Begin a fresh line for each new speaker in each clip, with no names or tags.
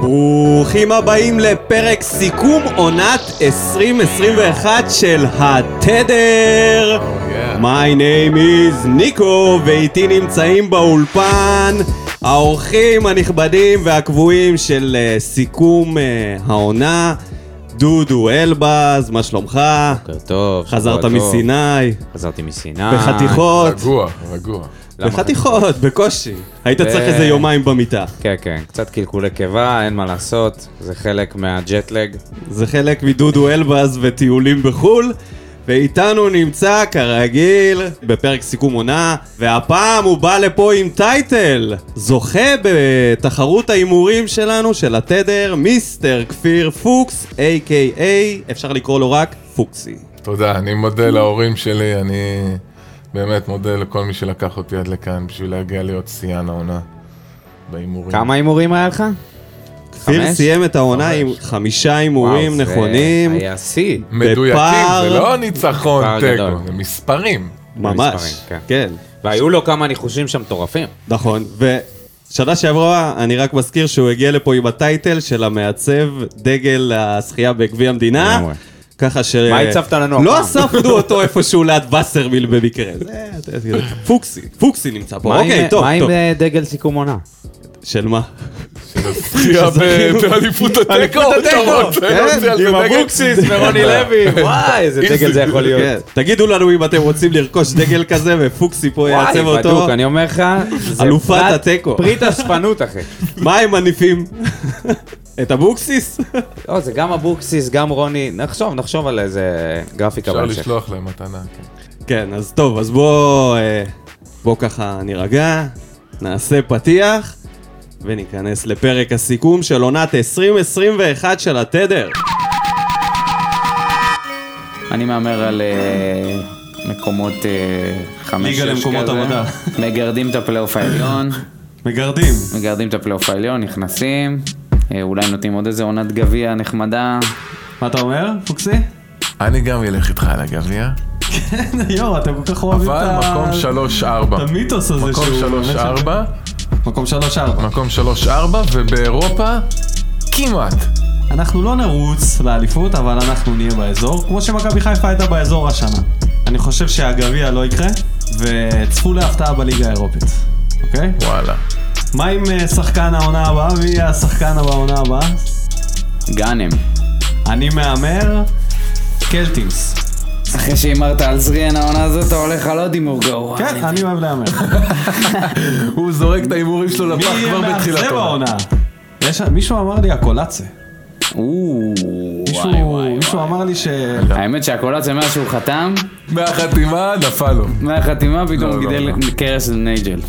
ברוכים הבאים לפרק סיכום עונת 2021 של התדר. My name is ניקו, ואיתי נמצאים באולפן האורחים הנכבדים והקבועים של אה, סיכום אה, העונה. דודו אלבז, מה שלומך?
בוקר טוב. שבוע
חזרת
טוב.
מסיני,
חזרתי מסיני.
בחתיכות,
רגוע, רגוע.
למה
בחתיכות, בקושי. היית צריך איזה יומיים במיטה.
כן, כן, קצת קלקולי קיבה, אין מה לעשות, זה חלק מהג'טלג.
זה חלק מדודו אלבז וטיולים בחו"ל. ואיתנו נמצא, כרגיל, בפרק סיכום עונה, והפעם הוא בא לפה עם טייטל, זוכה בתחרות ההימורים שלנו, של התדר, מיסטר כפיר פוקס, A.K.A, אפשר לקרוא לו רק פוקסי.
תודה, אני מודה להורים שלי, אני באמת מודה לכל מי שלקח אותי עד לכאן בשביל להגיע להיות שיאן העונה בהימורים.
כמה הימורים היה לך?
כפיר
חמש?
סיים את העונה
חמש.
עם חמישה
וואו,
הימורים
זה
נכונים.
היה שיא.
מדויקים,
בפער-
זה לא ניצחון
פער גדול.
תיקו, זה מספרים.
ממש,
במספרים, כן.
כן.
והיו לו כמה ניחושים שם מטורפים.
נכון, ושנה שעברה, אני רק מזכיר שהוא הגיע לפה עם הטייטל של המעצב דגל השחייה בגביע המדינה.
לגמרי.
ככה ש...
מה הצבת לנו
לא
הפעם?
אספנו אותו איפשהו ליד וסרמיל במקרה. זה- זה- זה- פוקסי, פוקסי נמצא פה.
מה עם-
אוקיי, טוב,
מה עם
טוב.
אה, דגל סיכום עונה?
של מה?
זכייה באליפות התיקו, אתה רוצה
כן,
להוציא על זה דגל?
כן, ורוני לוי, וואי, איזה דגל זה יכול
כן.
להיות.
תגידו לנו אם אתם רוצים לרכוש דגל כזה, ופוקסי פה
וואי,
יעצב אותו.
בדוק, אני אומר לך, זה
אלופת
פרט-
התיקו.
פריט השפנות, אחי.
מה הם מניפים? את אבוקסיס?
לא, זה גם אבוקסיס, גם רוני, נחשוב, נחשוב על איזה גרפיקה
אפשר
בהמשך.
לשלוח להם מתנה, כן.
כן, אז טוב, אז בוא, אה, בוא ככה נירגע, נעשה פתיח, וניכנס לפרק הסיכום של עונת 2021 של התדר.
אני מהמר על אה, מקומות אה, חמש,
ליגה
שש
למקומות
כזה.
עבודה.
מגרדים את הפלייאוף העליון,
מגרדים.
מגרדים את הפלייאוף העליון, נכנסים, אה, אולי נותנים עוד איזה עונת גביע נחמדה.
מה אתה אומר, פוקסי?
אני גם אלך איתך על הגביע,
יואו, אתם כל כך אוהבים
אבל מקום 3-4.
המיתוס הזה
מקום 3-4,
מקום שלוש ארבע.
מקום 3-4, ובאירופה כמעט.
אנחנו לא נרוץ לאליפות, אבל אנחנו נהיה באזור, כמו שמכבי חיפה הייתה באזור השנה. אני חושב שהגביע לא יקרה, וצפו להפתעה בליגה האירופית, אוקיי?
וואלה.
מה עם אה, שחקן העונה הבאה? מי יהיה השחקן בעונה הבאה?
גאנם.
אני מהמר, קלטינס.
אחרי שהימרת על זריאן העונה הזאת, אתה הולך על עוד הימור גרוע.
כן, אני אוהב להמר.
הוא זורק את ההימורים שלו
מי
לפח
יהיה
כבר בתחילת
מאכזב
העונה.
העונה? יש- מישהו אמר לי הקולאצה.
או,
מישהו-
אה, וואי, וואי,
מישהו
וואי.
אמר לי ש...
האמת שהקולאצ זה מאז שהוא חתם,
מהחתימה נפל לו.
מהחתימה
לא,
פתאום
לא,
גידל
לא.
קרס לנייג'ל.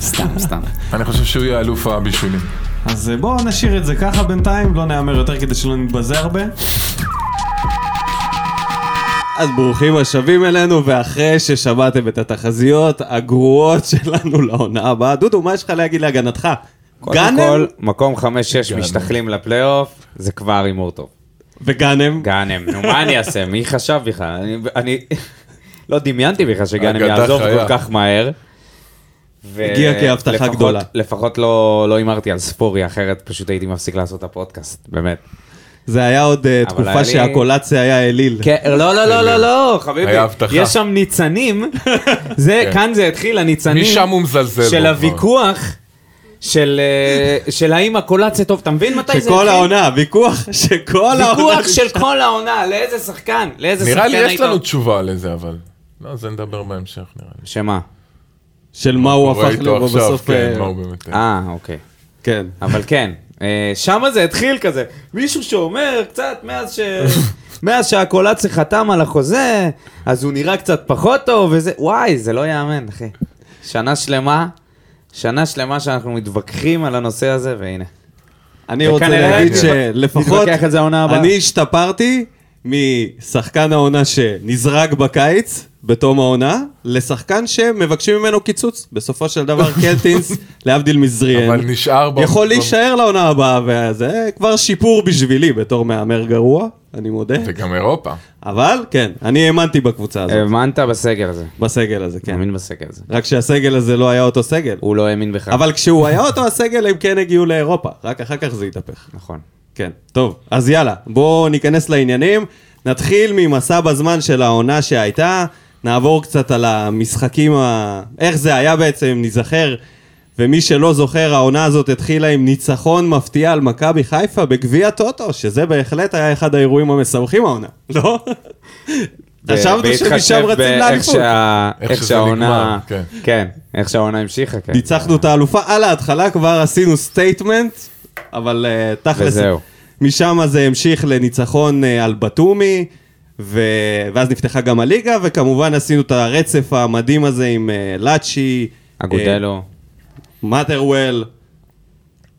סתם, סתם.
אני חושב שהוא יהיה אלוף הבישולים.
אז אה, בואו נשאיר את זה ככה בינתיים, לא נהמר יותר כדי שלא נתבזה הרבה.
אז ברוכים השבים אלינו, ואחרי ששמעתם את התחזיות הגרועות שלנו לעונה הבאה, דודו, מה יש לך להגיד להגנתך?
קודם
גאנם
כל, מקום 5-6 משתחלים לפלייאוף, זה כבר הימור טוב.
וגאנם.
גאנם, נו מה אני אעשה? מי חשב בכלל? אני- אני לא דמיינתי בכלל שגאנם
אגדה
יעזוב
חיה.
כל כך מהר. ו-
הגיע כהבטחה
לפחות-
גדולה.
לפחות לא לא הימרתי על ספורי, אחרת פשוט הייתי מפסיק לעשות את הפודקאסט, באמת.
זה היה עוד אה,
אבל
תקופה
היה לי-
שהקולציה היה אליל.
כן, לא, לא, לא, לא, לא, חביבי.
כן. היה הבטחה.
יש שם ניצנים, זה,
כן.
כאן זה התחיל, הניצנים.
משם הוא מזלזל. בו
של
כבר.
הוויכוח, של אה, של האם הקולציה טוב, אתה מבין מתי זה התחיל?
שכל העונה, ויכוח שכל העונה.
ויכוח של כל העונה, לאיזה שחקן, לאיזה שחקן
נראה לי
היית...
יש לנו תשובה לזה, אבל... לא, זה נדבר בהמשך, נראה לי.
שמה?
של מה הוא
קורה
הפך
איתו
לו
עכשיו,
בסוף.
כן,
אה,
מה הוא באמת...
אה, אוקיי.
כן.
אבל כן, אה, שמה זה התחיל כזה, מישהו שאומר קצת מאז ש... מאז שהקולציה חתם על החוזה, אז הוא נראה קצת פחות טוב וזה, וואי, זה לא יאמן, אחי. שנה שלמה, שנה שלמה שאנחנו מתווכחים על הנושא הזה, והנה.
אני רוצה
וכנראה
להגיד
נתווכח-
שלפחות
נתווכח על זה העונה הבאה.
אני השתפרתי משחקן העונה שנזרק בקיץ, בתום העונה, לשחקן שמבקשים ממנו קיצוץ. בסופו של דבר קלטינס, להבדיל מזריאן,
אבל נשאר... לא, ב-
אה, יכול
ב-
להישאר לעונה הבאה, וזה כבר שיפור בשבילי בתור מהמר גרוע. אני מודה.
וגם אירופה.
אבל, כן, אני האמנתי בקבוצה הזאת,
האמנת בסגל הזה.
בסגל הזה, כן.
האמין בסגל הזה.
רק שהסגל הזה לא היה אותו סגל.
הוא לא האמין בך.
אבל כשהוא היה אותו הסגל, הם כן הגיעו לאירופה. רק אחר כך זה התהפך.
נכון.
כן, טוב, אז יאללה, בואו ניכנס לעניינים. נתחיל ממסע בזמן של העונה שהייתה, נעבור קצת על המשחקים, ה... איך זה היה בעצם, ניזכר. ומי שלא זוכר, העונה הזאת התחילה עם ניצחון מפתיע על מכבי חיפה בגביע טוטו, שזה בהחלט היה אחד האירועים המשמחים העונה, לא? חשבנו שמשם
בהתחשב
רצים
באיך
לאליפות.
שה-
איך
איך
שזה
שהעונה...
נגמר, כן.
כן, איך שהעונה המשיכה, כן.
ניצחנו את האלופה על ההתחלה, כבר עשינו סטייטמנט, אבל אה, תכלס...
וזהו.
משם זה המשיך לניצחון אה, על בתומי, ו... ואז נפתחה גם הליגה, וכמובן עשינו את הרצף המדהים הזה עם אה, לאצ'י, אה,
אגודלו,
מאטרוול,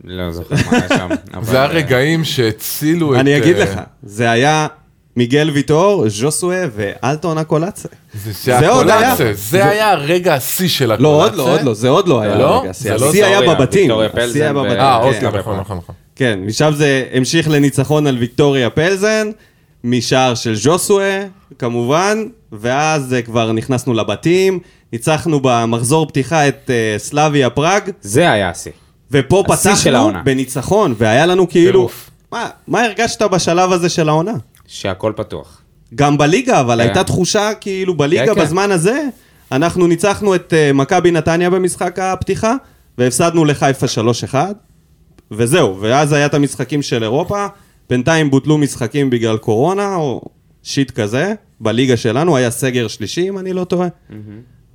לא זוכר מה היה שם. אבל- אה,
זה הרגעים שהצילו את...
אה, אני אגיד
אה,
לך, זה היה מיגל ויטור, ז'וסואה ואלטון הקולאצה.
זה
זה עוד היה.
שהקולצה, זה היה הרגע השיא של הקולצה.
לא, עוד לא, עוד לא, זה עוד לא היה.
לא?
רגע,
זה לא
השיא היה
זוריה,
בבתים.
ויקטוריה
השיא היה
פלזן ו-
בבתים.
אה,
כן.
אוקיי,
כן,
נכון, נכון, נכון.
כן, משם זה המשיך לניצחון על ויקטוריה פלזן, משער של ז'וסואה, כמובן, ואז אה, כבר נכנסנו לבתים, ניצחנו במחזור פתיחה את uh, סלאביה פראג,
זה היה השיא.
ופה
השיא של
פתחנו
העונה.
בניצחון, והיה לנו כאילו...
טירוף.
מה, מה הרגשת בשלב הזה של העונה?
שהכל פתוח.
גם בליגה, אבל
כן.
הייתה תחושה כאילו בליגה
כן, כן.
בזמן הזה, אנחנו ניצחנו את אה, מכבי נתניה במשחק הפתיחה, והפסדנו לחיפה 3-1, וזהו, ואז היה את המשחקים של אירופה, בינתיים בוטלו משחקים בגלל קורונה, או שיט כזה, בליגה שלנו, היה סגר שלישי, אם אני לא טועה.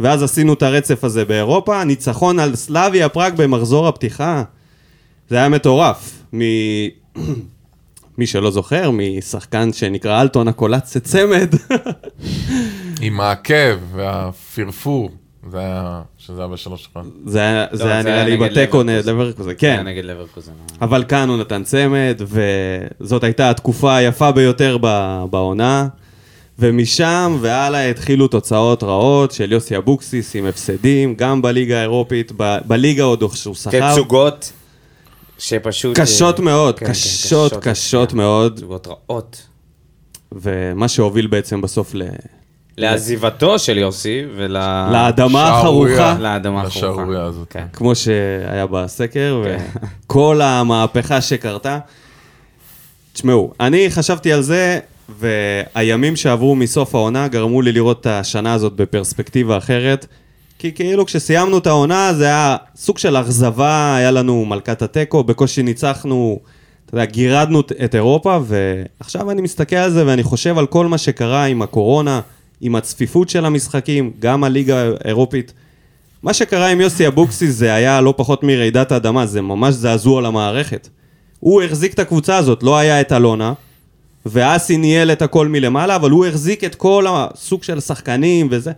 ואז עשינו את הרצף הזה באירופה, ניצחון על סלאביה פראג במחזור הפתיחה. זה היה מטורף. מ... מי שלא זוכר, משחקן שנקרא אלטון הקולצה צמד.
עם העקב והפרפור, זה היה, שזה היה בשלוש שלך.
זה היה זה היה
לא, זה
נראה
היה
לי
נגד
בתיקו נגד
לברקוזן.
לברקוזן,
היה
כן.
נגד לברקוזן.
אבל כאן הוא נתן צמד, וזאת הייתה התקופה היפה ביותר ב- בעונה. ומשם והלאה התחילו תוצאות רעות של יוסי אבוקסיס עם הפסדים, גם בליגה האירופית, ב- בליגה עוד שהוא שכר.
כן, תצוגות שפשוט...
קשות מאוד,
כן, כן,
קשות, קשות מאוד,
תצוגות רעות.
ומה שהוביל בעצם בסוף ל-
לעזיבתו של יוסי ול...
לאדמה החרוכה.
לאדמה החרוכה.
לשערורייה הזאת.
כן.
כמו שהיה בסקר,
כן.
וכל המהפכה שקרתה. תשמעו, אני חשבתי על זה, והימים שעברו מסוף העונה גרמו לי לראות את השנה הזאת בפרספקטיבה אחרת. כי כאילו כשסיימנו את העונה זה היה סוג של אכזבה, היה לנו מלכת התיקו, בקושי ניצחנו, אתה יודע, גירדנו את אירופה, ועכשיו אני מסתכל על זה ואני חושב על כל מה שקרה עם הקורונה, עם הצפיפות של המשחקים, גם הליגה האירופית. מה שקרה עם יוסי אבוקסיס זה היה לא פחות מרעידת האדמה, זה ממש זעזוע למערכת. הוא החזיק את הקבוצה הזאת, לא היה את אלונה, ואסי ניהל את הכל מלמעלה, אבל הוא החזיק את כל הסוג של שחקנים וזה,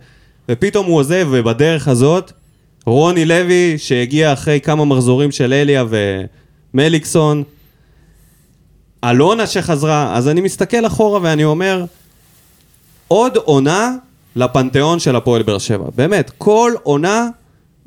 ופתאום הוא עוזב, ובדרך הזאת, רוני לוי, שהגיע אחרי כמה מחזורים של אליה ומליקסון, אלונה שחזרה, אז אני מסתכל אחורה ואני אומר, עוד עונה לפנתיאון של הפועל באר שבע. באמת, כל עונה,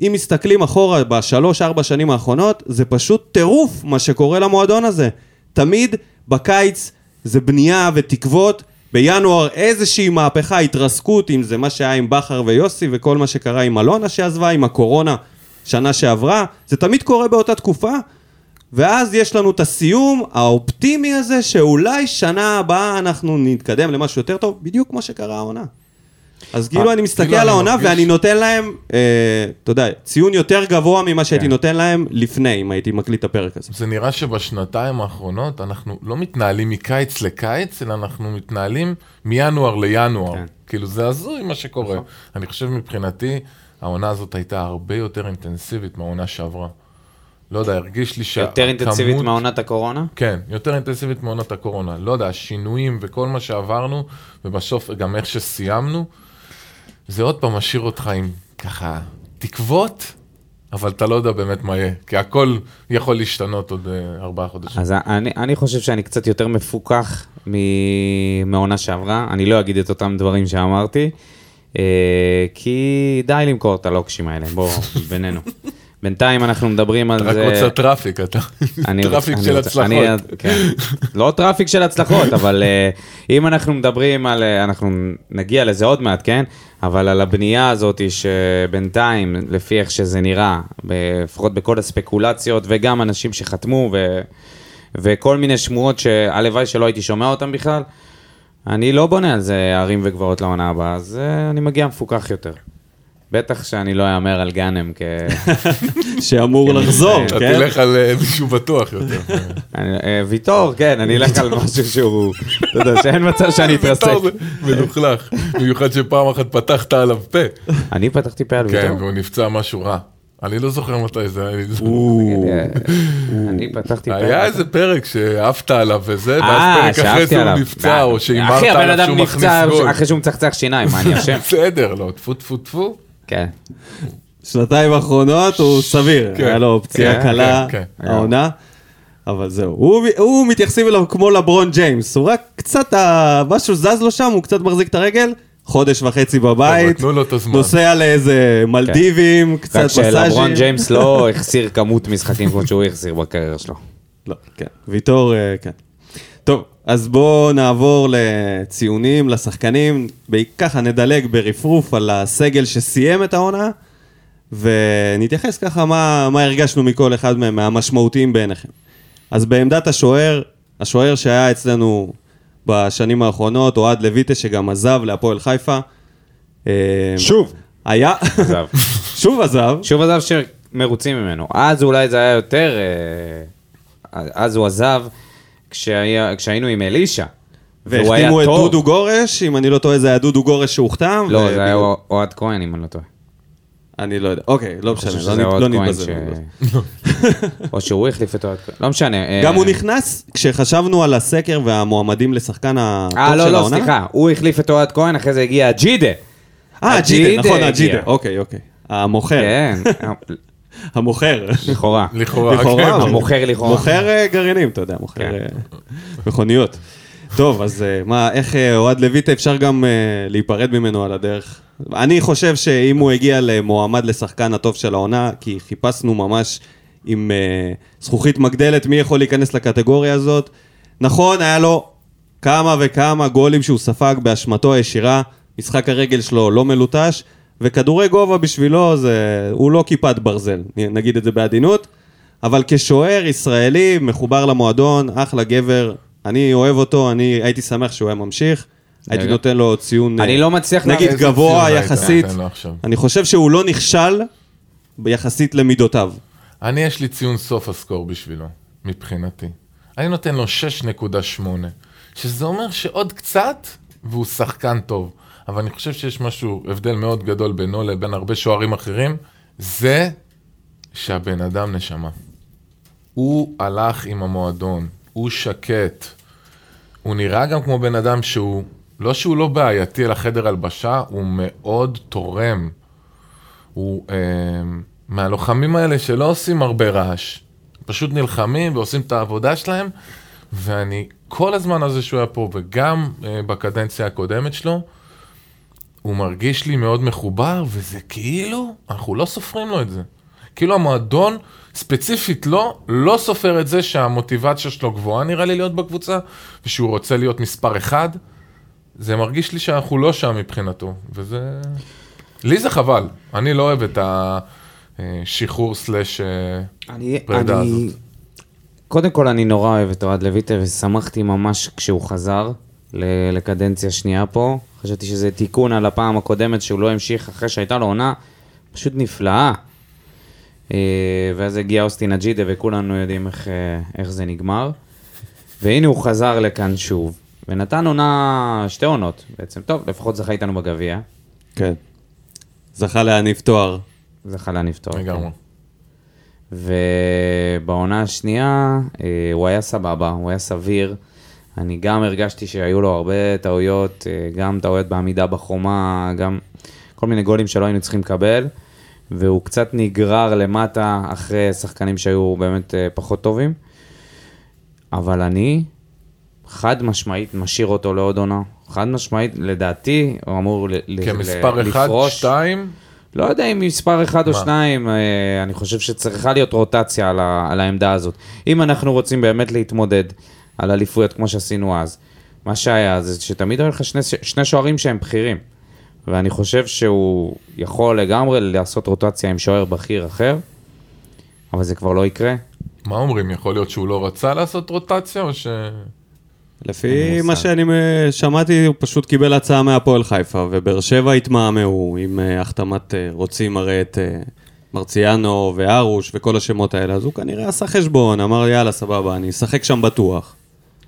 אם מסתכלים אחורה בשלוש-ארבע שנים האחרונות, זה פשוט טירוף מה שקורה למועדון הזה. תמיד בקיץ זה בנייה ותקוות, בינואר איזושהי מהפכה, התרסקות, אם זה מה שהיה עם בכר ויוסי וכל מה שקרה עם אלונה שעזבה, עם הקורונה שנה שעברה, זה תמיד קורה באותה תקופה. ואז יש לנו את הסיום האופטימי הזה, שאולי שנה הבאה אנחנו נתקדם למשהו יותר טוב, בדיוק כמו שקרה העונה. אז כאילו אני מסתכל
כאילו
על
אני
העונה
מרגיש-
ואני נותן להם, אה, אתה יודע, ציון יותר גבוה ממה
כן.
שהייתי נותן להם לפני, אם הייתי מקליט את הפרק הזה.
זה נראה שבשנתיים האחרונות אנחנו לא מתנהלים מקיץ לקיץ, אלא אנחנו מתנהלים מינואר לינואר.
כן.
כאילו זה הזוי מה שקורה. אני חושב מבחינתי, העונה הזאת הייתה הרבה יותר אינטנסיבית מהעונה שעברה. לא יודע, הרגיש לי שהכמות...
יותר אינטנסיבית מעונת הקורונה?
כן, יותר אינטנסיבית מעונת הקורונה. לא יודע, השינויים וכל מה שעברנו, ובסוף גם איך שסיימנו, זה עוד פעם משאיר אותך עם ככה תקוות, אבל אתה לא יודע באמת מה יהיה, כי הכל יכול להשתנות עוד אה, ארבעה חודשים.
אז אני, אני חושב שאני קצת יותר מפוקח מ- מהעונה שעברה, אני לא אגיד את אותם דברים שאמרתי, אה, כי די למכור את הלוקשים האלה, בואו, בינינו. בינתיים אנחנו מדברים על
רק
זה...
רוצה טראפיק, אתה.
אה, אני רוצ-
טראפיק
אני
של
רוצה-
הצלחות.
אני- כן. לא טראפיק של הצלחות, אבל אה, אם אנחנו מדברים על, אה, אנחנו נגיע לזה עוד מעט, כן? אבל על הבנייה הזאת שבינתיים, לפי איך שזה נראה, ב- לפחות בכל הספקולציות, וגם אנשים שחתמו, ו- וכל מיני שמועות שהלוואי שלא הייתי שומע אותן בכלל, אני לא בונה על זה ערים וגבעות לעונה הבאה, אז אה, אני מגיע מפוקח יותר. בטח שאני לא אהמר על גאנם כ...
שאמור לחזור,
אתה
כן?
תלך על אה, מישהו בטוח יותר.
אני- אה, ויטור, כן, אני אלך על משהו שהוא, אתה יודע, שאין מצב שאני אתרסק.
בתור זה מלוכלך, במיוחד שפעם אחת פתחת עליו פה.
אני פתחתי פה על
כן,
ויטור.
והוא נפצע משהו רע. אני לא זוכר מתי זה היה. אני-
אה, אני פתחתי פה.
היה איזה פרק שעפת עליו וזה, ואז
אה,
פרק אחרי
שאהבתי
זה
עליו. אה,
הוא נפצע, או שהימרת
אחי, הבן
עליו
אדם
שהוא מכניס
נפצע
גול.
אחרי שהוא מצחצח שיניים, מה אני אשם?
בסדר, לא, טפו טפו טפו.
כן.
שנתיים האחרונות הוא סביר,
כן.
היה לו פציעה
כן,
קלה,
כן,
כן.
העונה, אבל זהו. הוא- הוא מתייחסים אליו כמו לברון ג'יימס, הוא רק קצת, ה- משהו זז לו שם, הוא קצת מחזיק את הרגל, חודש וחצי בבית,
כן, תנו לו את הזמן.
נוסע לאיזה מלדיבים, קצת
כן. רק שלברון
מסאז'ים.
ג'יימס לא החסיר כמות משחקים כמו שהוא החסיר בקריירה שלו.
לא, כן, ויטור, אה, כן. טוב, אז בואו נעבור לציונים, לשחקנים, בעי- ככה נדלג ברפרוף על הסגל שסיים את העונה, ונתייחס ככה מה, מה הרגשנו מכל אחד מהם, מהמשמעותיים בעיניכם. אז בעמדת השוער, השוער שהיה אצלנו בשנים האחרונות, אוהד לויטה שגם עזב להפועל חיפה. אה,
שוב.
היה,
עזב.
שוב עזב,
שוב עזב שמרוצים ממנו. אז אולי זה היה יותר... אה, אז הוא עזב כשהיה- כשהיינו עם אלישע. והוא היה
והחתימו את
טוב.
דודו גורש, אם אני לא טועה זה היה דודו גורש שהוחתם.
לא, זה
ובגלל-
היה אוהד כהן, אם אני לא טועה.
אני לא יודע, אוקיי, לא
אני חושב
משנה,
שזה
לא, נ-
אוהד
לא
כהן
נתבזר.
ש-
לא נתבזר.
או שהוא החליף את אוהד כהן, לא משנה. אה,
גם הוא נכנס, כשחשבנו על הסקר והמועמדים לשחקן הטוב של
אה,
העונה.
לא, לא, סליחה, הוא החליף את אוהד כהן, אחרי זה הגיע הג'ידה.
אה, ג'ידה, נכון,
הגיע.
הג'ידה, אוקיי, אוקיי. המוכר,
כן,
המוכר.
לכאורה.
לכאורה,
לכאורה,
כן.
אבל-
המוכר לכאורה.
מוכר אה, גרעינים, אתה יודע, מוכר
כן.
אה, מכוניות. טוב, אז אה, מה, איך אה, אוהד לויטה אפשר גם אה, להיפרד ממנו על הדרך? אני חושב שאם הוא הגיע למועמד לשחקן הטוב של העונה, כי חיפשנו ממש עם אה, זכוכית מגדלת מי יכול להיכנס לקטגוריה הזאת. נכון, היה לו כמה וכמה גולים שהוא ספג באשמתו הישירה, משחק הרגל שלו לא מלוטש, וכדורי גובה בשבילו זה, הוא לא כיפת ברזל, נ- נגיד את זה בעדינות, אבל כשוער ישראלי, מחובר למועדון, אחלה גבר, אני אוהב אותו, אני הייתי שמח שהוא היה ממשיך, הייתי
רגע.
נותן לו ציון,
אני
אה,
לא מצליח
נגיד
להבין איזה
גבוה
ציון היית
יחסית,
נותן לו עכשיו?
אני חושב שהוא לא נכשל יחסית למידותיו.
אני, יש לי ציון סוף הסקור בשבילו, מבחינתי. אני נותן לו 6.8, שזה אומר שעוד קצת, והוא שחקן טוב. אבל אני חושב שיש משהו, הבדל מאוד גדול בינו לבין הרבה שוערים אחרים, זה שהבן אדם נשמה. הוא הלך עם המועדון, הוא שקט. הוא נראה גם כמו בן אדם שהוא, לא שהוא לא בעייתי, אלא חדר הלבשה, הוא מאוד תורם. הוא אה, מהלוחמים האלה שלא עושים הרבה רעש, פשוט נלחמים ועושים את העבודה שלהם, ואני כל הזמן הזה שהוא היה פה, וגם אה, בקדנציה הקודמת שלו, הוא מרגיש לי מאוד מחובר, וזה כאילו, אנחנו לא סופרים לו את זה. כאילו המועדון, ספציפית לא, לא סופר את זה שהמוטיבציה שלו גבוהה נראה לי להיות בקבוצה, ושהוא רוצה להיות מספר אחד. זה מרגיש לי שאנחנו לא שם מבחינתו, וזה... לי זה חבל, אני לא אוהב את השחרור סלאש... אה,
אני,
פרידה
אני...
הזאת.
קודם כל, אני נורא אוהב את אוהד לויטה, ושמחתי ממש כשהוא חזר ל- לקדנציה שנייה פה. חשבתי שזה תיקון על הפעם הקודמת שהוא לא המשיך אחרי שהייתה לו עונה פשוט נפלאה. אה, ואז הגיע אוסטין אג'ידה, וכולנו יודעים איך, אה, איך זה נגמר. והנה הוא חזר לכאן שוב, ונתן עונה, שתי עונות בעצם. טוב, לפחות זכה איתנו בגביע.
כן. זכה להניף תואר.
זכה כן. לנפתור.
לגמרי.
ובעונה השנייה אה, הוא היה סבבה, הוא היה סביר. אני גם הרגשתי שהיו לו הרבה טעויות, אה, גם טעויות בעמידה בחומה, גם כל מיני גולים שלא היינו צריכים לקבל, והוא קצת נגרר למטה אחרי שחקנים שהיו באמת אה, פחות טובים. אבל אני חד משמעית משאיר אותו לעוד עונה. חד משמעית, לדעתי, הוא אמור ל- ל- ל-
כמספר 1,
לפרוש.
2,
לא יודע אם מספר אחד או
מה?
שניים, אה, אני חושב שצריכה להיות רוטציה על, ה, על העמדה הזאת. אם אנחנו רוצים באמת להתמודד על אליפויות כמו שעשינו אז, מה שהיה זה שתמיד היו לך שני, שני שוערים שהם בכירים. ואני חושב שהוא יכול לגמרי לעשות רוטציה עם שוער בכיר אחר, אבל זה כבר לא יקרה.
מה אומרים, יכול להיות שהוא לא רצה לעשות רוטציה, או ש...
לפי מה
מושג.
שאני אה, שמעתי, הוא פשוט קיבל הצעה מהפועל חיפה, ובאר שבע התמהמהו עם אה, החתמת אה, רוצים הרי את אה, מרציאנו והרוש וכל השמות האלה, אז הוא כנראה עשה חשבון, אמר יאללה, סבבה, אני אשחק שם בטוח.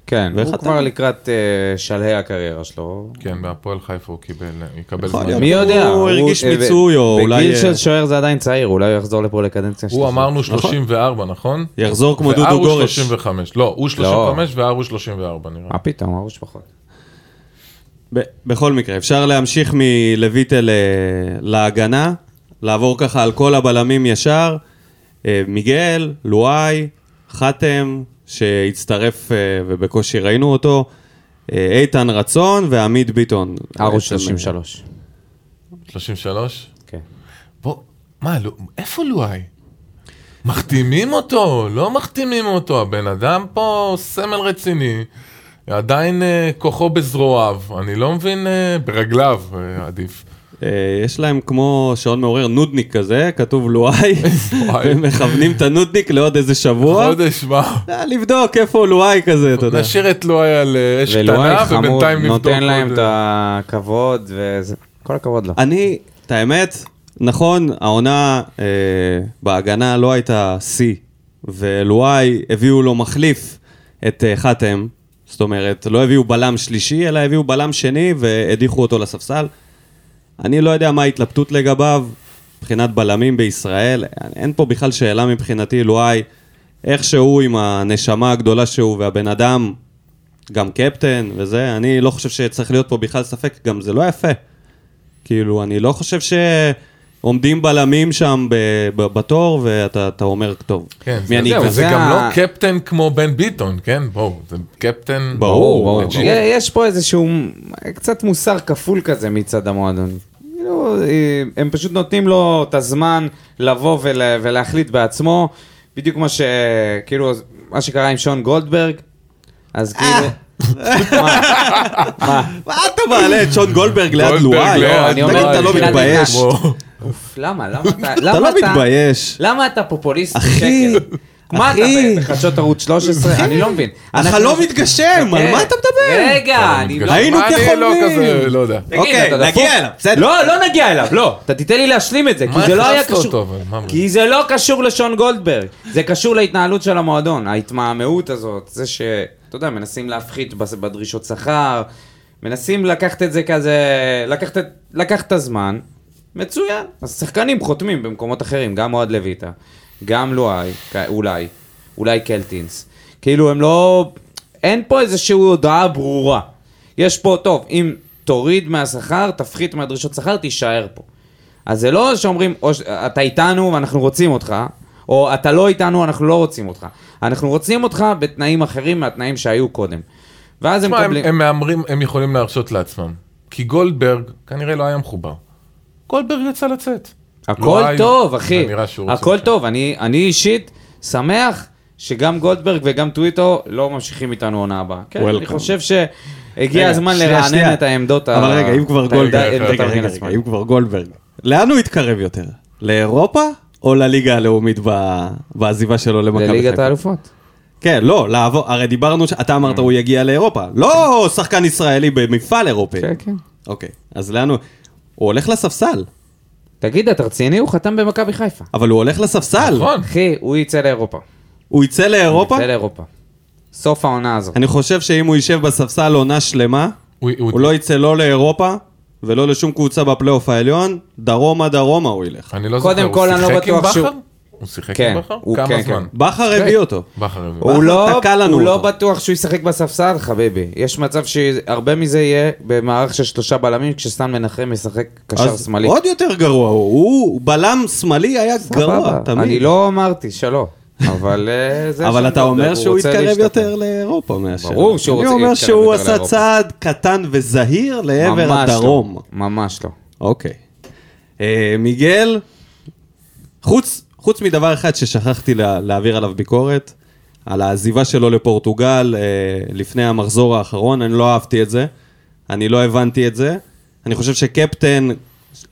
כן,
ואיך
הוא
אתה- לא-
כבר לקראת אה, שלהי הקריירה שלו.
כן, בהפועל חיפה הוא קיבל, יקבל
יכול
זמן.
להיות.
מי יודע?
כן, הוא הרגיש
אה, ו-
מיצוי, או אולי,
בגיל
אה,
של שוער זה עדיין צעיר, אולי הוא יחזור לפה לקדנציה
הוא
שלישית.
אמרנו 34, נכון?
יחזור כמו דודו
והר הוא
גורש.
35, לא, הוא 35 והר הוא 34 נראה.
מה פתאום, הראש פחות.
ב- בכל מקרה, אפשר להמשיך מלויטל אה, להגנה, לעבור ככה על כל הבלמים ישר. אה, מיגל, לואי, חתם, שהצטרף אה, ובקושי ראינו אותו, אה, איתן רצון ועמית ביטון.
הראש
בעצם,
33.
33?
כן.
בוא, מה, לא- איפה לואי? מחתימים אותו, לא מחתימים אותו, הבן אדם פה סמל רציני, עדיין אה, כוחו בזרועיו, אני לא מבין, אה, ברגליו אה, עדיף.
אה, יש להם כמו שעון מעורר נודניק כזה, כתוב לואי,
וואי.
ומכוונים את הנודניק לעוד איזה שבוע.
חודש, מה?
אה, לבדוק איפה לואי כזה, אתה יודע.
נשאיר את לואי על אה, אש
ולואי
קטנה,
חמוד,
ובינתיים נבדוק
נותן להם
עוד, אה,
את הכבוד, וזה... כל הכבוד לו.
אני, את האמת, נכון, העונה אה, בהגנה לא הייתה שיא, ולואי הביאו לו מחליף את אה, חתם, זאת אומרת, לא הביאו בלם שלישי, אלא הביאו בלם שני והדיחו אותו לספסל. אני לא יודע מה ההתלבטות לגביו מבחינת בלמים בישראל, אין פה בכלל שאלה מבחינתי, לואי, איך שהוא עם הנשמה הגדולה שהוא והבן אדם, גם קפטן וזה, אני לא חושב שצריך להיות פה בכלל ספק, גם זה לא יפה. כאילו, אני לא חושב שעומדים בלמים שם ב- ב- בתור, ואתה אתה אומר, טוב,
כן,
מי אני
זהו,
אקח?
זה
זה
גם
ה-
לא קפטן כמו בן ביטון, כן? בואו, זה קפטן...
ברור, ברור.
י- יש פה איזשהו קצת מוסר כפול כזה מצד המועדון. כאילו, אה, הם פשוט נותנים לו את הזמן לבוא ולה, ולהחליט בעצמו, בדיוק מה ש... כאילו, מה שקרה עם שון גולדברג, אז
אה.
כאילו... מה? מה?
מה אתה מעלה את שון גולדברג ליד
גולדברג אה,
לואי?
ליד
יואו,
אני
תגיד,
אומר,
אתה לא
ליד
מתבייש?
לואי.
בואו.
אוף, למה? למה אתה... למה
אתה לא מתבייש.
למה אתה פופוליסט?
אחי,
שקר? מה אתה
אחי.
בחדשות ערוץ 13? אני לא מבין.
החלום
אנחנו- אוקיי.
מתגשם, על מה אתה מדבר?
רגע, אני לא...
היינו
מה, אני לא
כחולמים.
כזה, לא יודע.
תגיד,
אוקיי,
אתה
נגיע
דפוק?
אליו, בסדר.
לא, לא נגיע אליו, לא. אתה תיתן לי להשלים את זה, כי
מה
זה לא היה
החלפת אותו,
קשור.
אבל? מה אמרו?
כי זה לא קשור לשון גולדברג, זה קשור להתנהלות של המועדון, ההתמהמהות הזאת, זה ש... אתה יודע, מנסים להפחית בס- בדרישות שכר, מנסים לקחת את זה כזה... לקחת את- לקחת את הזמן, מצוין. אז שחקנים חותמים במקומות אחרים, גם אוהד לויטה, גם לואי, כ- אולי, אולי קלטינס. כאילו, הם לא... אין פה איזושהי הודעה ברורה. יש פה, טוב, אם תוריד מהשכר, תפחית מהדרישות שכר, תישאר פה. אז זה לא שאומרים, או ש- אתה איתנו ואנחנו רוצים אותך, או אתה לא איתנו, אנחנו לא רוצים אותך. אנחנו רוצים אותך בתנאים אחרים מהתנאים שהיו קודם. ואז הם
תשמע, הם-
מקבלים...
הם מהמרים, הם יכולים להרשות לעצמם. כי גולדברג כנראה לא היה מחובר. גולדברג יצא לצאת.
הכל
לא היה.
טוב, אחי.
זה נראה שהוא רוצה
הכל
לצאת.
טוב. אני, אני אישית שמח שגם גולדברג וגם טוויטו לא ממשיכים איתנו עונה הבאה. כן,
Welcome.
אני חושב שהגיע
רגע,
הזמן
שנייה,
לרענן
שנייה.
את העמדות
אבל רגע, אם כבר
את העמדה-
גולדברג,
עמדות
רגע,
המגן
רגע,
השמאלי.
רגע, אם כבר גולדברג, לאן הוא התקרב יותר? לאירופה או לליגה הלאומית ב- בעזיבה שלו למכבי חיפה?
לליגת האלופות.
כן, לא, לעבור, הרי דיברנו, ש- אתה
Mm.
אמרת הוא יגיע לאירופה. לא שחקן ישראלי במפעל אירופי.
כן, כן.
אוקיי, אז לאן הוא... הוא הולך לספסל,
תגיד, אתה רציני? הוא חתם במכבי חיפה.
אבל הוא הולך לספסל.
נכון.
אחי, הוא יצא לאירופה.
הוא יצא לאירופה?
יצא לאירופה. סוף העונה הזאת.
אני חושב שאם הוא יישב בספסל עונה שלמה,
הוא-
הוא לא יצא לא לאירופה ולא לשום קבוצה בפלייאוף העליון, דרומה דרומה הוא ילך.
אני לא זוכר,
קודם
הוא
כל, אני לא
שיחק עם
בטוח שהוא-
בכר? הוא שיחק
כן,
עם בכר?
הוא-
כמה
כן,
זמן?
כן.
בכר הביא אותו.
בכר הביא.
הוא
בכר
לא,
תקע לנו
הוא לא
אותו.
בטוח שהוא ישחק בספסל, חביבי. יש מצב שהרבה מזה יהיה במערך של שלושה בלמים, כשסטן מנחם ישחק קשר
אז
שמאלי.
עוד יותר גרוע הוא, הוא בלם שמאלי היה גרוע
סבבה.
תמיד.
אני לא אמרתי שלא, אבל אה, זה...
אבל
שם
אתה
גולדברג,
אומר
הוא
שהוא
רוצה
יתקרב
להשתפר.
יותר לאירופה מאשר.
ברור שהוא רוצה
אני אומר
להתקרב
שהוא
יותר
עשה
לאירופה.
צעד קטן וזהיר לעבר
ממש לא,
הדרום.
ממש לא.
אוקיי. אה, מיגל, חוץ, חוץ מדבר אחד ששכחתי לה, להעביר עליו ביקורת, על העזיבה שלו לפורטוגל אה, לפני המחזור האחרון, אני לא אהבתי את זה, אני לא הבנתי את זה. אני חושב שקפטן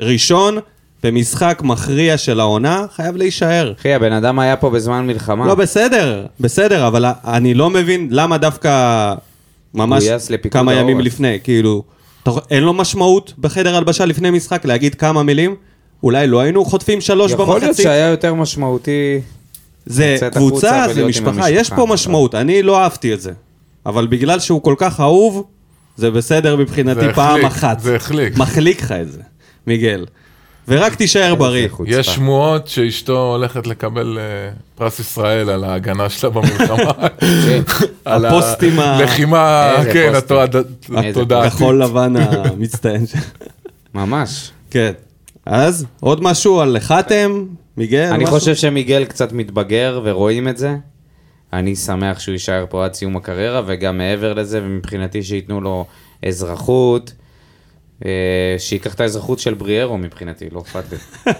ראשון במשחק מכריע של העונה חייב להישאר.
אחי, הבן אדם היה פה בזמן מלחמה.
לא, בסדר, בסדר, אבל אני לא מבין למה דווקא ממש
גויס לפיקוד
כמה ימים
העורף.
לפני, כאילו, אתה- אין לו משמעות בחדר הלבשה לפני משחק להגיד כמה מילים? אולי לא היינו חוטפים שלוש
יכול להיות
במחצית?
שהיה יותר משמעותי.
זה
לצאת החוצה
קבוצה,
ולהיות
זה
עם
משפחה,
המשפחה,
יש פה
אבל-
משמעות, אני לא אהבתי את זה. אבל בגלל שהוא כל כך אהוב, זה בסדר מבחינתי
זה
פעם
החליק,
אחת.
זה החליק.
מחליק לך את זה, מיגל. ורק תישאר בריא.
איזה חוצפה.
יש שמועות שאשתו הולכת לקבל אה, פרס ישראל על ההגנה שלה במלחמה.
אה,
על
הפוסטים ה-
הלחימה,
כן. איזה
כן,
פוסטים.
התועד-
איזה
התודעתית.
כחול לבן המצטיין שלך.
ממש.
כן. אז עוד משהו על חתם, מיגל?
אני
כן, משהו?
חושב שמיגל קצת מתבגר ורואים את זה. אני שמח שהוא יישאר פה עד סיום הקריירה, וגם מעבר לזה, ומבחינתי שייתנו לו אזרחות. אה, שייקח את האזרחות של בריארו מבחינתי, לא אכפת לי.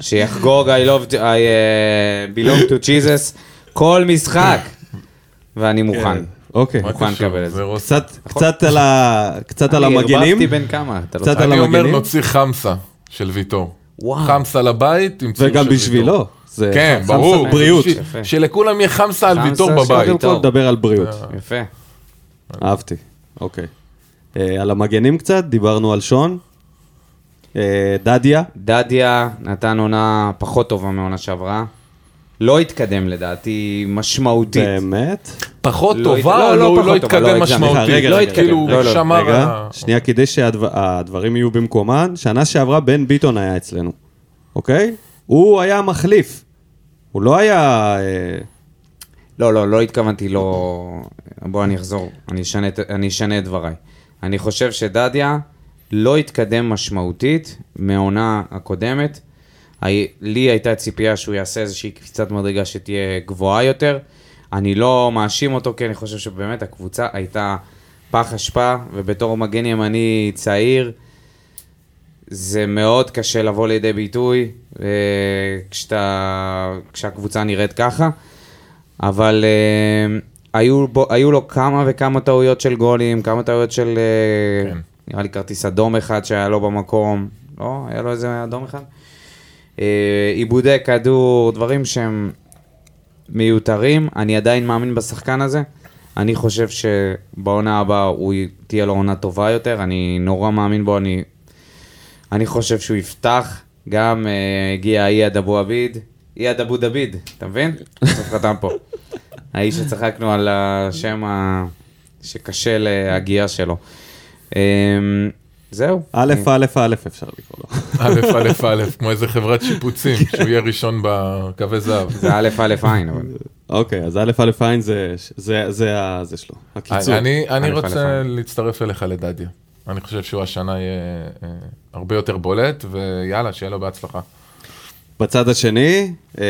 שיחגוג I love, to- I אה, belong to Jesus כל משחק. ואני מוכן.
אוקיי.
מה
מוכן
קשור?
לקבל את זה.
זה רוס-
קצת, קצת על ה... קצת על
אני
המגנים,
ערבבתי בין כמה, אתה לא
קצת
צודק.
על
אני אומר
המגנים?
נוציא חמסה של ויטור.
וואו.
חמסה לבית, תמצאו
וגם
של ויטור.
בשבילו. זה
כן,
חמסה
ברור.
בריאות.
ש-
יפה.
שלכולם יהיה חמסה על
חמסה
ויטור
של
בבית.
קודם כל
טוב.
נדבר על בריאות.
אה,
יפה.
אהבתי, אוקיי. אה, על המגנים קצת, דיברנו על שון. אה, דדיה,
דדיה נתן עונה פחות טובה מעונה שעברה. לא התקדם לדעתי משמעותית.
באמת?
פחות
לא הת-
טובה,
לא,
לא,
לא
הוא
פחות
לא
טובה, לא
התקדם
הגזמתי.
סליחה,
משמעותית.
רגע, רגע,
כאילו,
רגע. לא,
הוא
לא,
שמר... על
רגע,
ה-
שנייה, כדי שהדברים יהיו במקומן, שנה שעברה בן ביטון היה אצלנו, אוקיי? הוא היה מחליף. הוא לא היה... אה,
לא, לא, לא התכוונתי, לא... בוא, אני אחזור, אני אשנה, את- אני אשנה את דבריי. אני חושב שדדיה לא התקדם משמעותית מהעונה הקודמת. הי- לי הייתה ציפייה שהוא יעשה איזושהי קפיצת מדרגה שתהיה גבוהה יותר. אני לא מאשים אותו, כי אני חושב שבאמת הקבוצה הייתה פח אשפה, ובתור מגן ימני צעיר, זה מאוד קשה לבוא לידי ביטוי אה, כשאתה, כשהקבוצה נראית ככה, אבל אה, היו, בו, היו לו כמה וכמה טעויות של גולים, כמה טעויות של, אה,
כן.
נראה לי כרטיס אדום אחד שהיה לו במקום, לא? היה לו איזה אדום אחד? אה, עיבודי כדור, דברים שהם מיותרים, אני עדיין מאמין בשחקן הזה. אני חושב שבעונה הבאה הוא י- תהיה לו עונה טובה יותר, אני נורא מאמין בו, אני, אני חושב שהוא יפתח, גם אה, הגיע אייד אבו עביד, אייד אבו דביד, אתה מבין? בסוף חתם פה. האיש שצחקנו על השם ה... שקשה להגייה שלו. אה, זהו. אה,
א', א', א', אפשר לקרוא לו.
א', א', א', כמו איזה חברת שיפוצים, שהוא יהיה ראשון בקווי זהב.
זה א' א' עין, אבל...
אוקיי, אז א', א', עין זה, זה, זה, ה- זה שלו. הקיצור.
אני, אני
א',
רוצה
א'.
להצטרף אליך לדדיה. אני חושב שהוא השנה יהיה אה, הרבה יותר בולט, ויאללה, שיהיה לו בהצלחה.
בצד השני, אה,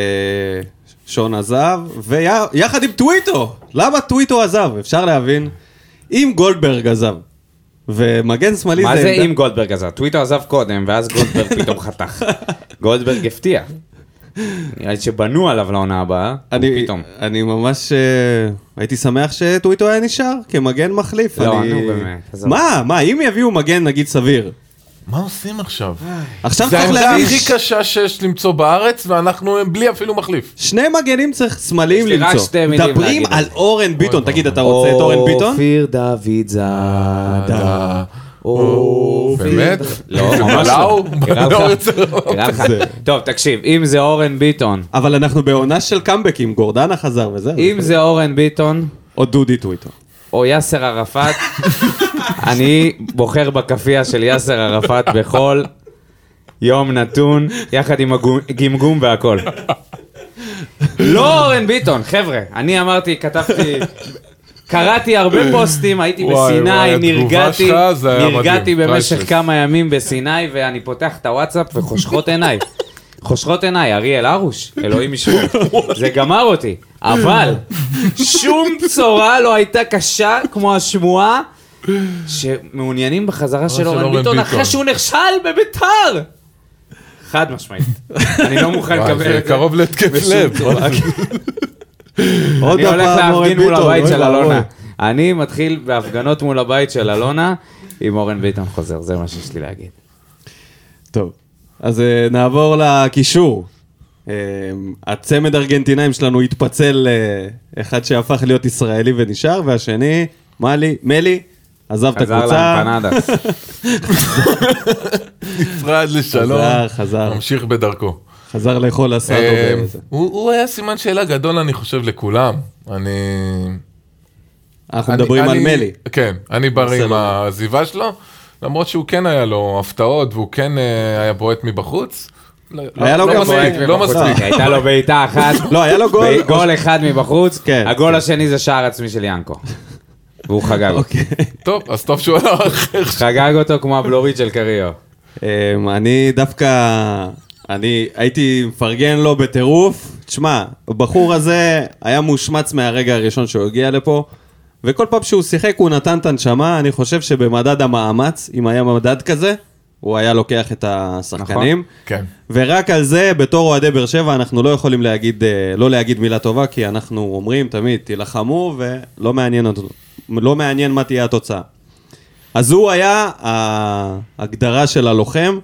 שון עזב, ויחד עם טוויטו! למה טוויטו עזב? אפשר להבין. אם גולדברג עזב, ומגן שמאלי
מה זה
עמדה-
אם גולדברג עזב? טוויטר עזב קודם, ואז גולדברג פתאום חתך. גולדברג הפתיע. נראה לי שבנו עליו לעונה הבאה, הוא
אני,
פתאום.
אני ממש אה, הייתי שמח שטוויטו היה נשאר כמגן מחליף.
לא,
אני...
נו, באמת, עזוב.
מה, מה, אם יביאו מגן נגיד סביר.
מה עושים עכשיו?
עכשיו
זה
צריך
העמדה
להביא
הכי
ש-
קשה שיש למצוא בארץ, ואנחנו בלי אפילו מחליף.
שני מגנים צריך סמלים
יש לי רק
למצוא.
שתי מילים
מדברים
להגיד על
על
זה.
אורן ביטון, תגיד, אתה רוצה את אורן ביטון? אה,
אופיר דוד זאדה. אופיר.
באמת?
לא, ממש
בלעו?
לא. נראה
בלעו
לך-
יוצא-
נראה לך-
זה.
טוב, תקשיב, אם זה אורן ביטון,
אבל אנחנו בעונה של קאמבקים, גורדנה חזר וזהו.
אם זה אורן ביטון,
או דודי טוויטו.
או יאסר ערפאת, אני בוחר בכאפיה של יאסר ערפאת בכל יום נתון, יחד עם הגמגום והכל. לא אורן ביטון, חבר'ה, אני אמרתי, כתבתי, קראתי הרבה פוסטים, הייתי
וואי, וואי,
בסיני,
התגובה
נרגעתי,
שלך, זה היה
נרגעתי
מדהים,
במשך
crisis.
כמה ימים בסיני, ואני פותח את הוואטסאפ וחושכות עיניי. חושכות עיניי, אריאל הרוש, אלוהים ישמור. זה גמר אותי, אבל שום בשורה לא הייתה קשה כמו השמועה שמעוניינים בחזרה של
של
אורן
לא
אורן
ביטון
ביטון.
אחרי שהוא נכשל בביתר! חד משמעית. אני לא מוכן
וואי,
לקבל
זה
את זה.
קרוב להתקף
בשום
לב.
צורה.
עוד
אני הולך
הפעם אורן
להפגין מול
ביטון,
הבית
אוי
של
ואבוי.
אלונה. אני מתחיל בהפגנות מול הבית של אלונה, אם אורן ביטון חוזר, זה מה שיש לי להגיד.
טוב, אז אה, נעבור לקישור. אה, הצמד ארגנטינאים שלנו התפצל, אה, אחד שהפך להיות ישראלי ונשאר, והשני, מלי, מלי, עזב את
חזר
הקבוצה.
לאמפנדה.
נפרד לשלום.
חזר, חזר,
ממשיך בדרכו.
חזר לאכול אסד.
אה,
או באיזה.
הוא הוא היה סימן שאלה גדול, אני חושב, לכולם. אני...
אה,
אנחנו
אני-
מדברים על
אני-
מלי.
כן, אני בריא עם
בסדר.
העזיבה שלו, למרות שהוא כן היה לו הפתעות, והוא כן אה, היה בועט מבחוץ. לא-
היה לו
לא
גם
מספיק,
בועט
לא
מבחוץ.
מספיק.
אה.
הייתה לו בעיטה אחת,
לא, היה לו גול.
ב- גול אחד מבחוץ,
כן.
הגול השני זה שער עצמי של ינקו. והוא חגג אותו.
אוקיי.
טוב, אז טוב שהוא הלך איכשהו.
חגג אותו כמו הבלורית של קריו.
אמ, אני דווקא, אני הייתי מפרגן לו בטירוף. תשמע, הבחור הזה היה מושמץ מהרגע הראשון שהוא הגיע לפה, וכל פעם שהוא שיחק הוא נתן את הנשמה, אני חושב שבמדד המאמץ, אם היה מדד כזה, הוא היה לוקח את השחקנים.
נכון.
כן.
ורק על זה, בתור אוהדי באר שבע, אנחנו לא יכולים להגיד, אה, לא להגיד מילה טובה, כי אנחנו אומרים תמיד, תילחמו, ולא מעניין, אותו- לא מעניין מה תהיה התוצאה. אז הוא היה ההגדרה של הלוחם.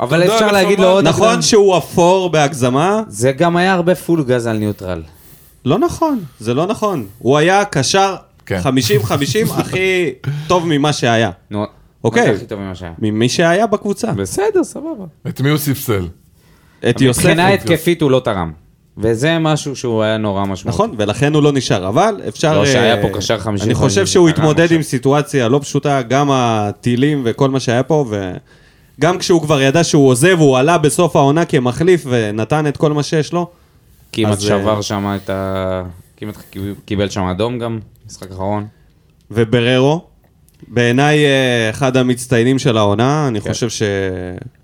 אבל
תודה,
אפשר
אנחנו
להגיד לו
אמרנו.
עוד...
נכון שהוא אפור בהגזמה,
זה גם היה הרבה פול גז על ניוטרל.
לא נכון, זה לא נכון. הוא היה קשר
כן.
50-50 הכי טוב ממה שהיה,
נו,
אוקיי.
מה זה הכי טוב ממה שהיה?
ממי שהיה בקבוצה.
בסדר, סבבה.
את מי הוא ספסל?
את יוסף.
מבחינה התקפית הוא לא תרם. וזה משהו שהוא היה נורא משמעותי.
נכון, ולכן הוא לא נשאר, אבל אפשר...
לא, שהיה
אה,
פה קשר 50,
אני חושב
50,
שהוא
זה קרה
התמודד
אה, עכשיו.
עם סיטואציה לא פשוטה, גם הטילים וכל מה שהיה פה, וגם כשהוא כבר ידע שהוא עוזב, הוא עלה בסוף העונה כמחליף ונתן את כל מה שיש לו.
כמעט
אז, אה,
שבר שם את ה... כמעט קיבל שם אדום גם, משחק אחרון.
ובררו, בעיניי אה, אחד המצטיינים של העונה,
כן.
אני חושב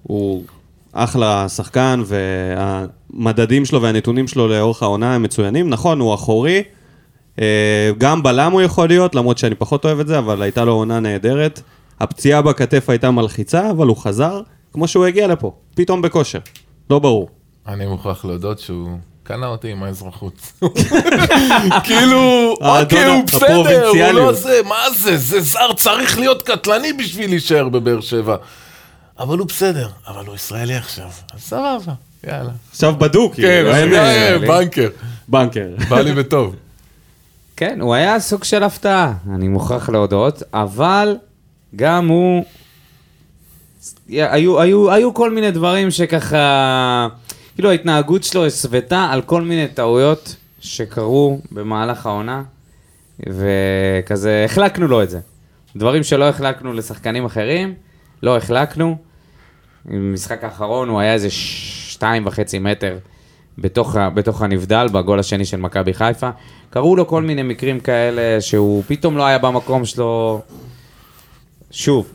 שהוא אחלה שחקן, והמדדים שלו והנתונים שלו לאורך העונה הם מצוינים. נכון, הוא אחורי, אה, גם בלם הוא יכול להיות, למרות שאני פחות אוהב את זה, אבל הייתה לו עונה נהדרת. הפציעה בכתף הייתה מלחיצה, אבל הוא חזר כמו שהוא הגיע לפה, פתאום בכושר. לא ברור.
אני מוכרח להודות שהוא קנה אותי עם האזרחות. כאילו,
האדון
אוקיי, הוא בסדר, הוא לא
אה, הפרובינציאליות.
זה, מה זה, זה זר צריך להיות קטלני בשביל להישאר בבאר שבע. אבל הוא בסדר, אבל הוא ישראלי עכשיו, אז סבבה, יאללה.
עכשיו בדוק,
כן,
כאילו, אין, אה,
אה, בנקר,
בנקר.
בא לי בטוב.
כן, הוא היה סוג של הפתעה, אני מוכרח להודות, אבל גם הוא... היו, היו, היו כל מיני דברים שככה... כאילו ההתנהגות שלו הסוותה על כל מיני טעויות שקרו במהלך העונה, וכזה החלקנו לו את זה. דברים שלא החלקנו לשחקנים אחרים, לא החלקנו. במשחק האחרון הוא היה איזה שתיים וחצי מטר בתוך, ה- בתוך הנבדל, בגול השני של מכבי חיפה. קרו לו כל מיני מקרים כאלה שהוא פתאום לא היה במקום שלו. שוב.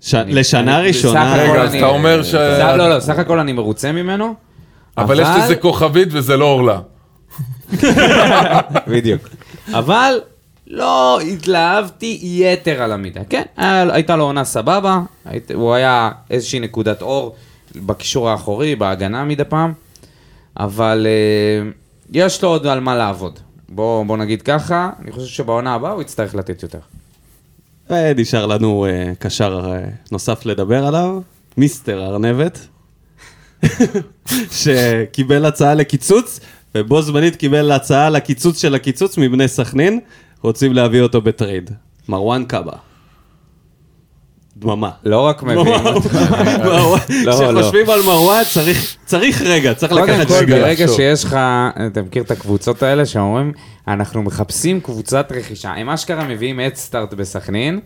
ש... לשנה
אני-
ראשונה...
בסך הכל
רגע, אז
אני-
אתה אומר ש-
סך- לא, לא, סך הכל אני מרוצה ממנו.
אבל יש לזה כוכבית וזה לא עורלה.
בדיוק. אבל לא התלהבתי יתר על המידה. כן, היה- הייתה לו עונה סבבה, היית- הוא היה איזושהי נקודת אור בקישור האחורי, בהגנה מדי פעם, אבל אה, יש לו עוד על מה לעבוד. בוא, בוא נגיד ככה, אני חושב שבעונה הבאה הוא יצטרך לתת יותר.
ונשאר לנו אה, קשר אה, נוסף לדבר עליו, מיסטר ארנבת, שקיבל הצעה לקיצוץ, ובו זמנית קיבל הצעה לקיצוץ של הקיצוץ מבני סכנין, רוצים להביא אותו בטרייד. מרואן קאבה. דממה.
לא רק מביאים
מרואן-
אותו.
מרואן-
לא.
כשחושבים על מרואן צריך- צריך רגע, צריך
קודם
לקחת
כל,
רגע.
ברגע
לחשוב.
שיש לך, אתה מכיר את הקבוצות האלה שאומרים, אנחנו מחפשים קבוצת רכישה. הם אשכרה מביאים אדסטארט בסכנין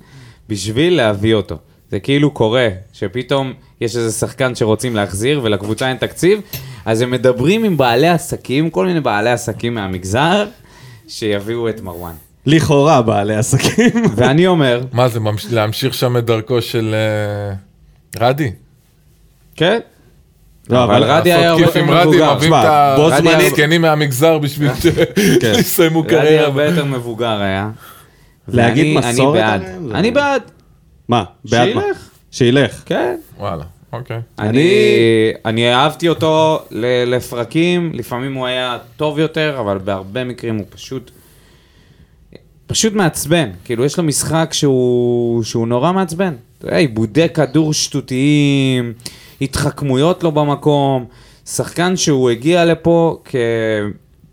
בשביל להביא אותו. זה כאילו קורה, שפתאום יש איזה שחקן שרוצים להחזיר ולקבוצה אין תקציב, אז הם מדברים עם בעלי עסקים, כל מיני בעלי עסקים מהמגזר, שיביאו את מרואן.
לכאורה בעלי עסקים.
ואני אומר,
מה זה, ממש- להמשיך שם את דרכו של אה, רדי?
כן,
לא,
אבל רדי היה הרבה
לעשות כיף עם
יותר
רדי,
מבוגר.
מביאים
שמע,
את
בו כן.
זמנית-
הזקנים מהמגזר בשביל שיסיימו
רדי
קריירה.
הרבה יותר מבוגר היה.
להגיד
ואני- אני
מסורת
בעד.
עליהם זה-
אני בעד,
מה? בעד מה?
שילך.
שילך.
כן.
וואלה. אוקיי.
אני, אני אהבתי אותו ל- לפרקים, לפעמים הוא היה טוב יותר, אבל בהרבה מקרים הוא פשוט... פשוט מעצבן, כאילו יש לו משחק שהוא, שהוא נורא מעצבן. אתה יודע, עיבודי כדור שטותיים, התחכמויות לא במקום, שחקן שהוא הגיע לפה כ,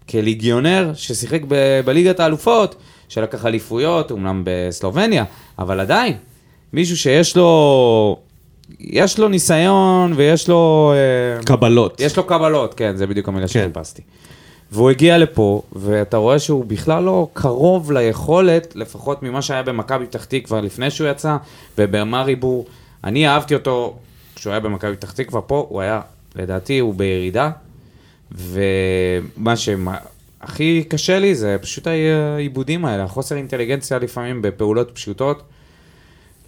כליגיונר ששיחק ב, בליגת האלופות, שלקח אליפויות, אמנם בסלובניה, אבל עדיין, מישהו שיש לו, יש לו ניסיון ויש לו... אה,
קבלות.
יש לו קבלות, כן, זה בדיוק המילה
כן.
שחיפשתי. והוא הגיע לפה, ואתה רואה שהוא בכלל לא קרוב ליכולת, לפחות ממה שהיה במכבי פתח תקווה לפני שהוא יצא, ובמרי בור. אני אהבתי אותו כשהוא היה במכבי פתח תקווה, פה הוא היה, לדעתי, הוא בירידה, ומה שהכי קשה לי זה פשוט העיבודים האלה, החוסר אינטליגנציה לפעמים בפעולות פשוטות,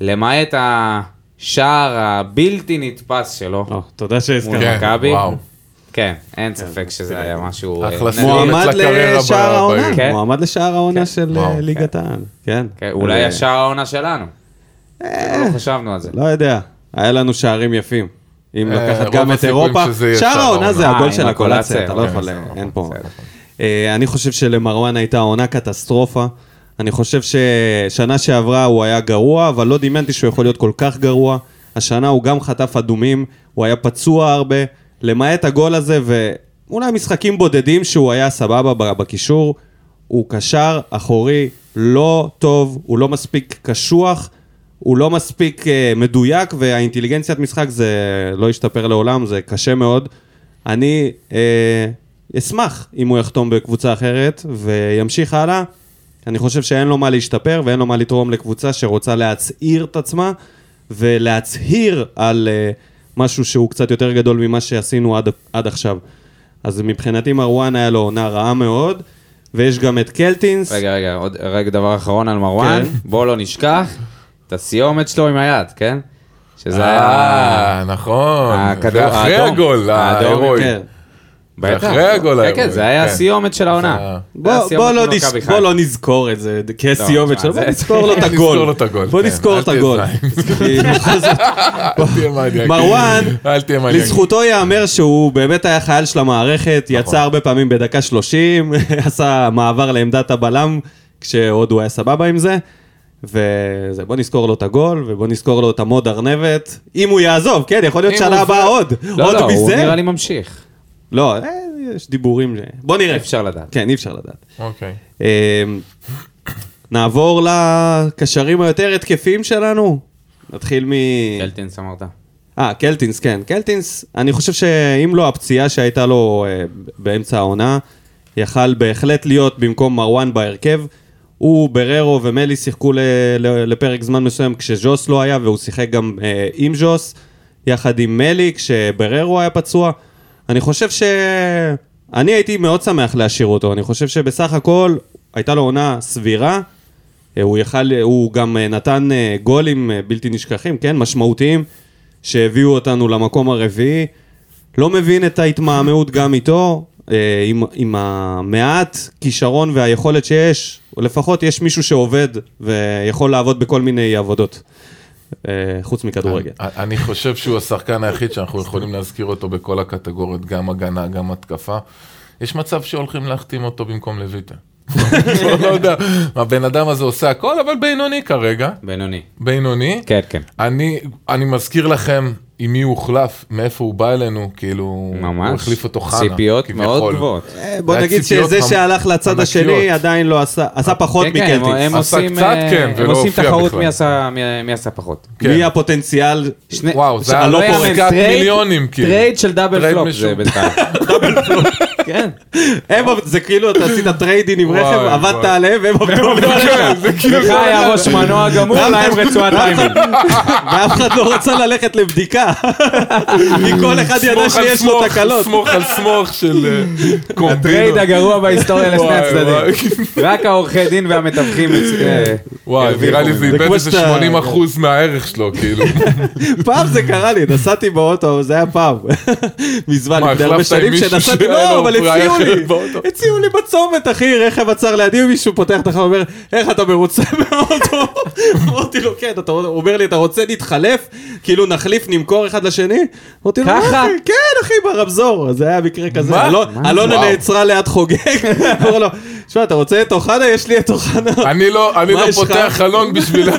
למעט השער הבלתי נתפס שלו.
או, תודה
מול
שהזכרת.
כן,
מכבי.
וואו.
כן, אין ספק שזה היה משהו...
אחלה
אה,
סיום.
נדיר.
מועמד
אצלה קריירה
לשער
ב-
העונה.
בעיר.
כן.
מועמד לשער העונה
כן.
של
וואו,
אה,
כן.
ליגת העל. כן.
כן, אולי
אה,
ישר העונה שלנו. לא חשבנו על זה.
לא יודע. היה לנו שערים יפים. אם
אה,
לקחת
רוב
גם את
הסיכויים
אירופה,
שזה יהיה
שער
שער
העונה
העונה.
זה
אה,
הגול
עם
של הקולציה,
הקולציה,
אתה לא
אוקיי,
יכול,
בסדר,
אין פה.
בסדר.
אה, אני חושב שלמרואן הייתה עונה קטסטרופה. אני חושב ששנה שעברה הוא היה גרוע, אבל לא דמיינתי שהוא יכול להיות כל כך גרוע. השנה הוא גם חטף אדומים, הוא היה פצוע הרבה, למעט הגול הזה, ואולי משחקים בודדים שהוא היה סבבה ב- בקישור. הוא קשר אחורי לא טוב, הוא לא מספיק קשוח, הוא לא מספיק אה, מדויק, והאינטליגנציית משחק זה לא ישתפר לעולם, זה קשה מאוד. אני אה, אשמח אם הוא יחתום בקבוצה אחרת וימשיך הלאה. אני חושב שאין לו מה להשתפר ואין לו מה לתרום לקבוצה שרוצה להצעיר את עצמה ולהצהיר על אה, משהו שהוא קצת יותר גדול ממה שעשינו עד, עד עכשיו. אז מבחינתי מרואן היה לו עונה רעה מאוד, ויש גם את קלטינס.
רגע, רגע, עוד רגע דבר אחרון על מרואן.
כן.
בואו לא נשכח את הסיומת שלו עם היד, כן? שזה היה...
אה, נכון.
הכדור-
זה אחרי
האדום.
הגול
האדום,
ההירואי.
כן.
זה אחרי הגול
כן,
ההירואי,
כן, זה היה
כן.
הסיומת של
זה
העונה.
היה-
זה
בוא,
הסיומת
בוא, לא
מול
נש...
אה, מכבי
בוא
חיפה. לא,
לא נזכור את זה כסיומת
תשמע,
שלו, בוא
זה-
נזכור לו את הגול.
נזכור לו את הגול,
בוא
כן.
נזכור
אל
את
תהיה
הגול. כי בכל זאת,
אל תהיה מניאק.
מרואן,
אל תהיה מניאק.
לזכותו ייאמר שהוא באמת היה חייל של המערכת,
נכון.
יצא הרבה פעמים בדקה 30, עשה מעבר לעמדת הבלם, כשעוד הוא היה סבבה עם זה. וזה, בוא נזכור לו את הגול, ובוא נזכור לו את המוד ארנבת. אם הוא יעזוב, כן, יכול להיות
אם
שנה
הוא
הבאה עוד.
לא,
עוד
לא, הוא
מזה.
נראה לי ממשיך.
לא, אה, יש דיבורים. ש- בוא נראה.
אי אפשר לדעת.
כן, אי אפשר לדעת.
אוקיי.
אמ, נעבור לקשרים היותר התקפיים שלנו. נתחיל מ...
קלטינס אמרת.
אה, קלטינס, כן. קלטינס, אני חושב שאם לא הפציעה שהייתה לו אה, באמצע העונה, יכל בהחלט להיות במקום מרואן בהרכב. הוא, בררו ומלי שיחקו ל- ל- לפרק זמן מסוים כשז'וס לא היה, והוא שיחק גם אה, עם ז'וס, יחד עם מלי, כשבררו היה פצוע. אני חושב ש... אני הייתי מאוד שמח להשאיר אותו. אני חושב שבסך הכל הייתה לו עונה סבירה. אה, הוא, יכל, הוא גם אה, נתן אה, גולים אה, בלתי נשכחים, כן, משמעותיים, שהביאו אותנו למקום הרביעי. לא מבין את ההתמהמהות גם איתו, אה, עם, עם המעט כישרון והיכולת שיש, או לפחות יש מישהו שעובד ויכול לעבוד בכל מיני עבודות, אה, חוץ מכדורגל.
אני אני חושב שהוא השחקן היחיד שאנחנו יכולים להזכיר אותו בכל הקטגוריות, גם הגנה, גם התקפה. יש מצב שהולכים להחתים אותו במקום לויטה. לא יודע, הבן אדם הזה עושה הכל, אבל בינוני כרגע.
בינוני.
בינוני.
כן, כן.
אני, אני מזכיר לכם עם מי הוא הוחלף, מאיפה הוא בא אלינו, כאילו,
ממש.
הוא החליף אותו חנה.
ציפיות
כביכול.
מאוד גבוהות.
אה, בוא
היה
נגיד
ציפיות
שזה
ממ-
שהלך לצד השני
ענקיות.
עדיין לא עשה, עשה פחות
כן, כן, הם
מקלטינס.
עשה
עושים
קצת,
אה,
כן,
הם
ולא
עושים
הופיע
תחרות
בכלל.
מי עשה- מי- מי עשה פחות.
מי הפוטנציאל?
כן. שני-
וואו, זה היה
הלא
לא יאמן,
פורק.
עסקת
טרייד-
מיליונים, כאילו.
טרייד של דאבל
טרייד
פלופ
משוגע.
זה בינתיים. כן.
הם עובד- זה כאילו אתה עשית טריידין עם
וואי,
רכב, עבדת
וואי.
עליהם והם עובדו
כן,
עליך.
לך היה ראש מנוע גמור, להם רצועת טיימינג.
ואף אחד לא רצה ללכת לבדיקה. כי כל אחד ידע
סמוך על
שיש לו
סמוך,
תקלות.
סמוך על סמוך של אה,
הטרייד
קומבינות.
הגרוע בהיסטוריה לשני
וואי,
הצדדים. רק העורכי דין והמתווכים. אה,
וואי, נראה לי זה
זה
איבד
כמו
איזה
שאתה-
80 אחוז מהערך שלו, כאילו.
פעם זה קרה לי, נסעתי באוטו, זה היה פעם. מזמן,
מה,
לפני הרבה
החלפת עם
שנים
מישהו
שנסעתי,
שהיה לו
לא, אבל
הוא היה
הציעו לי,
חלק באוטו.
הציעו לי בצומת, אחי, רכב עצר לידי, מישהו פותח את החלום, אומר, איך אתה מרוצה מהאוטו? אמרתי לו, כן, אתה- הוא אומר לי, אתה רוצה להתחלף? כאילו נחליף, נמכור אחד לשני? אמרתי לו, "מה,
ככה?
אחי, כן, אחי, ברמזור. אז זה היה מקרה כזה.
מה?
אלון-
מה?
אלונה
וואו.
נעצרה ליד חוגג, אמר לו, שמע, אתה רוצה את אוחנה? יש לי את אוחנה.
אני לא, אני
מה
לא
יש לך?
פותח חלון בשביל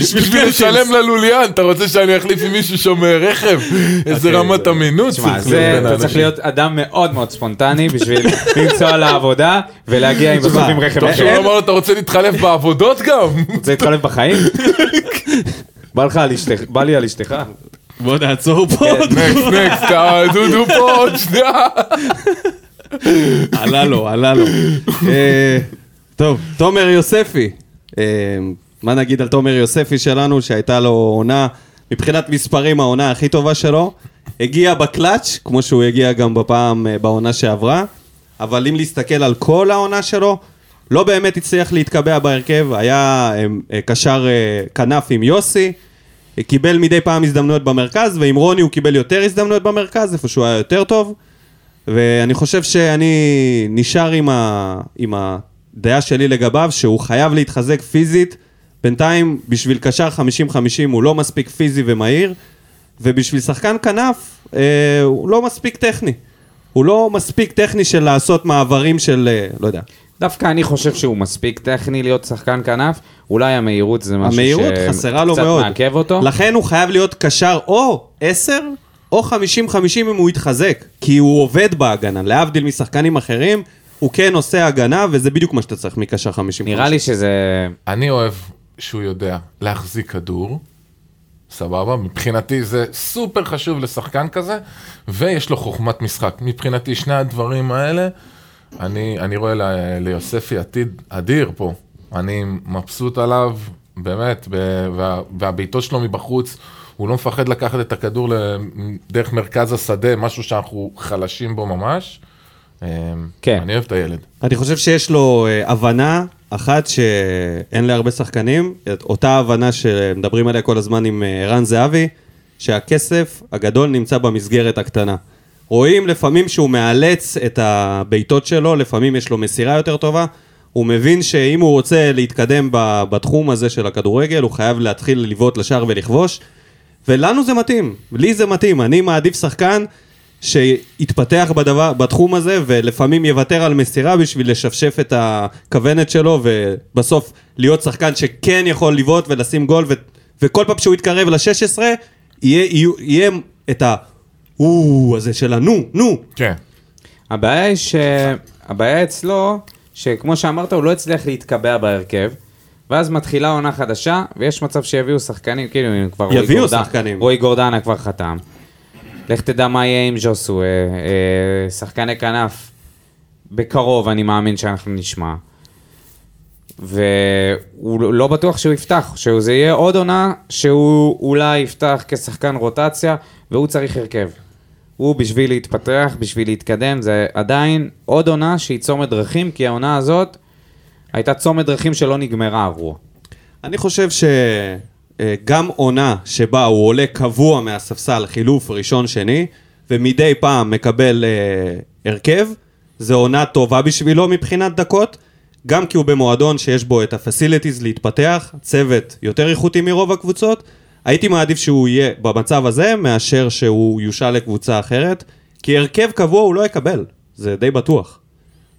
בשביל
קלצ'ס.
לשלם ללוליין, אתה רוצה שאני אחליף עם מישהו שומר רכב? איזה רמת אמינות צריך
אוקיי. תשמע,
להיות
זה,
בין
אתה צריך
האנשים.
להיות אדם מאוד מאוד ספונטני בשביל לנסוע לעבודה ולהגיע עם בסוף
תשמע,
עם רכב
טוב
אחר.
שהוא לא אמר לו, אתה רוצה להתחלף בעבודות גם?
רוצה להתחלף בחיים? בא לך על אשתך, בא לי על אשתך.
בוא כן, נעצור פה.
נקסט, נקסט, אה, דודו פה עוד שנייה.
עלה לו, עלה לו. אה, טוב, תומר יוספי. אה, מה נגיד על תומר יוספי שלנו, שהייתה לו עונה, מבחינת מספרים העונה הכי טובה שלו. הגיע בקלאץ', כמו שהוא הגיע גם בפעם, אה, בעונה שעברה. אבל אם להסתכל על כל העונה שלו, לא באמת הצליח להתקבע בהרכב. היה אה, אה, קשר אה, כנף עם יוסי. אה, קיבל מדי פעם הזדמנויות במרכז, ועם רוני הוא קיבל יותר הזדמנויות במרכז, איפה שהוא היה יותר טוב. ואני חושב שאני נשאר עם, ה... עם הדעה שלי לגביו, שהוא חייב להתחזק פיזית. בינתיים, בשביל קשר 50-50 הוא לא מספיק פיזי ומהיר, ובשביל שחקן כנף אה, הוא לא מספיק טכני. הוא לא מספיק טכני של לעשות מעברים של, אה, לא יודע,
דווקא אני חושב שהוא מספיק טכני להיות שחקן כנף, אולי המהירות זה משהו
המהירות חסרה לו מאוד.
שקצת מעכב אותו.
לכן הוא חייב להיות קשר או 10 או 50-50 אם הוא יתחזק. כי הוא עובד בהגנה, להבדיל משחקנים אחרים, הוא כן עושה הגנה, וזה בדיוק מה שאתה צריך מקשר 50
נראה לי שזה...
אני אוהב שהוא יודע להחזיק כדור, סבבה? מבחינתי זה סופר חשוב לשחקן כזה, ויש לו חוכמת משחק. מבחינתי שני הדברים האלה, אני, אני רואה ל, ליוספי עתיד אדיר פה. אני מבסוט עליו, באמת, ב, וה, והבעיטות שלו מבחוץ, הוא לא מפחד לקחת את הכדור ל- דרך מרכז השדה, משהו שאנחנו חלשים בו ממש. אה,
כן.
אני אוהב את הילד.
אני חושב שיש לו אה, הבנה אחת שאין להרבה שחקנים, את אותה הבנה שמדברים עליה כל הזמן עם אה, ערן זהבי, שהכסף הגדול נמצא במסגרת הקטנה. רואים לפעמים שהוא מאלץ את הבעיטות שלו, לפעמים יש לו מסירה יותר טובה. הוא מבין שאם הוא רוצה להתקדם ב- בתחום הזה של הכדורגל, הוא חייב להתחיל לבעוט לשער ולכבוש. ולנו זה מתאים, לי זה מתאים, אני מעדיף שחקן שיתפתח בדבר, בתחום הזה ולפעמים יוותר על מסירה בשביל לשפשף את הכוונת שלו ובסוף להיות שחקן שכן יכול לבעוט ולשים גול ו, וכל פעם שהוא יתקרב ל-16 יהיה, יהיה, יהיה את ה... או הזה של הנו, נו.
כן.
הבעיה היא ש... הבעיה אצלו, שכמו שאמרת, הוא לא הצליח להתקבע בהרכב. ואז מתחילה עונה חדשה, ויש מצב שיביאו שחקנים, כאילו, הנה, כבר רועי
יביאו
גורדן-
שחקנים.
רועי גורדנה כבר חתם. לך תדע מה יהיה עם ז'וסו, אה, אה, שחקני כנף. בקרוב, אני מאמין שאנחנו נשמע. והוא לא- לא בטוח שהוא יפתח, שזה יהיה עוד עונה שהוא אולי יפתח כשחקן רוטציה, והוא צריך הרכב. הוא בשביל להתפתח, בשביל להתקדם, זה עדיין עוד עונה שהיא צומת דרכים, כי העונה הזאת הייתה צומת דרכים שלא נגמרה עבורו.
אני חושב שגם עונה שבה הוא עולה קבוע מהספסל, חילוף ראשון-שני, ומדי פעם מקבל אה, הרכב, זו עונה טובה בשבילו מבחינת דקות, גם כי הוא במועדון שיש בו את הפסיליטיז להתפתח, צוות יותר איכותי מרוב הקבוצות. הייתי מעדיף שהוא יהיה במצב הזה, מאשר שהוא יושל לקבוצה אחרת, כי הרכב קבוע הוא לא יקבל, זה די בטוח.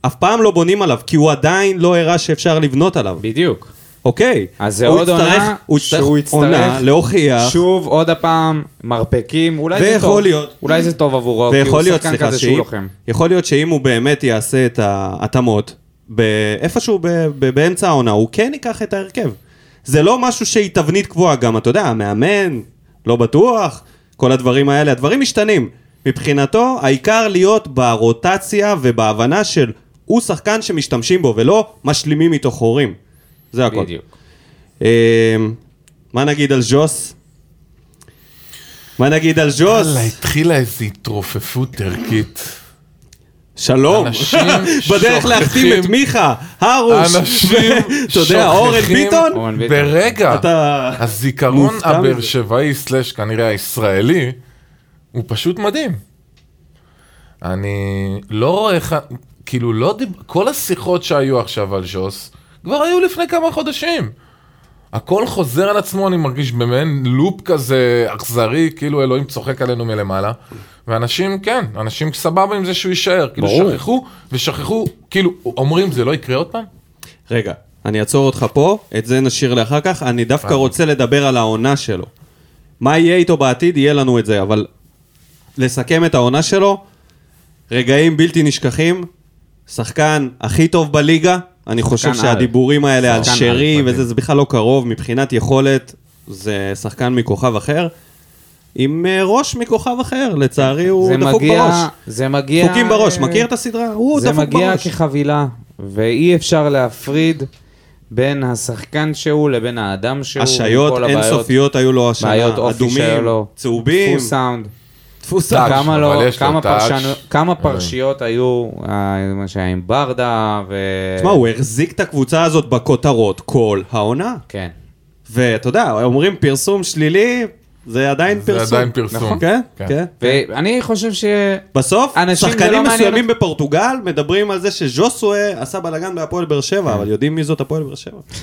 אף פעם לא בונים עליו, כי הוא עדיין לא הראה שאפשר לבנות עליו.
בדיוק.
אוקיי.
אז זה
הוא
עוד
יצטרך-
עונה
הוא יצטרך
שהוא יצטרך
עונה להוכיח.
שוב, עוד הפעם, מרפקים, אולי זה
ויכול
טוב.
להיות.
אולי זה טוב עבורו, כי הוא
ויכול להיות,
שחקן
סליחה,
כזה שהוא לא
שאם-
לוחם.
יכול להיות שאם הוא באמת יעשה את ההתאמות, ב- איפשהו ב- ב- באמצע העונה, הוא כן ייקח את ההרכב. זה לא משהו שהיא תבנית קבועה גם, אתה יודע, המאמן, לא בטוח, כל הדברים האלה, הדברים משתנים. מבחינתו, העיקר להיות ברוטציה ובהבנה של הוא שחקן שמשתמשים בו ולא משלימים איתו חורים. זה הכל.
בדיוק.
אה, מה נגיד על ז'וס? מה נגיד על ז'וס?
וואלה, התחילה איזו התרופפות ערכית.
שלום.
אנשים
בדרך להחתים את
שוכחים-
מיכה, הרוש.
אנשים
אתה יודע, אורן
שוכחים-
ביטון?
אורן ביטון.
ברגע,
אתה-
הזיכרון
מופתע
הבאר
מזה.
שבעי, סלאש כנראה הישראלי, הוא פשוט מדהים. אני לא רואה איך, כאילו לא דיב... כל השיחות שהיו עכשיו על ז'וס, כבר היו לפני כמה חודשים. הכל חוזר על עצמו, אני מרגיש במעין לופ כזה אכזרי, כאילו אלוהים צוחק עלינו מלמעלה. ואנשים, כן, אנשים סבבה עם זה שהוא יישאר. כאילו
ברור.
שכחו, ושכחו, כאילו, אומרים זה לא יקרה עוד פעם?
רגע, אני אעצור אותך פה, את זה נשאיר לאחר כך, אני דווקא
אה.
רוצה לדבר על העונה שלו. מה יהיה איתו בעתיד, יהיה לנו את זה, אבל לסכם את העונה שלו, רגעים בלתי נשכחים, שחקן הכי טוב בליגה, אני חושב
על.
שהדיבורים האלה על
שחקן על,
שרי
מדהים.
וזה, זה בכלל לא קרוב, מבחינת יכולת, זה שחקן מכוכב אחר, עם אה, ראש מכוכב אחר, לצערי הוא
כן, זה
דפוק
מגיע,
בראש.
זה מגיע...
דפוקים בראש,
אה,
מכיר את הסדרה? הוא
זה
דפוק
מגיע
בראש.
כחבילה, ואי אפשר להפריד בין השחקן שהוא לבין האדם שהוא.
השעיות
כאילו, כל הבעיות.
אינסופיות היו לו השנה,
בעיות אופי שהיו
אדומים,
לו.
צהובים,
פול סאונד.
דפוס
טאץ',
כמה
אבל
לא,
יש לו
כמה
טאץ'.
פרשנו-
אה.
כמה
אלוהים.
פרשיות היו, אה, מה שהיה עם ברדה ו...
תשמע, הוא החזיק את הקבוצה הזאת בכותרות כל העונה.
כן.
ואתה יודע, אומרים פרסום שלילי, זה עדיין פרסום.
עדיין פרסום. נכון.
כן,
כן.
כן.
ואני חושב ש...
בסוף,
אנשים זה
שחקנים
לא מעניין
מסוימים בפורטוגל מדברים על זה שז'וסואה עשה בלאגן בהפועל באר שבע, אבל יודעים מי זאת הפועל באר שבע.
כן.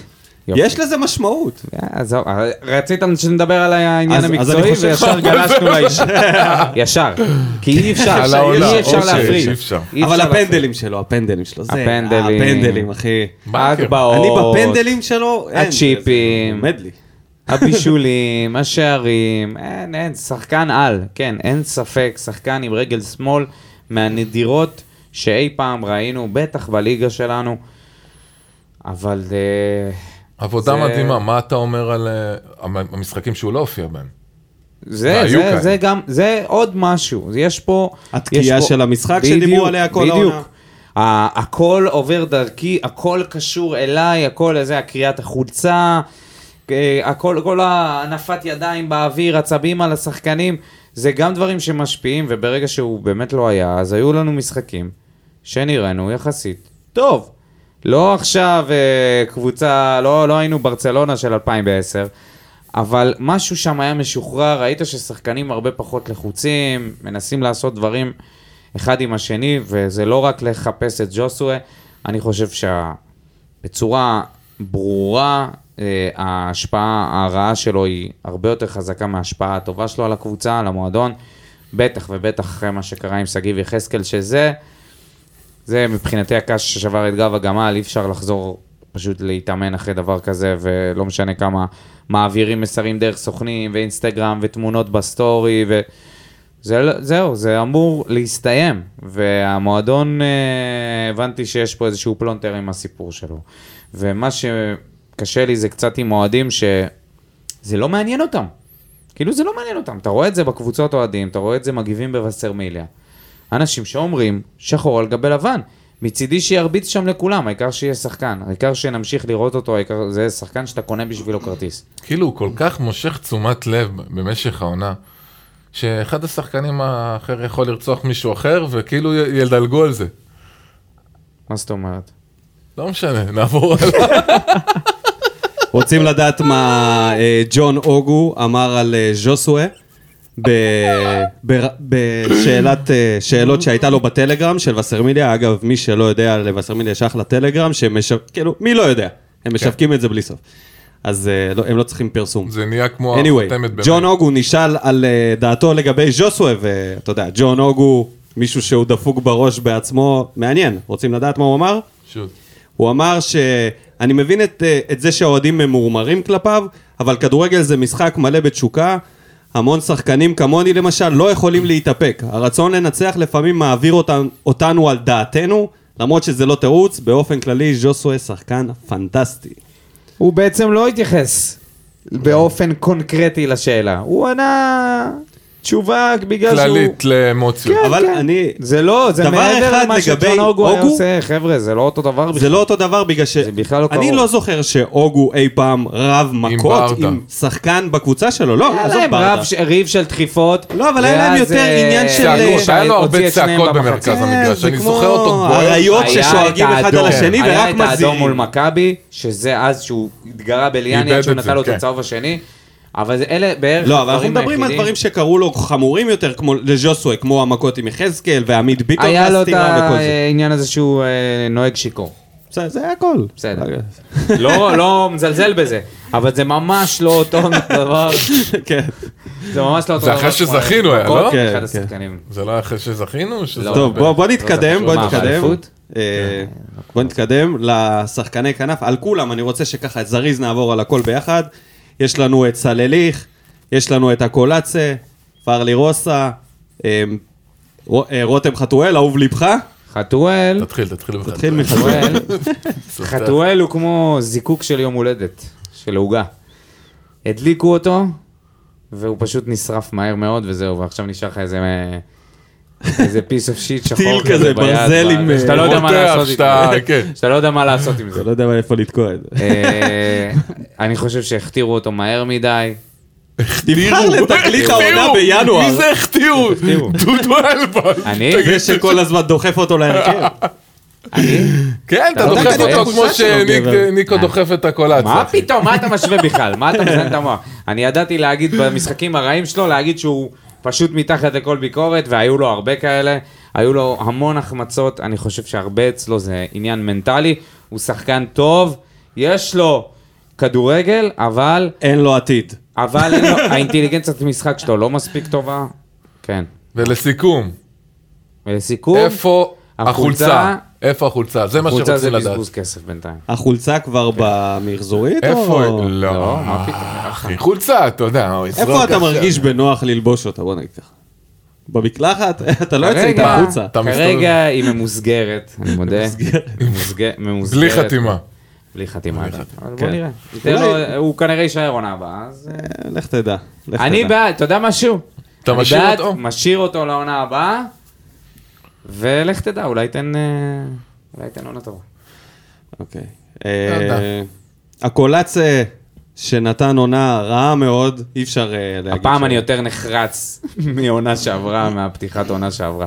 יופי. אה,
יש לזה משמעות.
עזוב, רצית שנדבר על העניין
אז- אז אני
המקצועי
חושב-
וישר גלשנו לאיש. ישר. כי אי אפשר,
על העונה,
אי אפשר
אוקיי,
להפריד.
אי אפשר.
אי
אבל
להפריד.
הפנדלים שלו, הפנדלים שלו, זה
הפנדלים.
הפנדלים, אחי.
ההגבהות.
אני בפנדלים שלו, אין.
הצ'יפים.
זה עומד לי.
הבישולים, השערים, אין, אין, שחקן על, כן, אין ספק, שחקן עם רגל שמאל מהנדירות שאי פעם ראינו, בטח בליגה שלנו, אבל אה,
עבודה
זה-
מדהימה, מה אתה אומר על אה, המ- המשחקים שהוא לא הופיע בהם?
זה,
והיו
זה,
כאלה.
זה גם, זה עוד משהו, יש פה...
התקיעה
יש פה-
של המשחק שדיברו
בדיוק,
עליה כל
בדיוק.
העונה.
ה- הכל עובר דרכי, הכל קשור אליי, הכל איזה, הקריאת החולצה, אה, הכל, כל הנפת ידיים באוויר, עצבים על השחקנים, זה גם דברים שמשפיעים, וברגע שהוא באמת לא היה, אז היו לנו משחקים שנראינו יחסית טוב. לא עכשיו אה, קבוצה, לא, לא היינו ברצלונה של 2010, אבל משהו שם היה משוחרר, ראית ששחקנים הרבה פחות לחוצים, מנסים לעשות דברים אחד עם השני, וזה לא רק לחפש את ג'וסווה, אני חושב שבצורה ברורה, אה, ההשפעה הרעה שלו היא הרבה יותר חזקה מההשפעה הטובה שלו על הקבוצה, על המועדון, בטח ובטח אחרי מה שקרה עם שגיב יחזקאל, שזה... זה מבחינתי הקש ששבר את גב הגמל, אי אפשר לחזור פשוט להתאמן אחרי דבר כזה, ולא משנה כמה מעבירים מסרים דרך סוכנים, ואינסטגרם, ותמונות בסטורי, ו... זה, לא- זהו, זה אמור להסתיים, והמועדון, אה, הבנתי שיש פה איזשהו פלונטר עם הסיפור שלו. ומה שקשה לי זה קצת עם אוהדים שזה לא מעניין אותם. כאילו זה לא מעניין אותם, אתה רואה את זה בקבוצות אוהדים, אתה רואה את זה מגיבים בווסרמיליה. אנשים שאומרים שחור על גבי לבן. מצידי שירביץ שם לכולם, העיקר שיהיה שחקן, העיקר שנמשיך לראות אותו, העיקר זה שחקן שאתה קונה בשבילו כרטיס.
כאילו הוא כל כך מושך תשומת לב במשך העונה, שאחד השחקנים האחר יכול לרצוח מישהו אחר, וכאילו י- ידלגו על זה.
מה זאת אומרת?
לא משנה, נעבור עליו.
רוצים לדעת מה אה, ג'ון אוגו אמר על אה, ז'וסואה ב- ב- בשאלת אה, שאלות שהייתה לו בטלגרם של וסרמיליה. אגב, מי שלא יודע, לווסרמיליה יש אחלה טלגרם, שמשו... כאילו, מי לא יודע?
כן.
הם משווקים את זה בלי סוף. אז אה, לא- הם לא צריכים פרסום.
זה נהיה כמו החותמת
anyway,
באמת.
ג'ון אוגו נשאל על אה, דעתו לגבי ז'וסווה, ואתה יודע, ג'ון אוגו, מישהו שהוא דפוק בראש בעצמו, מעניין. רוצים לדעת מה הוא אמר?
שוב.
הוא אמר שאני מבין את, אה, את זה שהאוהדים ממורמרים כלפיו, אבל כדורגל זה משחק מלא בתשוקה. המון שחקנים כמוני למשל לא יכולים להתאפק. הרצון לנצח לפעמים מעביר אותן, אותנו על דעתנו, למרות שזה לא תירוץ, באופן כללי ז'וסווה שחקן פנטסטי.
הוא בעצם לא התייחס באופן קונקרטי לשאלה. הוא ענה תשובה בגלל שהוא...
כללית לאמוציות.
כן,
אבל
כן.
אני-
זה לא, זה
דבר
מעבר
אחד
למה
לגבי
שג'ון אוגו היה
אוגו-
עושה, חבר'ה, זה לא אותו דבר
זה לא אותו דבר בגלל ש...
זה בכלל לא
אני
קרוב.
לא זוכר שאוגו אי פעם רב מכות
ברדה.
עם שחקן בקבוצה שלו, לא,
היה
עזוב
להם
ברדה.
רב ש- ריב של דחיפות.
לא, אבל היה להם
ואז,
יותר
אה,
עניין של-
צעקו, היה לו
הוציא
הרבה
את שניהם
צעקות
במחצית.
במרכז
כן,
המגרש,
זה
אני
כמו
זוכר אותו גוער.
אריות
היה
ששואגים
את
אחד על
האדום.
השני ורק
היה את האדום מול
מזיעים.
מכבי, שזה אז שהוא התגרה בליאני
איבד
עד שהוא
את זה,
נתן לו את
כן.
הצהוב השני. אבל זה- אלה בערך
לא, אבל אנחנו
הדברים
מדברים על
היחידים.
דברים שקרו לו חמורים יותר, כמו לז'וסווה, כמו המכות עם יחזקאל, ועמית ביטון
היה לו את
והסתירה וכל זה.
העניין הזה שהוא אה, נוהג שיכור.
בסדר, זה היה הכל.
בסדר. לא, לא מזלזל בזה, אבל זה ממש לא אותו דבר,
כן.
זה ממש לא אותו
זה
דבר.
אחרי
כמו
שזכינו היה, לא?
אחד
כן,
השחקנים.
זה לא אחרי שזכינו? שזה...
לא.
טוב, בוא- בוא נתקדם,
חשוב.
בוא
מה,
נתקדם.
באליפות?
אה, בוא נתקדם לשחקני כנף. על כולם, אני רוצה שככה זריז נעבור על הכל ביחד. יש לנו את סלליך, יש לנו את הקולאצה, פרלי רוסה, אה, רו- אה, רותם חתואל, אהוב ליבך. כן.
חתואל,
תתחיל, תתחיל בך.
תתחיל מחתואל.
חתואל,
סליחה.
חתואל הוא כמו זיקוק של יום הולדת, של עוגה. הדליקו אותו, והוא פשוט נשרף מהר מאוד וזהו, ועכשיו נשאר לך איזה... אה, איזה פיס אוף שיט שחור
טיל כזה,
ביד,
ברזל עם,
שאתה לא יודע מה
רותח,
לעשות
שאתה-
עם
כן.
זה. שאתה לא יודע מה לעשות עם זה.
אתה לא יודע איפה לתקוע את זה.
אה, אני חושב שהכתירו אותו מהר מדי.
תבחר לתקליט העונה
החטיאו!
בינואר.
מי זה החטיאו?
החטיאו.
דודו אלבן.
אני?
תגיד,
זה שכל הזמן דוחף אותו להרכב.
אני?
כן, אתה
אתה
דוחף
נותן לי את
אותו כמו
התחושה שלו, גבר.
שניקו דוחף את הקולציה.
מה פתאום? מה אתה משווה בכלל? מה אתה מזיין את המוח? אני ידעתי להגיד במשחקים הרעים שלו, להגיד שהוא פשוט מתחת לכל ביקורת, והיו לו הרבה כאלה. היו לו המון החמצות, אני חושב שהרבה אצלו זה עניין מנטלי. הוא שחקן טוב, יש לו כדורגל, אבל...
אין לו עתיד.
אבל אין לו- האינטליגנציית משחק שלו לא מספיק טובה. כן.
ולסיכום,
ולסיכום,
איפה
החולצה-
החולצה? איפה החולצה? זה מה
קבוצה
שרוצים
זה
לדעת.
בזבוז כסף בינתיים.
החולצה כבר במחזורית?
איפה?
או-
לא,
לא, מה פתאום?
אחי, חולצה, אתה יודע. הוא יזרוק
איפה אתה
עכשיו.
מרגיש בנוח ללבוש אותה? בוא נגיד ככה. במקלחת? אתה לא יוצא
כרגע-
איתה החוצה.
אתה מסתובב.
כרגע היא ממוסגרת, אני מודה. ממוסגרת. ממוסגרת.
בלי חתימה.
בלי חתימה.
בלי
אבל בוא
כן.
נראה. ניתן
אולי-
לו- הוא כנראה יישאר עונה הבאה, אז... אה,
אה, לך תדע. לך
אני
תדע.
בעד, אתה יודע משהו?
אתה
אני
משאיר
בעד,
אותו?
משאיר אותו לעונה הבאה, ולך תדע, אולי תן... אה, אולי תן עונה טובה.
אוקיי.
תודה.
אה, הקולאצה שנתן עונה רעה מאוד, אי אפשר אה, להגיד.
הפעם
ש-
אני יותר נחרץ מעונה שעברה, מהפתיחת עונה שעברה.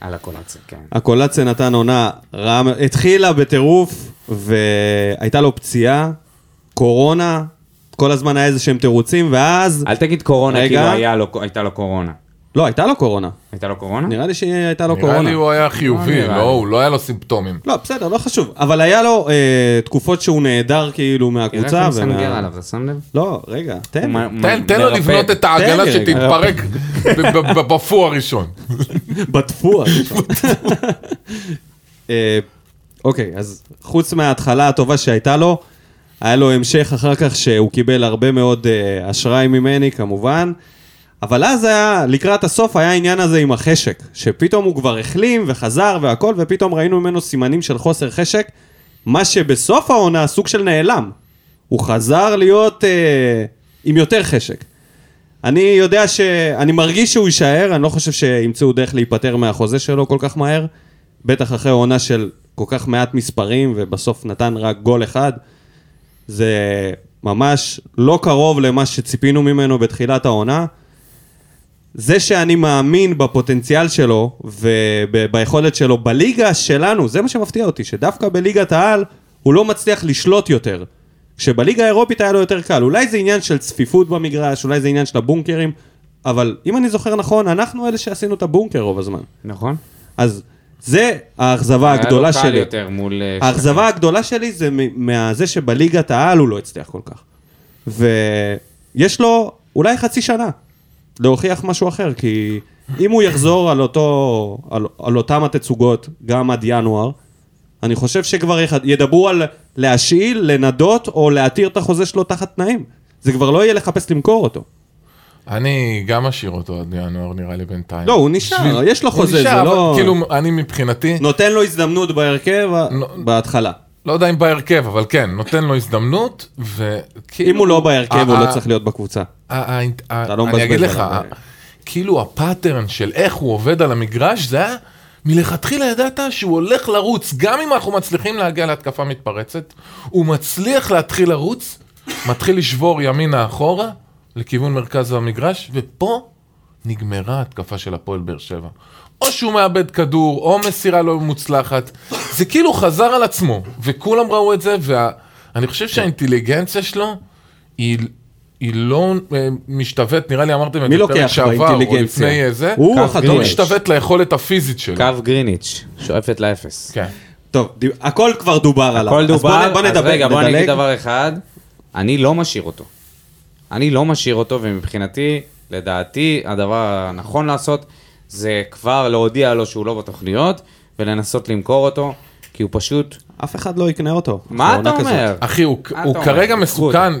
על הקולציה, כן.
הקולאצה נתן עונה רעה, מאוד. התחילה בטירוף, והייתה לו פציעה, קורונה, כל הזמן היה איזה שהם תירוצים, ואז...
אל תגיד קורונה,
רגע.
כאילו היה לו- הייתה לו קורונה.
לא, הייתה לו קורונה.
הייתה לו קורונה?
נראה לי שהייתה לו
נראה
לא קורונה.
לי הוא היה חיובי,
נראה
לא,
לי.
הוא לא היה לו סימפטומים.
לא, בסדר, לא חשוב. אבל היה לו אה, תקופות שהוא נעדר כאילו
תראה איך
מהקבוצה.
הוא מסנגר
ומה-
עליו, אתה שם לב?
לא, רגע, תן. לי.
הוא מ-
תן,
מ-
תן לו
מרפא.
לבנות את
תן
העגלה
לי רגע.
שתתפרק ב- ב- ב- בפו הראשון.
בטפו. הראשון. אה, אוקיי, אז חוץ מההתחלה הטובה שהייתה לו, היה לו המשך אחר כך שהוא קיבל הרבה מאוד אה, אשראי ממני כמובן. אבל אז היה, לקראת הסוף היה העניין הזה עם החשק, שפתאום הוא כבר החלים וחזר והכל, ופתאום ראינו ממנו סימנים של חוסר חשק, מה שבסוף העונה סוג של נעלם. הוא חזר להיות אה, עם יותר חשק. אני יודע ש... אני מרגיש שהוא יישאר, אני לא חושב שימצאו דרך להיפטר מהחוזה שלו כל כך מהר. בטח אחרי עונה של כל כך מעט מספרים, ובסוף נתן רק גול אחד. זה ממש לא קרוב למה שציפינו ממנו בתחילת העונה. זה שאני מאמין בפוטנציאל שלו וביכולת שלו בליגה שלנו, זה מה שמפתיע אותי, שדווקא בליגת העל הוא לא מצליח לשלוט יותר. כשבליגה האירופית היה לו יותר קל. אולי זה עניין של צפיפות במגרש, אולי זה עניין של הבונקרים, אבל אם אני זוכר נכון, אנחנו אלה שעשינו את הבונקר רוב הזמן.
נכון.
אז זה האכזבה
אה, היה
הגדולה
לו קל
שלי.
יותר מול... אה,
האכזבה הגדולה שלי זה מ- מהזה שבליגת העל הוא לא הצליח כל כך. ויש לו אולי חצי שנה להוכיח משהו אחר, כי אם הוא יחזור על, אותו, על, על אותם התצוגות גם עד ינואר, אני חושב שכבר יח- ידברו על להשאיל, לנדות או להתיר את החוזה שלו תחת תנאים. זה כבר לא יהיה לחפש למכור אותו.
אני גם אשאיר אותו עד ינואר, נראה לי בינתיים.
לא, הוא נשאר, יש לו
הוא
חוזה,
נשאר,
זה
אבל
לא-
כאילו, אני מבחינתי,
נותן לו הזדמנות בהרכב ה-
נו-
בהתחלה.
לא יודע אם בהרכב, אבל כן, נותן לו הזדמנות, וכאילו...
אם הוא לא בהרכב, הוא
ה-
לא
ה-
צריך להיות בקבוצה.
ה- ה- ה-
לא מבזבז
אני אגיד לך,
עליו.
כאילו הפאטרן של איך הוא עובד על המגרש, זה היה מלכתחילה ידעת שהוא הולך לרוץ, גם אם אנחנו מצליחים להגיע להתקפה מתפרצת, הוא מצליח להתחיל לרוץ, מתחיל לשבור ימינה אחורה, לכיוון מרכז המגרש, ופה נגמרה ההתקפה של הפועל באר שבע. או שהוא מאבד כדור, או מסירה לא מוצלחת. זה כאילו חזר על עצמו, וכולם ראו את זה, ואני חושב שהאינטליגנציה שלו היא היא לא אה, משתווית, נראה לי אמרתם את
מי
זה
לוקח
או
באינטליגנציה?
לפני אה, זה,
הוא כן.
קו
החתול.
לא
גריש.
משתווית ליכולת הפיזית שלי.
קו גריניץ', שואפת לאפס.
כן.
טוב, דיב- הכל כבר דובר עליו.
הכל
אז
דובר,
בוא נ- בוא
אז
נדבר,
רגע, בוא אני
נדלג.
אגיד דבר אחד, אני לא משאיר אותו. אני לא משאיר אותו, ומבחינתי, לדעתי, הדבר הנכון לעשות, זה כבר להודיע לו שהוא לא בתוכניות, ולנסות למכור אותו, כי הוא פשוט...
אף אחד לא יקנה אותו.
מה אתה
בעונה כזאת.
אומר?
אחי, הוא,
אתה
הוא
אומר?
כרגע
קחו
מסוכן,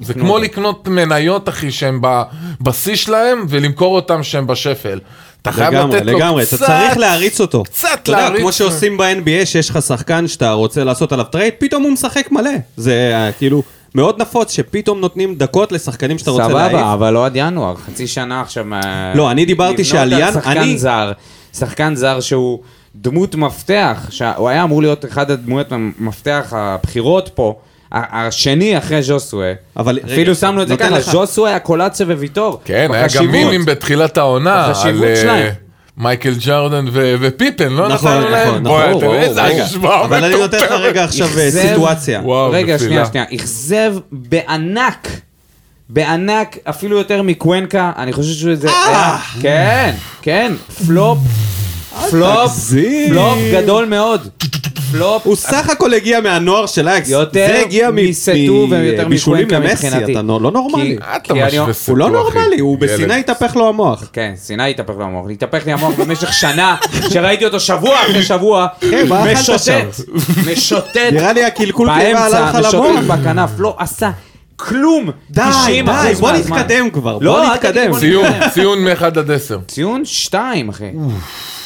זה כמו
אותו.
לקנות מניות, אחי, שהן ב- בשיא שלהם, ולמכור אותן שהן בשפל. אתה חייב
לגמרי,
לתת לו
לגמרי, אתה
קצת...
צריך להריץ אותו.
קצת
אתה יודע,
להריץ.
כמו שעושים ב-NBA, שיש לך שחקן שאתה רוצה לעשות עליו טרייד, פתאום הוא משחק מלא. זה אה, כאילו מאוד נפוץ שפתאום נותנים דקות לשחקנים שאתה רוצה להעיף.
סבבה, אבל לא עד ינואר, חצי שנה עכשיו. מה-
לא, אני דיברתי
לבנות
שעל
על
ינ-
שחקן
אני-
זר, שחקן זר שהוא דמות מפתח, שהוא היה אמור להיות אחד הדמויות המפתח הבכירות פה, ה- השני אחרי ז'וסווה.
אבל- רגע,
אפילו שמנו את זה
נותן
ככה,
לך-
ז'וסווה, קולאצה וויטור.
כן, היה גם
בחשיבות.
מימים בתחילת העונה,
בחשיבות
על אה,
שלהם.
מייקל ג'רדן ו- ופיפן, לא
נכון,
נתנו
נכון,
להם. בואי,
נכון,
אתם
ברור,
איזה
רגע.
השוואה
אבל אני נותן לך
מטורפת.
רגע עכשיו אה,
אכזב-
סיטואציה.
וואו,
רגע,
נפילה.
שנייה, שנייה. אכזב בענק. בענק, אפילו יותר מקוונקה, אני חושב שזה...
אה!
היה- כן, כן, פלופ, פלופ,
תגזים.
פלופ גדול מאוד.
אה.
פלופ,
הוא סך הכל הגיע מהנוער של אייקס.
יותר
זה הגיע מ-
מסטו
מ-
ויותר
בישולים
מקוונקה
למסי,
מבחינתי.
אתה לא לא נורמלי.
כי-
אתה
כי אני-
משווה סיטואציה.
הוא לא
אחי,
נורמלי, הוא
ילד.
בסיני התהפך לו המוח.
כן, סיני התהפך לו המוח, התהפך לי המוח במשך שנה, שראיתי אותו שבוע אחרי שבוע,
כן, מה אכלת
משוטט,
שם?
משוטט
נראה לי הקלקול קיבה עלה לך
באמצע,
למוח.
משוטט בכנף, לא עשה כלום,
די,
90%
די, בוא
מהזמן.
נתקדם כבר,
לא,
בוא
אל תגיד
נתקדם.
בוא
ציון, ציון מ-1 עד 10.
ציון 2, אחי.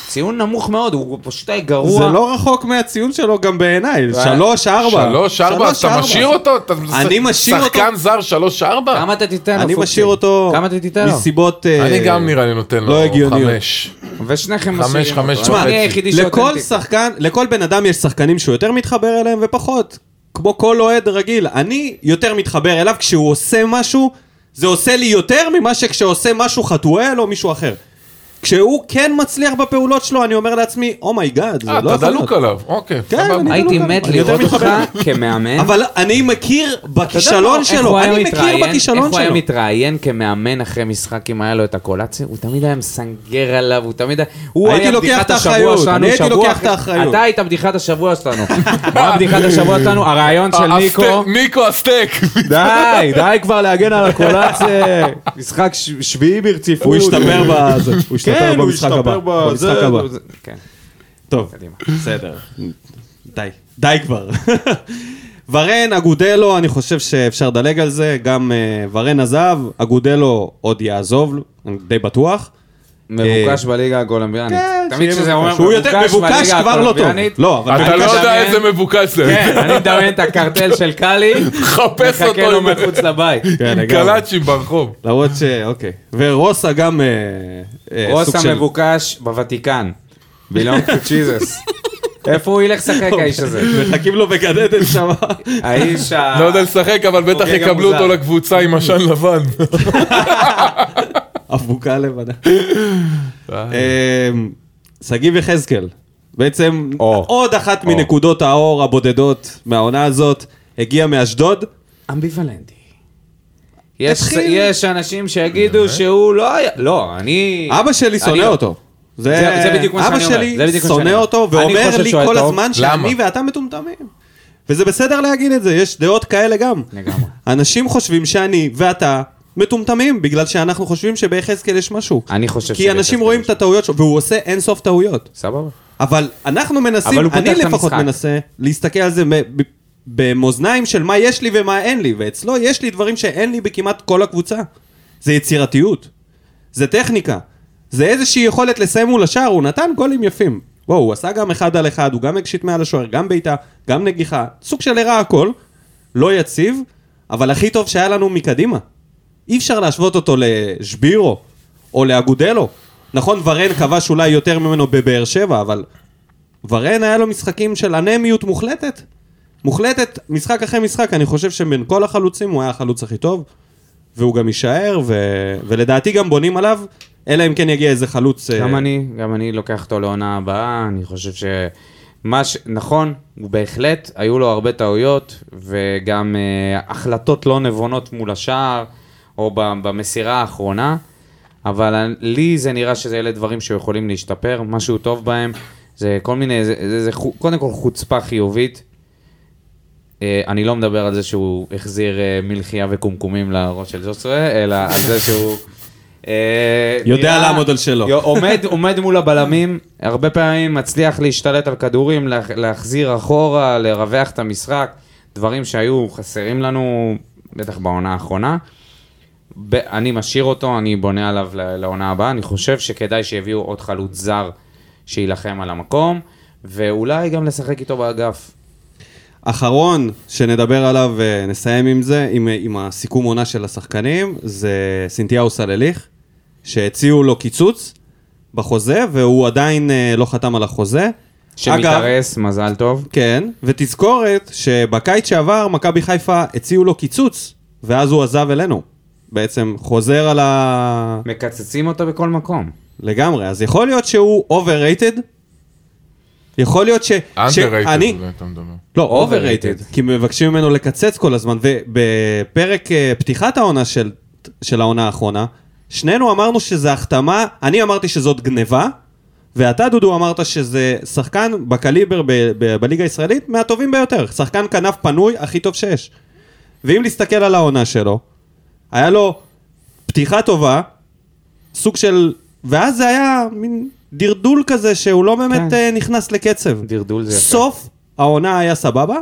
ציון נמוך מאוד, הוא פשוט היה גרוע.
זה לא רחוק מהציון שלו גם בעיניי, שלוש, ארבע.
3, 4,
שלוש,
לא, אתה
ארבע.
משאיר אותו? אתה
אני משאיר אותו.
שחקן זר 3, 4?
כמה אתה תיתן לו?
אני
פוקסי?
משאיר אותו
לא כמה אתה תיתן לו?
מסיבות... אה,
אני גם נראה לי נותן
לא
לו
הגיוניות.
5.
ושניכם
חמש,
משאירים
חמש
אותו.
תשמע,
וחצי.
אני היחידי
לכל
שאותנטי.
שחקן, לכל בן אדם יש שחקנים שהוא יותר מתחבר אליהם ופחות. כמו כל אוהד רגיל. אני יותר מתחבר אליו כשהוא עושה משהו, זה עושה לי יותר ממה שכשעושה משהו חתואל או מישהו אחר. כשהוא כן מצליח בפעולות שלו, אני אומר לעצמי, אומייגאד, זה
אה,
לא
אתה
יכול להיות.
דלוק עליו, אוקיי.
כן,
סבבה.
אני-
הייתי
לא,
מת
אני יותר
לראות אותך
מתחבר.
כמאמן.
אבל אני מכיר
אתה יודע מה,
בכישלון
איך הוא
שלו,
היה
אני מכיר
מתראיין?
בכישלון
איך הוא היה
שלו.
מתראיין כמאמן אחרי משחק, אם היה לו את הקולציה? הוא תמיד היה מסנגר עליו, הוא תמיד היה... הוא
הייתי
היה
לוקח
בדיחת
את
השבוע
האחריות,
שלנו,
אני הייתי
שבוע
לוקח
אחרי-
את האחריות.
אתה היית בדיחת השבוע שלנו. מה בדיחת השבוע שלנו? הרעיון של
אה,
ניקו.
הסטייק- ניקו הסטייק.
די, די כבר להגן על הקולציה. משחק ש- שביעי ברציפות.
הוא ישתפר בזה, הוא
כן,
ישתפר
הוא
במשחק הבא.
ישתפר
במשחק
בזה,
הבא.
זה- כן,
טוב,
קדימה.
בסדר. די. די כבר. ורן, אגודלו, אני חושב שאפשר לדלג על זה. גם אה, ורן עזב, אגודלו עוד יעזוב, אני די בטוח.
מבוקש בליגה הקולומביאנית.
אה, כן,
תמיד
שיהיה
כשזה אומר
מבוקש. הוא יותר מבוקש
בליגה
כבר לא טוב.
הקולומביאנית,
לא, אבל...
אתה לא יודע
מדמיין-
איזה מבוקש זה.
כן, אני מדמיין את הקרטל של קאלי,
חפש אותו
מחכה לו
עם-
מחוץ לבית.
כן,
עם
לגמרי.
קלאצ'ים ברחוב.
למרות ש... אוקיי. ורוסה גם אה, אה, סוג
רוס
של...
המבוקש בוותיקן. בילון טו צ'יזוס. איפה הוא ילך לשחק
אוקיי.
האיש הזה?
מחכים לו בגדדת שם.
האיש
אה,
ה...
לא יודע לשחק, אבל בטח
אוקיי,
חוגג
יקבלו
המוזר.
אותו לקבוצה עם עשן לבן.
אבוקה לבנה. אמ, שגיב יחזקאל, בעצם
או.
עוד אחת מנקודות האור הבודדות מהעונה הזאת, הגיע מאשדוד.
אמביוולנטי. יש-
תתחיל.
יש אנשים שיגידו שהוא לא היה... לא, אני...
אבא שלי
אני
שונא
לא.
אותו.
זה- זה בדיוק מה שאני אומר, זה
אבא
בדיוק
שלי שונא
מה שאני אומר.
אותו
אני
ואומר
חושב
לי
שהוא
כל
היה
הזמן
טוב. למה?
שאני ואתה מטומטמים. וזה בסדר להגיד את זה, יש דעות כאלה גם.
לגמרי.
אנשים חושבים שאני ואתה מטומטמים, בגלל שאנחנו חושבים שביחזקאל יש משהו.
אני
כי
חושב שביחזקאל
אנשים
יש
רואים את
משהו.
הטעויות שלו, והוא עושה אינסוף טעויות.
סבבה.
אבל אנחנו מנסים,
אבל הוא פותח
אני
את
לפחות
המשחק.
מנסה להסתכל על זה מ- ב- במאזניים של מה יש לי ומה אין לי, ואצלו יש לי דברים שאין לי בכמעט כל הקבוצה. זה יצירתיות, זה טכניקה, זה איזושהי יכולת לסיים מול השער, הוא נתן גולים יפים. וואו, הוא עשה גם אחד על אחד, הוא גם הגשיט מעל השוער, גם בעיטה, גם נגיחה, סוג של הראה הכל, לא יציב, אבל הכי טוב שהיה לנו מקדימה. אי אפשר להשוות אותו לשבירו או לאגודלו. נכון, ורן כבש אולי יותר ממנו בבאר שבע, אבל ורן היה לו משחקים של אנמיות מוחלטת. מוחלטת, משחק אחרי משחק, אני חושב שבין כל החלוצים הוא היה החלוץ הכי טוב, והוא גם יישאר, ו... ולדעתי גם בונים עליו, אלא אם כן יגיע איזה חלוץ... אה,
גם אני, גם אני לוקח אותו לעונה הבאה, אני חושב ש... מה ש... נכון, הוא בהחלט, היו לו הרבה טעויות, וגם אה, החלטות לא נבונות מול השער, או ב- במסירה האחרונה, אבל אני- לי זה נראה שזה אלה דברים שיכולים להשתפר, משהו טוב בהם, זה כל מיני, זה, זה, זה חו- קודם כל חוצפה חיובית. אה, אני לא מדבר על זה שהוא החזיר אה, מלחייה וקומקומים לראש של ז'וסרה, אלא על זה שהוא... אה,
יודע
נראה-
לעמוד על שלו.
יו- עומד, עומד מול הבלמים, הרבה פעמים מצליח להשתלט על כדורים, לה, להחזיר אחורה, לרווח את המשחק, דברים שהיו חסרים לנו, בטח בעונה האחרונה. ב- אני משאיר אותו, אני בונה עליו ל- לעונה הבאה, אני חושב שכדאי שיביאו עוד חלוץ זר שיילחם על המקום, ואולי גם לשחק איתו באגף.
אחרון שנדבר עליו ונסיים עם זה, עם, אה, עם הסיכום עונה של השחקנים, זה סינתיהו סלליך, שהציעו לו קיצוץ בחוזה, והוא עדיין אה, לא חתם על החוזה. אגב,
שמתארס, מזל טוב.
כן, ותזכורת שבקיץ שעבר מכבי חיפה הציעו לו קיצוץ, ואז הוא עזב אלינו. בעצם חוזר על ה...
מקצצים אותו בכל מקום.
לגמרי, אז יכול להיות שהוא overrated? יכול להיות ש... שאני-
אנדררייטד, זה אתה מדבר.
לא,
Overrated.
overrated, כי מבקשים ממנו לקצץ כל הזמן, ובפרק אה, פתיחת העונה של, של העונה האחרונה, שנינו אמרנו שזה החתמה, אני אמרתי שזאת גניבה, ואתה, דודו, אמרת שזה שחקן בקליבר ב, ב, בליגה הישראלית מהטובים ביותר, שחקן כנף פנוי הכי טוב שיש. ואם נסתכל על העונה שלו, היה לו פתיחה טובה, סוג של... ואז זה היה מין דרדול כזה שהוא לא באמת
כן.
אה, נכנס לקצב.
דרדול זה יפה.
סוף העונה היה סבבה,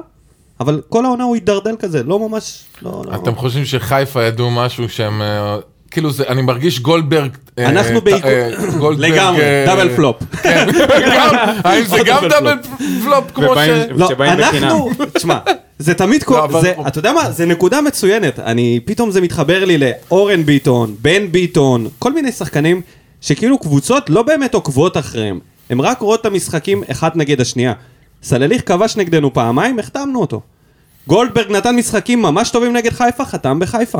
אבל כל העונה הוא הידרדל כזה, לא ממש... לא, לא.
אתם חושבים שחיפה ידעו משהו שהם... אה, כאילו זה, אני מרגיש גולדברג... אה,
אנחנו
ט-
בעיק-
אה, גולדברג,
לגמרי,
אה,
דאבל פלופ.
כן, גם, האם זה
עוד
גם
דאבל
דאבל פלופ כמו ש...
ובאים-
לא,
שבאים
אנחנו, תשמע, זה תמיד
לא,
קורה,
אבל-
זה- אתה יודע מה, זה נקודה מצוינת, אני, פתאום זה מתחבר לי לאורן ביטון, בן ביטון, כל מיני שחקנים שכאילו קבוצות לא באמת עוקבות אחריהם, הם רק רואות את המשחקים אחת נגד השנייה. סלליך כבש נגדנו פעמיים, החתמנו אותו. גולדברג נתן משחקים ממש טובים נגד חיפה, חתם בחיפה.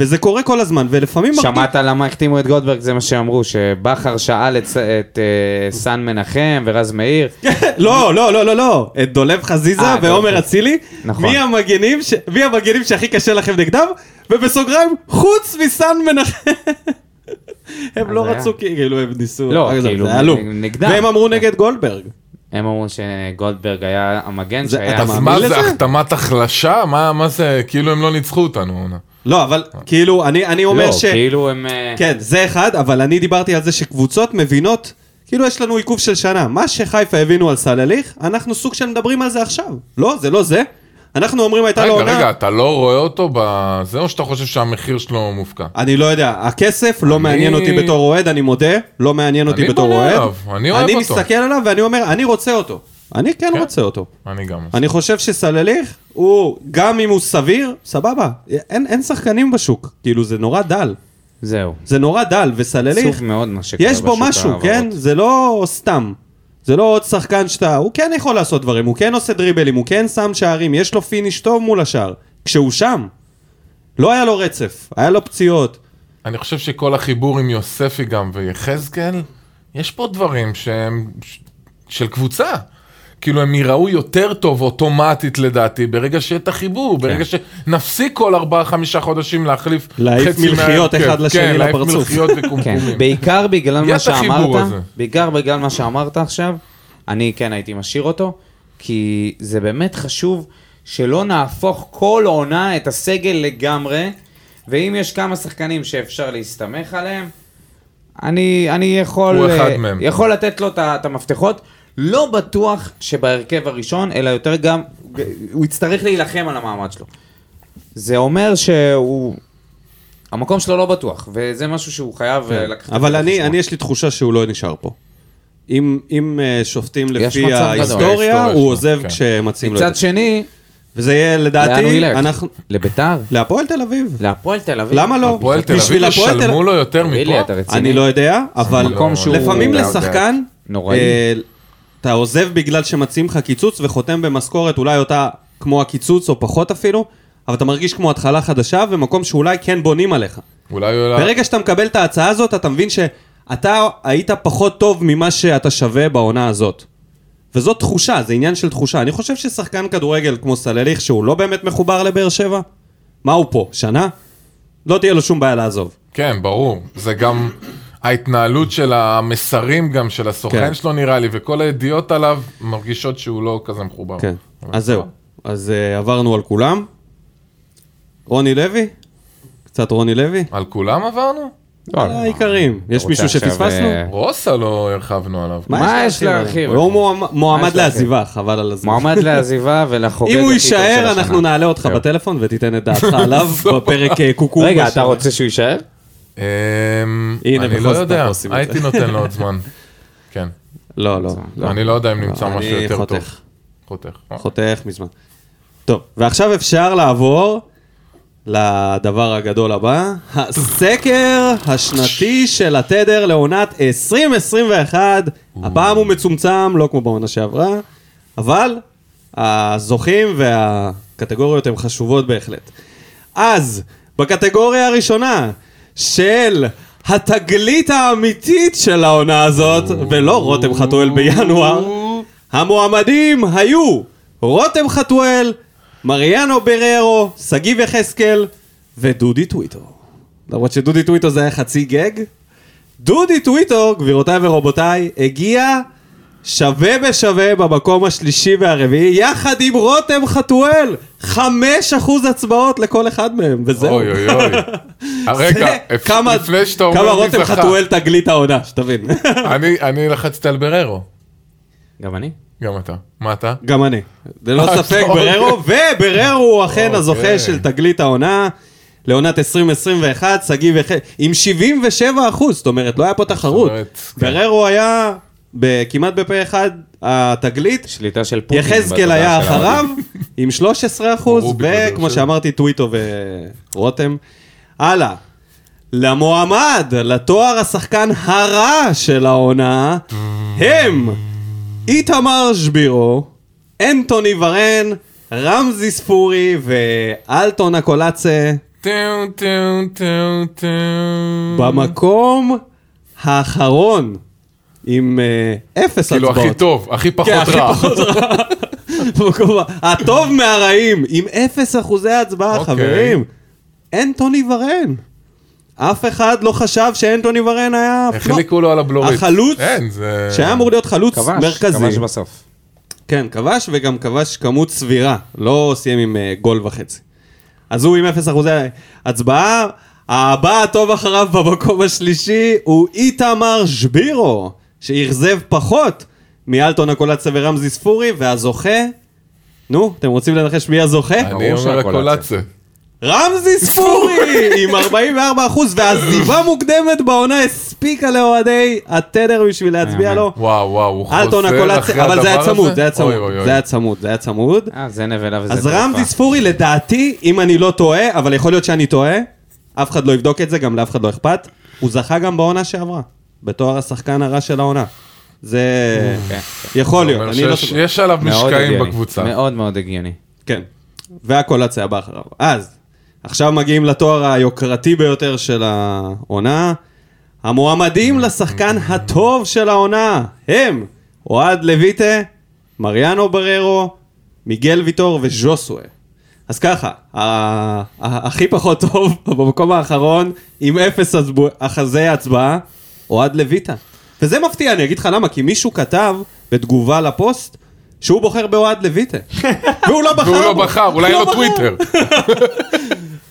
וזה קורה כל הזמן, ולפעמים... מרגיש-
שמעת למה החתימו את גולדברג, זה מה שאמרו, שבכר שאל את, את אה, סן מנחם ורז מאיר,
לא, לא, לא, לא, לא. את דולב חזיזה
אה, דולב.
ועומר אצילי.
נכון.
מי המגנים ש- מי המגנים שהכי קשה לכם נגדם? ובסוגריים, חוץ מסן מנחם. הם לא
אז היה.
רצו, כאילו, הם ניסו.
לא,
זה
כאילו,
היה לופ.
נגדם.
והם אמרו נגד גולדברג.
הם אמרו שגולדברג היה המגן
זה-
שהיה...
אתה
אז
מאמין
מה
לזה?
זה, החתמת החלשה? מה מה זה, כאילו הם לא ניצחו אותנו. עונה.
לא, אבל כאילו, אני אני אומר
אה. לא,
ש...
כאילו הם... אה,
כן, זה אחד, אבל אני דיברתי על זה שקבוצות מבינות, כאילו יש לנו עיכוב של שנה. מה שחיפה הבינו על סלליך, אנחנו סוג של מדברים על זה עכשיו. לא, זה לא זה. אנחנו אומרים הייתה לו
רגע,
עונה...
רגע, אתה לא רואה אותו בזה, או שאתה חושב שהמחיר שלו מופקע?
אני לא יודע, הכסף לא
אני-
מעניין אותי בתור אוהד, אני מודה, לא מעניין אותי
אני
בתור
בונה
אוהד.
עליו, אני אוהב
אני
אותו.
מסתכל עליו ואני אומר, אני רוצה אותו. אני כן
כן.
רוצה אותו.
אני גם.
אני חושב שסלליך, הוא, גם אם הוא סביר, סבבה. אין אין שחקנים בשוק, כאילו זה נורא דל.
זהו.
זה נורא דל, וסלליך,
עצוב מאוד מה שקורה
יש בו
בשוק
משהו,
ההעברות.
כן? זה לא סתם. זה לא עוד שחקן שאתה, הוא כן יכול לעשות דברים, הוא כן עושה דריבלים, הוא כן שם שערים, יש לו פיניש טוב מול השער. כשהוא שם, לא היה לו רצף, היה לו פציעות.
אני חושב שכל החיבור עם יוספי גם ויחזקאל, יש פה דברים שהם ש- של קבוצה. כאילו הם ייראו יותר טוב אוטומטית לדעתי, ברגע שיהיה את
כן.
החיבור, ברגע שנפסיק כל ארבעה חמישה חודשים להחליף
להעיף
חצי
מלחיות
מההרכב.
אחד לשני
כן,
לפרצוף.
להעיף מלחיות
כן,
וקומקומים.
בעיקר בגלל מה
יש את החיבור
שאמרת,
הזה.
בעיקר בגלל מה שאמרת עכשיו, אני כן הייתי משאיר אותו, כי זה באמת חשוב שלא נהפוך כל עונה את הסגל לגמרי, ואם יש כמה שחקנים שאפשר להסתמך עליהם, אני, אני יכול,
הוא אחד
אה,
מהם.
יכול לתת לו את ה- את המפתחות. לא בטוח שבהרכב הראשון, אלא יותר גם, הוא יצטרך להילחם על המעמד שלו. זה אומר שהוא... המקום שלו לא בטוח, וזה משהו שהוא חייב אה, לקחת.
כן. אבל
אותו
אני,
בחשבון.
אני יש לי תחושה שהוא לא נשאר פה. אם, אם אה, שופטים
מצב
לפי
גדול.
ההיסטוריה,
ההיסטוריה
הוא
שלו,
עוזב
כן.
כשמציעים לו את
מצד
זה.
שני,
וזה יהיה
לאן הוא
לדעתי,
ילך?
אנחנו...
לביתר?
להפועל תל אביב.
להפועל תל אביב.
למה לא?
הפועל תל
בשביל
אביב
הפועל תל-
ישלמו לו יותר
תגיד לי,
מפה?
אתה רציני?
אני לא יודע, אבל
מקום שהוא-
לפעמים
לא יודע.
לשחקן,
נוראי.
אה, אתה עוזב בגלל שמציעים לך קיצוץ וחותם במשכורת אולי אותה כמו הקיצוץ או פחות אפילו, אבל אתה מרגיש כמו התחלה חדשה ומקום שאולי כן בונים עליך.
אולי הוא יעלה-
ברגע שאתה מקבל את ההצעה הזאת, אתה מבין שאתה היית פחות טוב ממה שאתה שווה בעונה הזאת. וזו תחושה, זה עניין של תחושה. אני חושב ששחקן כדורגל כמו סלליך, שהוא לא באמת מחובר לבאר שבע, מה הוא פה? שנה? לא תהיה לו שום בעיה לעזוב.
כן, ברור. זה גם ההתנהלות של המסרים גם של הסוכן
כן.
שלו נראה לי, וכל הידיעות עליו מרגישות שהוא לא כזה מחובר.
כן, אז זהו. אז אה, עברנו על כולם. רוני לוי? קצת רוני לוי?
על כולם עברנו? לא.
על העיקרים. יש
לא, רוצה
מישהו
עכשיו,
שפספסנו?
אה,
רוסה לא הרחבנו עליו.
מה יש
להרחיב
להרחיב?
עליו? הוא מועמ- מועמד
יש להרחיב?
לעזיבה, חבל על הזמן.
מועמד לעזיבה ולחוגג
אם הוא
הכי טוב של
יישאר,
השנה.
אנחנו נעלה אותך בטלפון ותיתן את דעתך עליו בפרק אה, קוקו.
רגע, אתה
בשנה.
רוצה שהוא יישאר?
אמ,
הנה,
אני
בכל
לא
זאת
יודע,
אנחנו עושים את
הייתי
זה.
נותן לו עוד זמן. כן.
לא, לא. לא.
אני לא יודע אם נמצא משהו
אני
יותר טוב.
חותך.
חותך. אה?
חותך מזמן. טוב, ועכשיו אפשר לעבור לדבר הגדול הבא, הסקר השנתי של התדר לעונת 2021. הפעם הוא מצומצם, לא כמו בעונה שעברה, אבל הזוכים והקטגוריות הן חשובות בהחלט. אז, בקטגוריה הראשונה של התגלית האמיתית של העונה הזאת, ולא רותם חתואל בינואר, המועמדים היו רותם חתואל, מריאנו בררו, שגיב יחזקאל ודודי טוויטו. למרות שדודי טוויטו זה היה חצי גג. דודי טוויטו, גבירותיי ורבותיי, הגיע שווה בשווה במקום השלישי והרביעי, יחד עם רותם חתואל! חמש אחוז הצבעות לכל אחד מהם, וזהו.
אוי אוי אוי. אה, רגע,
זה
אפ-
כמה-
לפני שאתה
כמה
אומר מי
רותם
זכה,
חתואל תגלית העונה, שתבין.
אני- אני לחצתי על בררו,
גם אני.
גם אתה. מה אתה?
גם אני. ללא
אה,
ספק
אוקיי.
בררו, ובררו הוא אכן
אוקיי.
הזוכה של תגלית העונה. לעונת 2021, שגיב יחד, עם 77 אחוז, זאת אומרת, לא היה פה תחרות.
אומרת, כן.
בררו היה ב- כמעט בפה אחד התגלית,
שליטה של פוטין.
יחזקאל
בתודעה
היה
של
אחריו עם 13 אחוז,
רובי
וכמו
בגדול.
שאמרתי, טוויטו ורותם. הלאה. למועמד, לתואר השחקן הרע של העונה, הם איתמר שבירו, אנטוני ורן, רמזי ספורי ואלטון הקולאצה
טאו טאו טאו טאו.
במקום האחרון עם אה, אפס
כאילו
הצבעות.
הכי טוב, הכי פחות
כן, הכי
רע.
פחות רע. במקום ה- הטוב מהרעים, עם אפס אחוזי הצבעה,
אוקיי.
חברים. אנטוני ורן. אף אחד לא חשב שאנטוני ורן היה...
החליקו לו על הבלורית.
החלוץ,
אין, זה...
שהיה אמור להיות חלוץ
כבש,
מרכזי.
כבש בסוף.
כן, כבש וגם כבש כמות סבירה, לא סיים עם אה, גול וחצי. אז הוא עם 0 אחוזי הצבעה. הבא הטוב אחריו במקום השלישי הוא איתמר שבירו, שאכזב פחות מאלטון הקולציה ורמזי ספורי, והזוכה... נו, אתם רוצים לנחש מי הזוכה?
אני אומר
שהקולציה.
הקולציה.
רמזי ספורי עם 44 אחוז, והעזיבה מוקדמת בעונה הספיקה לאוהדי התדר בשביל להצביע לו.
וואו וואו, הוא אה, חוזר
אלטון
אחרי הדבר הזה.
הקולציה, אבל זה היה צמוד, זה היה צמוד,
אוי, אוי, אוי.
זה היה צמוד, זה היה צמוד.
אה, זה נבלה וזה...
אז
תרופה.
רמזי ספורי לדעתי, אם אני לא טועה, אבל יכול להיות שאני טועה, אף אחד לא יבדוק את זה, גם לאף אחד לא אכפת, הוא זכה גם בעונה שעברה, בתואר השחקן הרע של העונה. זה יכול
זה
להיות,
כן, אומר
אני לא
שיש-
סוגר.
יש עליו
מאוד
משקעים
הגיוני.
בקבוצה.
מאוד מאוד הגיוני.
כן, והקולציה הבא אחריו. אז, עכשיו מגיעים לתואר היוקרתי ביותר של העונה. המועמדים לשחקן הטוב של העונה הם אוהד לויטה, מריאנו בררו, מיגל ויטור וז'וסווה. אז ככה, ה- ה- הכי פחות טוב במקום האחרון עם אפס הצבו- אחזי הצבעה, אוהד לויטה. וזה מפתיע, אני אגיד לך למה, כי מישהו כתב בתגובה לפוסט שהוא בוחר באוהד לויטה. והוא לא בחר
והוא לא
בו.
בחר, אולי אין
לא
לו
בחר.
טוויטר.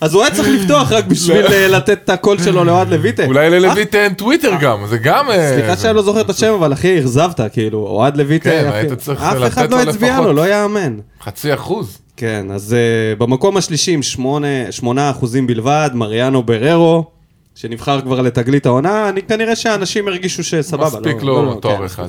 אז הוא היה צריך לפתוח רק בשביל אה, לתת את הקול שלו לאוהד לויטה.
אולי
אח-
ללויט אין טוויטר גם, זה גם... אה,
אה? סליחה
זה-
שאני לא זוכר את השם, אבל אחי, אכזבת, כאילו, אוהד לויטה,
כן,
אחי,
היית צריך
אף
לתת
אחד
לו
לא הצביע
לפחות.
לו, לא יאמן.
חצי אחוז.
כן, אז uh, במקום השלישי עם שמונה- שמונה אחוזים בלבד, מריאנו בררו, שנבחר כבר לתגלית העונה, אני כנראה שאנשים הרגישו שסבבה.
מספיק
לא- לא-
לו
לא,
תואר
כן.
אחד.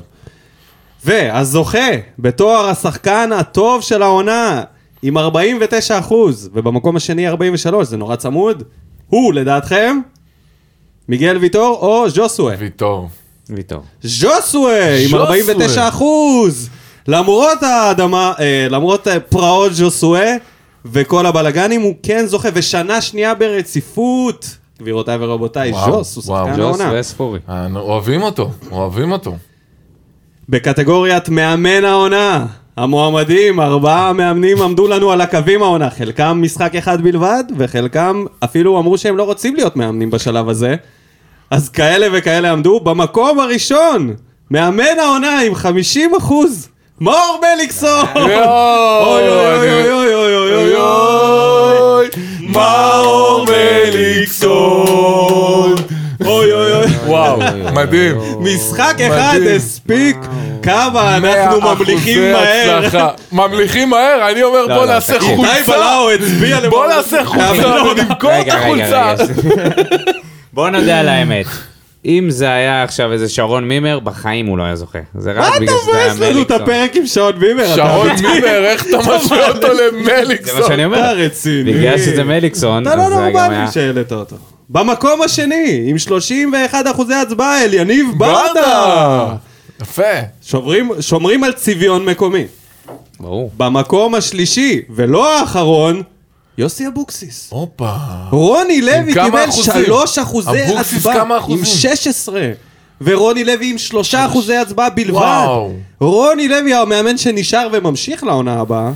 והזוכה בתואר השחקן הטוב של העונה, עם 49 אחוז, ובמקום השני 43, זה נורא צמוד, הוא לדעתכם? מיגל ויטור או ז'וסווה?
ויטור.
ויטור.
ז'וסווה עם
ז'וסווה.
49 אחוז! למרות האדמה, אה, למרות אה, פרעות ז'וסווה וכל הבלגנים, הוא כן זוכה, ושנה שנייה ברציפות, גבירותיי ורבותיי,
וואו,
ז'וס הוא
וואו,
שחקן
ג'וס
העונה.
וספורי.
אה, אוהבים אותו, אוהבים אותו.
בקטגוריית מאמן העונה, המועמדים, ארבעה מאמנים עמדו לנו על הקווים העונה, חלקם משחק אחד בלבד, וחלקם אפילו אמרו שהם לא רוצים להיות מאמנים בשלב הזה. אז כאלה וכאלה עמדו במקום הראשון, מאמן העונה עם 50 אחוז, מאור מליקסון! אוי אוי אוי אוי אוי אוי אוי אוי אוי מאור מליקסון! אוי אוי אוי
וואו, מדהים.
משחק אחד
מדהים.
הספיק, כמה אנחנו
מאה
ממליכים
אחוזי
מהר.
הצלחה. ממליכים מהר? אני אומר בוא
לא,
נעשה
תגיד.
איתי
חולצה.
בלאו הצביע
בוא נעשה חולצה, אנחנו נמכור את
רגע, רגע,
החולצה.
רגע,
בוא נודה על האמת. אם זה היה עכשיו איזה שרון מימר, בחיים הוא לא היה זוכה. זה רק
מה אתה
בגלל שזה היה
מבאס לנו את
מליקסון.
הפרק עם שעון ביבר?
שרון מימר, איך אתה משווה אותו
זה מה
למליקסון?
שאני
אתה
אומר.
רציני.
בגלל שזה מליקסון,
אתה
אז
לא
זה גם היה...
נורמלי שהעלית אותו. במקום השני, עם 31 אחוזי הצבעה, אל יניב ברדה!
ברדה! יפה.
שומרים- שומרים על צביון מקומי.
ברור.
במקום השלישי, ולא האחרון, יוסי אבוקסיס.
הופה.
רוני לוי
כמה
קיבל
אחוזים?
3 אחוזי
אבוקסיס
הצבעה,
כמה
עם
אחוזים?
16. ורוני לוי עם 3 אחוזי הצבעה בלבד.
וואו.
רוני לוי, המאמן שנשאר וממשיך לעונה הבאה,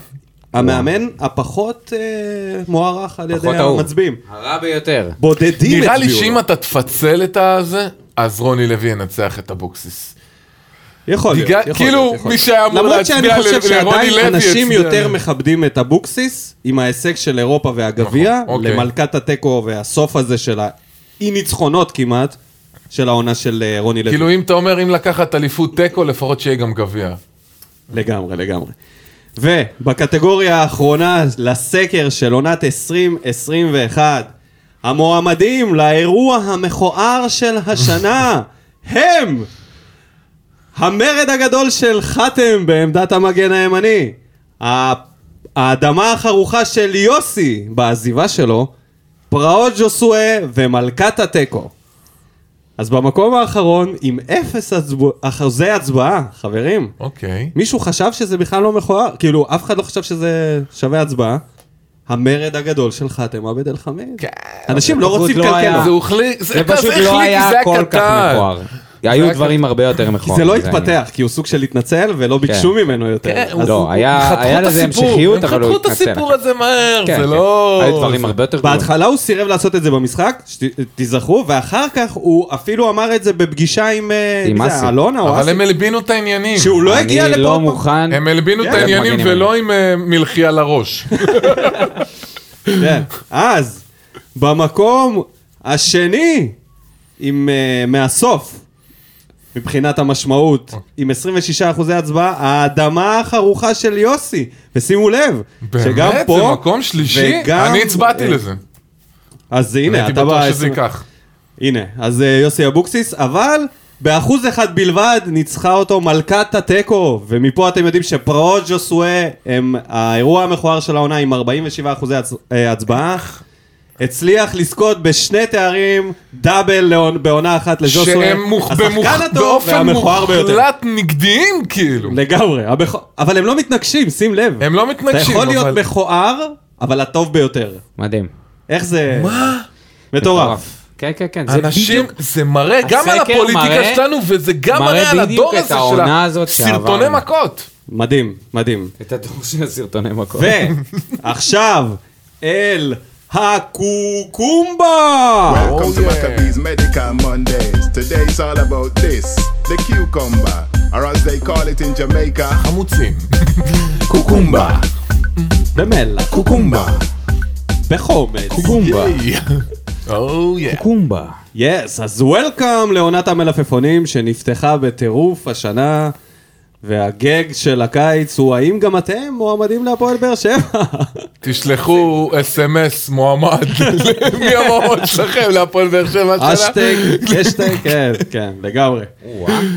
המאמן הפחות אה, מוערך על ידי
פחות אהוב.
המצביעים.
הרע ביותר.
בודדים
נראה לי
הצביעו לו.
שאם אתה תפצל את הזה, אז רוני לוי ינצח את אבוקסיס.
יכול להיות,
בגלל-
יכול להיות.
כאילו,
יכול
מי
להיות.
שהיה אמור
למרות
להצביע
שאני חושב
ל- לרוני
שעדיין
לוי
אנשים
הצביע
יותר
לו.
מכבדים את אבוקסיס עם ההישג של אירופה והגביע,
נכון, אוקיי.
למלכת התיקו והסוף הזה של האי ניצחונות כמעט, של העונה של אה, רוני לוי.
כאילו אם אתה אומר אם לקחת אליפות תיקו, לפחות שיהיה גם גביע.
לגמרי, לגמרי. ובקטגוריה האחרונה לסקר של עונת 2021, המועמדים לאירוע המכוער של השנה הם המרד הגדול של חתם בעמדת המגן הימני, ה- האדמה החרוכה של יוסי בעזיבה שלו, פרעות ג'וסואה ומלכת התיקו. אז במקום האחרון, עם אפס הצב... אחוזי הצבעה, חברים,
אוקיי.
מישהו חשב שזה בכלל לא מכוער, כאילו אף אחד לא חשב שזה שווה הצבעה. המרד הגדול של חאתם עבד אל חמיד.
כן,
כן.
אנשים לא
פשוט
רוצים
לא
לקלקל.
היה.
זה החליק, זה
זה
כזה
פשוט לא
החליק,
היה
זה היה
כל כך
קטן.
מכוער. היו
היה
דברים הרבה יותר
כי זה
מכוערים.
לא
נכון, זה העניין.
התפתח, כי הוא סוג של התנצל ולא ביקשו ממנו יותר.
כן,
אז
לא, היה
חתכו
היה
את
לזה
הסיפור,
המשכיות, אבל
הם
הוא
חתכו את
התנצל.
הסיפור הזה מהר,
כן,
זה
כן.
לא...
היו דברים הרבה יותר גרועים.
בהתחלה הוא סירב לעשות את זה במשחק, שתיזכרו, ואחר כך הוא אפילו אמר את זה בפגישה עם אה,
עם
מי זה,
אסי.
אלונה או
אבל
אסי,
הם הלבינו את העניינים.
שהוא לא הגיע לפה.
אני
עוד
לא
פעם.
מוכן.
הם הלבינו את
כן,
העניינים
מגנים
ולא עם אה, מלחי על הראש.
כן. אז, במקום השני, עם, uh, מהסוף, מבחינת
אוקיי.
המשמעות, עם 26 אחוזי הצבעה, האדמה החרוכה של יוסי. ושימו לב, שגם
באמת?
פה...
זה מקום שלישי?
וגם-
אני הצבעתי
אה,
לזה.
אז
אני
הנה,
הייתי
אתה
בטוח
בא...
שזה ייקח.
הנה, אז אה, יוסי אבוקסיס, אבל באחוז אחד בלבד ניצחה אותו מלכת התיקו, ומפה אתם יודעים שפרעות ג'וסואה הם האירוע המכוער של העונה עם 47 אחוזי הצ... אה, הצבעה. הצליח לזכות בשני תארים דאבל לעונ- בעונה אחת לג'וסואה.
שהם מוכ- במוכ-
השחקן הטוב
באופן
והמכוער ביותר.
מוחלט נגדיים, כאילו.
לגמרי, המכ... אבל הם לא מתנגשים, שים לב.
הם לא מתנגשים,
אתה יכול להיות
אבל-
מכוער, אבל הטוב ביותר.
מדהים.
איך זה...
מה?
מטורף.
כן, כן, כן. זה
אנשים,
בדיוק
זה מראה גם על
הסקר
הפוליטיקה
מראה-
שלנו, וזה גם
מראה
מראה על
בדיוק
הדור
את
הזה של
העונה
ה-
הזאת
סרטוני
שעברנו.
מכות.
מדהים, מדהים.
את הדור של הסרטוני מכות.
ועכשיו, אל הקוקומבה!
Welcome
Oh,
to
yeah.
Maccabees Medical Mondays. Today it's all about this, the cucumber, or as they call it in Jamaica,
חמוצים.
cucumba,
במלח,
cucumba.
בחומץ.
קומבה.
או יא.
קומבה.
יס, אז וולקאם לעונת המלפפונים שנפתחה בטירוף השנה, והגג של הקיץ הוא האם גם אתם מועמדים להפועל באר שבע?
תשלחו אס.אם.אס מועמד, מי המועמד שלכם להפועל באר שבע שלה?
אשטג, אשטג, כן, כן, לגמרי.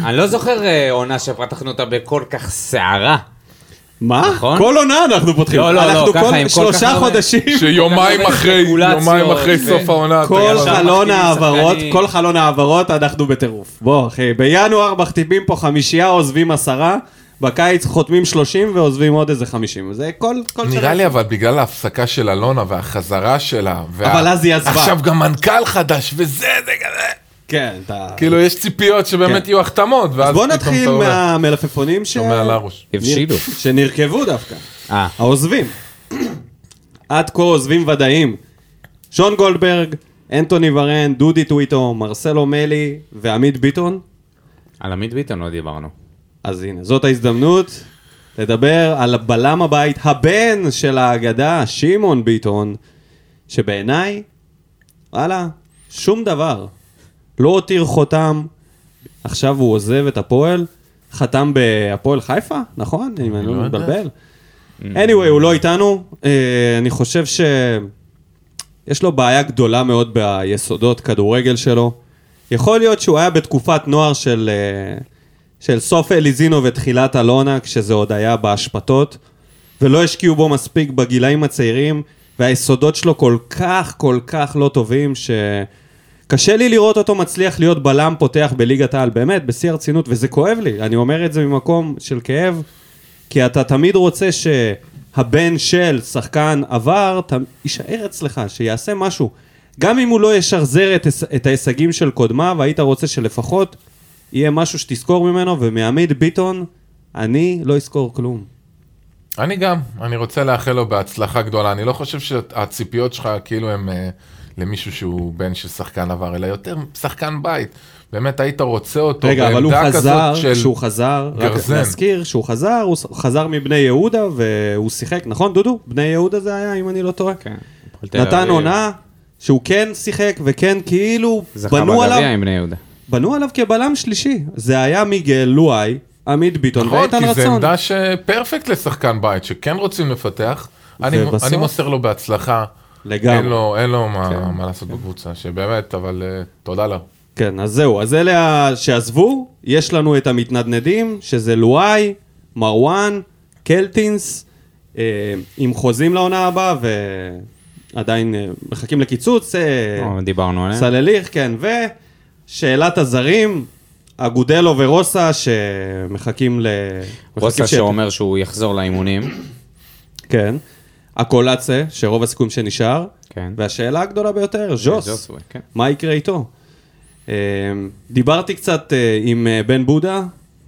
אני לא זוכר אה, עונה שפתחנו אותה בכל כך סערה.
מה?
נכון.
כל עונה אנחנו פותחים.
לא, לא, לא,
אנחנו
ככה, עם כל
שלושה
כך הרבה-
חודשים.
שיומיים
הרבה
אחרי,
ספקולציות,
יומיים אחרי
ו-
סוף העונה. אתה
כל
גם-
שם
חלון
מחתימים
העברות,
שחקנים.
כל חלון העברות אנחנו בטירוף. בוא אחי, בינואר מחתימים פה חמישייה, עוזבים עשרה, בקיץ חותמים שלושים ועוזבים עוד איזה חמישים. זה כל כל
נראה לי אבל בגלל ההפסקה של אלונה והחזרה שלה. וה-
אבל אז היא עזבה.
עכשיו גם מנכ"ל חדש וזה, זה כזה.
כן, אתה...
כאילו, יש ציפיות שבאמת
כן.
יהיו החתמות, ואז
אז
פתאום
בוא
אתה
נתחיל
עולה.
מה- מהמלפפונים ש...
שומע לרוש.
הבשילו.
שנרכבו דווקא.
אה.
העוזבים. עד כה עוזבים ודאים. שון גולדברג, אנטוני ורן, דודי טוויטו, מרסלו מלי ועמית ביטון.
על עמית ביטון לא דיברנו.
אז הנה, זאת ההזדמנות לדבר על בלם הבית, הבן של האגדה, שמעון ביטון, שבעיניי, וואלה, שום דבר. לא הותיר חותם, עכשיו הוא עוזב את הפועל, חתם בהפועל חיפה, נכון? אם אני לא
לא יודע. Mm.
מתבלבל. anyway, הוא לא איתנו, אה, אני חושב ש... יש לו בעיה גדולה מאוד ביסודות כדורגל שלו. יכול להיות שהוא היה בתקופת נוער של, אה, של סוף אליזינו ותחילת אלונה, כשזה עוד היה בהשפתות, ולא השקיעו בו מספיק בגילאים הצעירים, והיסודות שלו כל כך כל כך לא טובים, שקשה לי לראות אותו מצליח להיות בלם פותח בליגת העל, באמת, בשיא הרצינות, וזה כואב לי, אני אומר את זה ממקום של כאב. כי אתה תמיד רוצה שהבן של שחקן עבר, ת... יישאר אצלך, שיעשה משהו. גם אם הוא לא ישחזר את, הס- את ההישגים של קודמיו, היית רוצה שלפחות יהיה משהו שתזכור ממנו, ומעמיד ביטון, אני לא אזכור כלום.
אני גם, אני רוצה לאחל לו בהצלחה גדולה. אני לא חושב שהציפיות שלך כאילו הם אה, למישהו שהוא בן של שחקן עבר, אלא יותר שחקן בית. באמת, היית רוצה אותו
רגע, אבל הוא
בעמדה
חזר,
כזאת של...
כשהוא חזר, רק
גרזן.
להזכיר שהוא חזר, הוא ס- חזר מבני יהודה והוא שיחק, נכון דודו? בני יהודה זה היה, אם אני לא טועה?
כן. הפועל תל
נתן
אביב.
עונה שהוא כן שיחק וכן כאילו
זכה
בנו עליו, כן.
בגביע עם בני יהודה.
בנו עליו כבלם שלישי. זה היה מיגל לואי, עמית ביטון
נכון,
ואיתן
כי זו
רצון.
עמדה שפרפקט לשחקן בית, שכן רוצים לפתח. אני,
ובסוף-
אני מוסר לו בהצלחה.
לגמרי.
אין לו, אין לו מה, מה לעשות בקבוצה, שבאמת, אבל אה, תודה לה.
כן, אז זהו, אז אלה ה- שעזבו, יש לנו את המתנדנדים, שזה לואי, מרואן, קלטינס, אה, עם חוזים לעונה הבאה, ועדיין אה, מחכים לקיצוץ. אה,
לא, דיברנו עליהם.
סלליך, כן, ושאלת הזרים, אגודלו ורוסה, שמחכים ל... מחכים
רוסה
ש-
שאומר שהוא יחזור לאימונים.
כן. הקולאצה, שרוב הסיכויים שנשאר.
כן.
והשאלה הגדולה ביותר, ז'וס,
ז'וסווה, כן.
מה יקרה איתו? אה, דיברתי קצת אה, עם אה, בן בודה,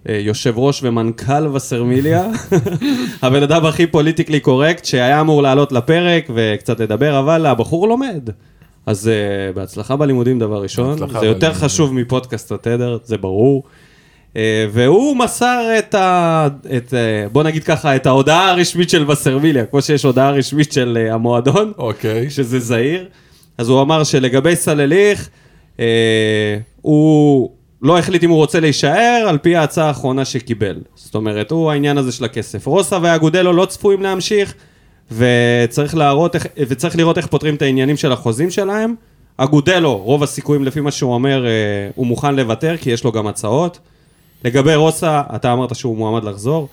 אה, יושב ראש ומנכ"ל וסרמיליה, הבן אדם הכי פוליטיקלי קורקט שהיה אמור לעלות לפרק וקצת לדבר, אבל הבחור לומד. אז אה, בהצלחה בלימודים דבר ראשון,
בהצלחה
זה יותר
בלימודים.
חשוב מפודקאסט התדר, זה ברור. אה, והוא מסר את ה... את, אה, בוא נגיד ככה, את ההודעה הרשמית של וסרמיליה, כמו שיש הודעה רשמית של אה, המועדון.
אוקיי.
שזה זהיר. אז הוא אמר שלגבי סלליך, אה, הוא לא החליט אם הוא רוצה להישאר על פי ההצעה האחרונה שקיבל. זאת אומרת, הוא העניין הזה של הכסף. רוסה ואגודלו לא צפויים להמשיך, וצריך, להראות, איך- וצריך לראות איך פותרים את העניינים של החוזים שלהם. אגודלו, רוב הסיכויים לפי מה שהוא אומר, אה, הוא מוכן לוותר, כי יש לו גם הצעות. לגבי רוסה, אתה אמרת שהוא מועמד לחזור.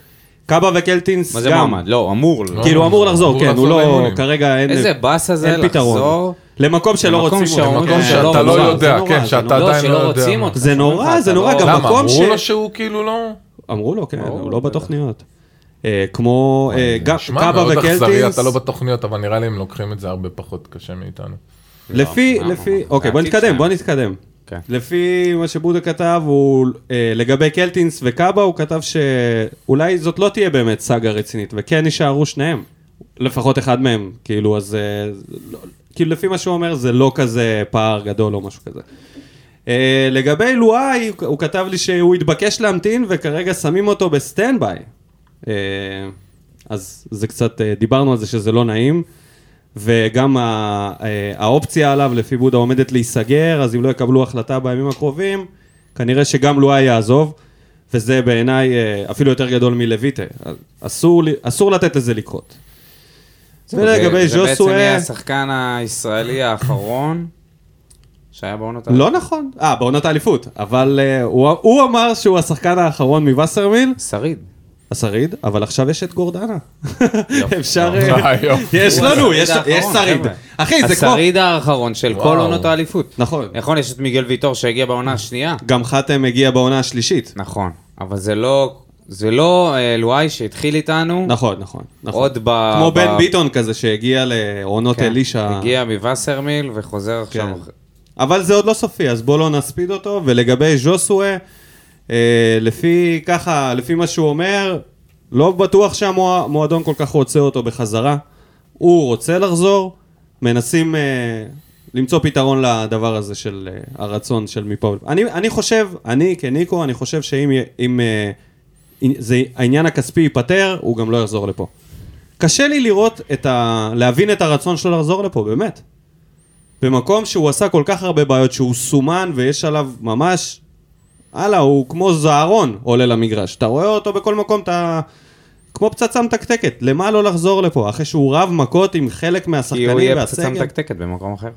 קאבה וקלטינס
מה זה
גם.
מועמד? לא, אמור.
לא.
כאילו הוא אמור לחזור,
אמור
כן, הוא
לחזור
לא,
לאימונים.
כרגע אין...
איזה באסה זה
אין פתרון.
לחזור.
למקום שלא
למקום
רוצים אותו.
שאומרים
מקום
כן,
שאתה
לא, זה
לא
נורא,
יודע,
זה
כן,
נורא,
שאתה
לא,
עדיין לא
שלא
יודע.
רוצים
מה.
אותך. לא
זה נורא, זה נורא, גם
למה,
מקום ש...
אמרו לו שהוא כאילו לא...
אמרו לו, כן, הוא לא
בטח.
בתוכניות. אה, כמו אה, גם
שמע,
קאבה
מאוד אכזרי,
וקלטינס,
אתה לא בתוכניות, אבל נראה לי הם לוקחים את זה הרבה פחות קשה מאיתנו.
לפי,
לא,
לפי,
לא,
אוקיי, בוא
העתיד
נתקדם,
שלהם.
בוא נתקדם.
כן.
לפי מה שבודה כתב, הוא, אה, לגבי קלטינס וקאבה, הוא כתב שאולי זאת לא תהיה באמת סאגה רצינית, וכן יישארו שניהם, לפחות אחד מהם, כאילו, אז, אה, לא- כאילו, לפי מה שהוא אומר, זה לא כזה פער גדול או משהו כזה. אה, לגבי לואי, הוא- הוא כתב לי שהוא התבקש להמתין וכרגע שמים אותו בסטנדביי. אה, אז זה קצת, אה, דיברנו על זה שזה לא נעים, וגם ה- אה, האופציה עליו לפי בודה עומדת להיסגר, אז אם לא יקבלו החלטה בימים הקרובים, כנראה שגם לואי יעזוב, וזה בעיניי אה, אפילו יותר גדול מלויטה. אסור, לי- אסור לתת לזה לקרות. ולגבי
זה בעצם
ז'וסואה,
יהיה השחקן הישראלי האחרון שהיה בעונות
לא נכון, אה, בעונת האליפות, אבל אה, הוא- הוא אמר שהוא השחקן האחרון מווסרמיל,
שריד.
השריד, אבל עכשיו יש את גורדנה. אפשר...
אה,
אה,
יופי.
יש
הוא
לנו,
השריד
יש
האחרון,
יש שריד.
חבר'ה.
אחי, זה כמו...
השריד האחרון של כל
וואו.
עונות האליפות.
נכון.
נכון, יש את מיגל ויטור שהגיע בעונה השנייה.
גם חתם הגיע בעונה השלישית.
נכון, אבל זה לא, זה לא אה, לואי שהתחיל איתנו.
נכון, נכון. נכון.
עוד ב-
כמו
ב-
בן ביטון כזה שהגיע לעונות
כן.
אלישע.
הגיע מווסרמיל וחוזר עכשיו.
כן. אבל זה עוד לא סופי, אז בואו לא נספיד אותו. ולגבי ז'וסווה, אה, לפי ככה, לפי מה שהוא אומר, לא בטוח שהמועדון כל כך רוצה אותו בחזרה. הוא רוצה לחזור, מנסים אה, למצוא פתרון לדבר הזה של אה, הרצון של מפה. אני, אני חושב, אני כניקו, אני חושב שאם י- אם, אה, אם זה, העניין הכספי ייפתר, הוא גם לא יחזור לפה. קשה לי לראות את ה... להבין את הרצון שלו לחזור לפה, באמת. במקום שהוא עשה כל כך הרבה בעיות, שהוא סומן ויש עליו ממש... הלאה, הוא כמו זערון עולה למגרש. אתה רואה אותו בכל מקום, אתה... כמו פצצה מתקתקת. למה לא לחזור לפה? אחרי שהוא רב מכות עם חלק
כי
מהשחקנים
הוא
והסגל.
יהיה פצצה מתקתקת במקום אחר.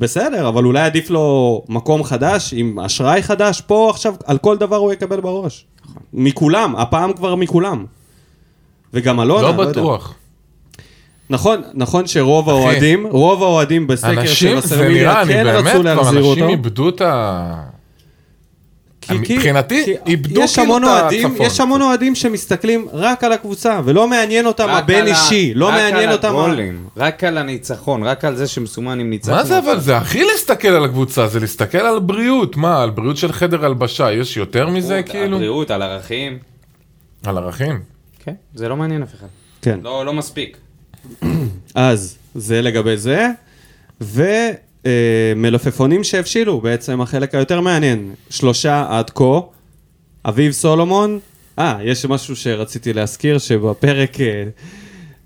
בסדר, אבל אולי עדיף לו מקום חדש, עם אשראי חדש, פה עכשיו, על כל דבר הוא יקבל בראש. מכולם, הפעם כבר מכולם. וגם אלונה,
לא
יודע.
בטוח.
נכון, נכון שרוב האוהדים, רוב האוהדים בסקר של
אנשים, זה
הסרמיליה
נראה, אני
כן
באמת,
רצו
כבר
להחזיר
אנשים
אותו.
איבדו את ה... מבחינתי, איבדו
יש
כאילו
המון
את
אוהדים-
הצפון.
יש המון אוהדים שמסתכלים רק על הקבוצה, ולא מעניין אותם
רק על
הבן
ה-
אישי, לא מעניין אותם... ה-
רק על הגולים, רק על הניצחון, רק על זה שמסומן עם ניצחון.
מה זה
כאילו-
אבל זה הכי להסתכל על הקבוצה, זה להסתכל על בריאות, מה, על בריאות של חדר הלבשה, יש יותר מזה כאילו?
על בריאות, על ערכים.
על ערכים.
כן, זה לא מעניין אף אחד.
כן.
לא לא מספיק.
אז זה לגבי זה, ומלפפונים שהבשילו, בעצם החלק היותר מעניין. שלושה עד כה, אביב סולומון, אה, יש משהו שרציתי להזכיר, שבפרק אה,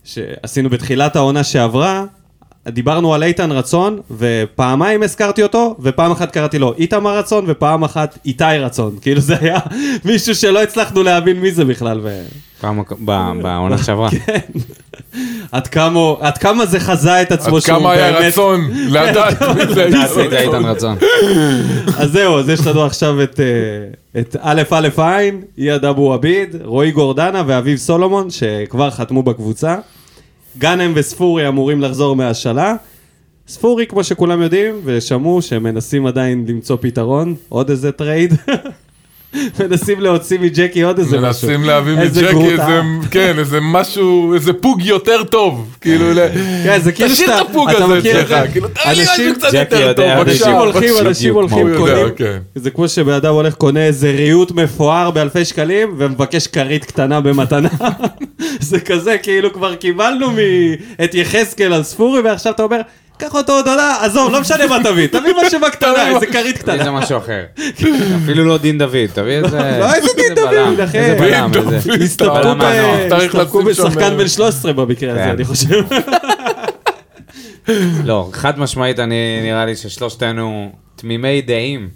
שעשינו בתחילת העונה שעברה, דיברנו על איתן רצון, ופעמיים הזכרתי אותו, ופעם אחת קראתי לו איתמר רצון, ופעם אחת איתי רצון. כאילו זה היה מישהו שלא הצלחנו להבין מי זה בכלל. ו...
פעם- ב- בעונה שעברה.
עד כמה, עד כמה זה חזה את עצמו
עד כמה היה רצון לדעת מי זה
תעשי את זה איתן רצון.
אז זהו, אז יש לנו עכשיו את, אה, את א' א' עין, אייד אבו עביד, רועי גורדנה ואביב סולומון, שכבר חתמו בקבוצה. גאנם וספורי אמורים לחזור מהשאלה. ספורי, כמו שכולם יודעים, ושמעו שמנסים עדיין למצוא פתרון, עוד איזה טרייד. מנסים להוציא מג'קי עוד איזה משהו.
מנסים להביא
איזה
מג'קי
גרוטה.
איזה, כן, איזה משהו, איזה פוג יותר טוב, כאילו, ל-
כן, זה כאילו
תשאיר
שאתה-
את הפוג
אתה
הזה
מכיר את
אצלך,
זה?
כאילו, תביא
אנשים-
משהו קצת
ג'קי
יותר
יודע,
טוב,
אנשים
בבקשה.
הולכים,
בבקשה,
אנשים
בדיוק,
הולכים, אוקיי,
מה
הוא יודע,
קונים,
כן.
זה כמו שבן אדם הולך, קונה איזה ריהוט מפואר באלפי שקלים, ומבקש כרית קטנה במתנה. זה כזה, כאילו כבר קיבלנו מ... את יחזקאל על ספורי, ועכשיו אתה אומר, קח אותו עוד עונה, עזוב, לא משנה מה תביא, תביא מה שבקטנה, איזה כרית
תביא איזה
קטנה.
משהו אחר. אפילו לא דין דוד, תביא איזה...
כן. לא, איזה דין דוד,
בלם,
אחי.
איזה בלם,
דין
איזה...
דוד,
הסתפקו
אבל
ב-
למה לא?
צריך
הסתפקו
לשים שם-
בשחקן בן 13 במקרה הזה,
כן.
אני חושב.
לא, חד משמעית, אני נראה לי ששלושתנו תמימי דעים.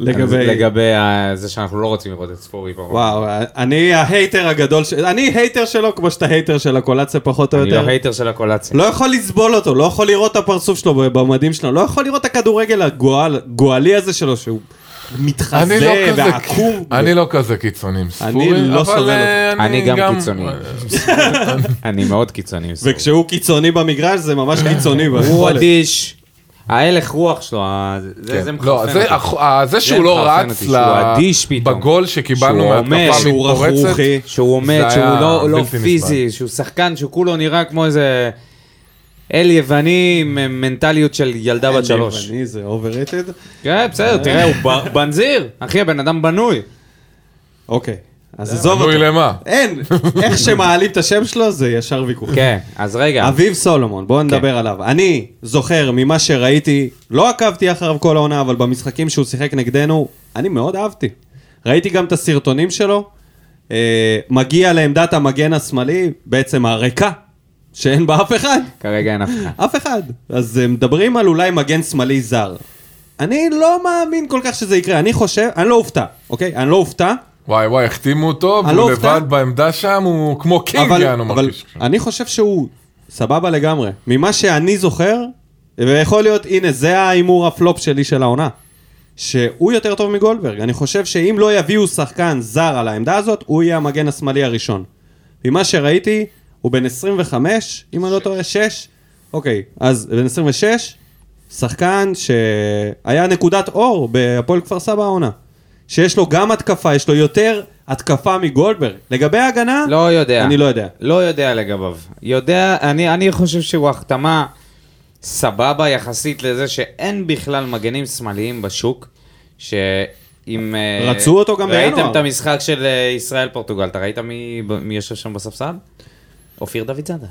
לגבי...
לגבי ה- זה שאנחנו לא רוצים לראות את ספורי פה.
וואו, אני ההייטר הגדול, של- אני הייטר שלו כמו שאתה הייטר של הקולציה פחות או
אני לא
יותר.
הייטר של הקולציה.
לא יכול לסבול אותו, לא יכול לראות את הפרצוף שלו במדים שלו, לא יכול לראות את הכדורגל הגועל- הגועלי הזה שלו, שהוא
אני לא
מתחזה
כזה-
ועקום.
אני לא כזה קיצוני עם ספורי,
לא
אבל,
סובל
אה,
אני גם קיצוני. אני מאוד קיצוני. עם ספורי.
וכשהוא קיצוני במגרש זה ממש קיצוני.
הוא
ביכולת.
אדיש. ההלך רוח שלו, ה- זה כן. זה
לא,
מחרפן.
זה,
אותי.
הח- ה- זה שהוא
זה
לא
מחרפן
רץ
אותי, שהוא
ל-
אדיש פתאום.
בגול שקיבלנו
שהוא עומד,
מהתקפה
שהוא
מתפרצת,
רכרוכי.
שהוא עומד,
זה
שהוא
היה
לא לא
בלתי נסבל.
פיזי, שהוא שחקן שכולו נראה כמו איזה אל יווני עם מנטליות של ילדה בת שלוש.
אני זה overrated.
כן, בסדר, תראה, הוא ב- בנזיר. אחי, הבן אדם בנוי.
אוקיי, אז עזוב
בנוי
אותו.
למה?
אין, איך שמעלים את השם שלו זה ישר ויכוח.
כן, אז רגע.
אביב סולומון, בואו נדבר עליו. אני זוכר ממה שראיתי, לא עקבתי אחריו כל העונה, אבל במשחקים שהוא שיחק נגדנו, אני מאוד אהבתי. ראיתי גם את הסרטונים שלו, אה, מגיע לעמדת המגן השמאלי, בעצם הריקה, שאין בה אף אחד.
כרגע אין אף אחד.
אף אחד. אז אה, מדברים על אולי מגן שמאלי זר. אני לא מאמין כל כך שזה יקרה, אני חושב, אני לא אופתע, אוקיי? אני לא אופתע,
וואי וואי, החתימו אותו,
אני לא
והוא
אופתע.
לבד בעמדה שם, כן, הוא כמו קינג,
אבל,
יענו
אבל
מרגיש.
אני חושב שהוא סבבה לגמרי. ממה שאני זוכר, ויכול להיות, הנה, זה ההימור הפלופ שלי של העונה. שהוא יותר טוב מגולדברג. אני חושב שאם לא יביאו שחקן זר על העמדה הזאת, הוא יהיה המגן השמאלי הראשון. ממה שראיתי, הוא בן 25, אם אני לא טועה, 6. אוקיי, אז בן 26, שחקן שהיה נקודת אור בהפועל כפר סבא העונה. שיש לו גם התקפה, יש לו יותר התקפה מגולדברג. לגבי ההגנה...
לא יודע.
אני לא יודע.
לא יודע לגביו. יודע, אני, אני חושב שהוא החתמה סבבה יחסית לזה שאין בכלל מגנים שמאליים בשוק, שאם... אה,
רצו אותו גם בינואר.
ראיתם את המשחק של אה, ישראל-פורטוגל, אתה ראית מי ב- מי יושב שם בספסל? אופיר דוידזאדה.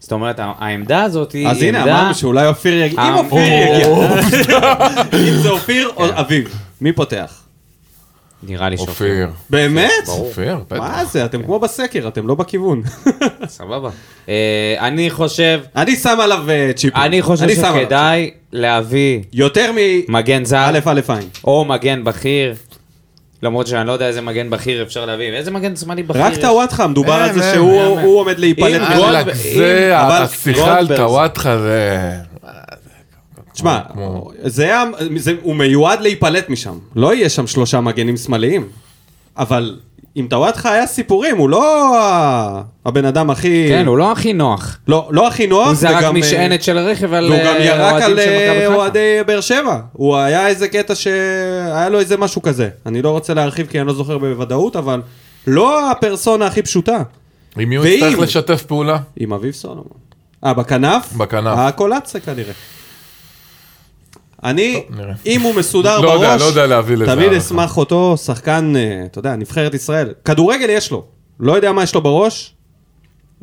זאת אומרת, ה- העמדה הזאת היא עמדה...
אז הנה, אמרנו שאולי אופיר יגיע. אם
אה,
אופיר
או-
יגיע. אם זה אופיר
כן.
או אביב. מי פותח?
נראה לי שאופיר.
אופיר.
באמת?
אופיר, כן.
מה
בטח.
זה? אתם כמו בסקר, אתם לא בכיוון.
סבבה. אה, אני חושב,
אני שם עליו אה, צ'יפים.
אני חושב
שם עליו
שכדאי להביא
צ'יפים. יותר מ...
מגן זר,
א' א' עין.
או מגן בכיר, למרות שאני לא יודע איזה מגן בכיר אפשר להביא, איזה מגן שמאלי בכיר?
רק
יש?
טוואטחה, מדובר על זה
אין,
שהוא
אין, אין.
הוא עומד להיפלט
אם-
גול.
אה,
אלק, אה, זה,
אבל-
השיחה על
גולדברג.
טוואטחה זה...
תשמע,
כמו-
זה ה- זה- הוא מיועד להיפלט משם. לא יהיה שם שלושה מגנים שמאליים. אבל עם טוואטחה היה סיפורים, הוא לא ה- הבן אדם הכי...
כן, הוא לא הכי נוח.
לא, לא הכי נוח,
הוא זרק
וגם, אה,
משענת של רכב על
והוא גם
אה,
ירק
אוהדים
על
של מכבי
אה,
חיפה.
אוהדי באר שבע. הוא היה איזה קטע שהיה לו איזה משהו כזה. אני לא רוצה להרחיב כי אני לא זוכר בוודאות, אבל לא הפרסונה הכי פשוטה.
עם מי הוא
ואם-
יצטרך לשתף פעולה?
עם אביב סולומון. אה, בכנף?
בכנף.
הקולאצה כנראה. אני,
נראה.
אם הוא מסודר
לא
בראש,
יודע, לא יודע להביא לזה
תמיד
הערכה.
אשמח אותו שחקן, אה, אתה יודע, נבחרת ישראל. כדורגל יש לו, לא יודע מה יש לו בראש.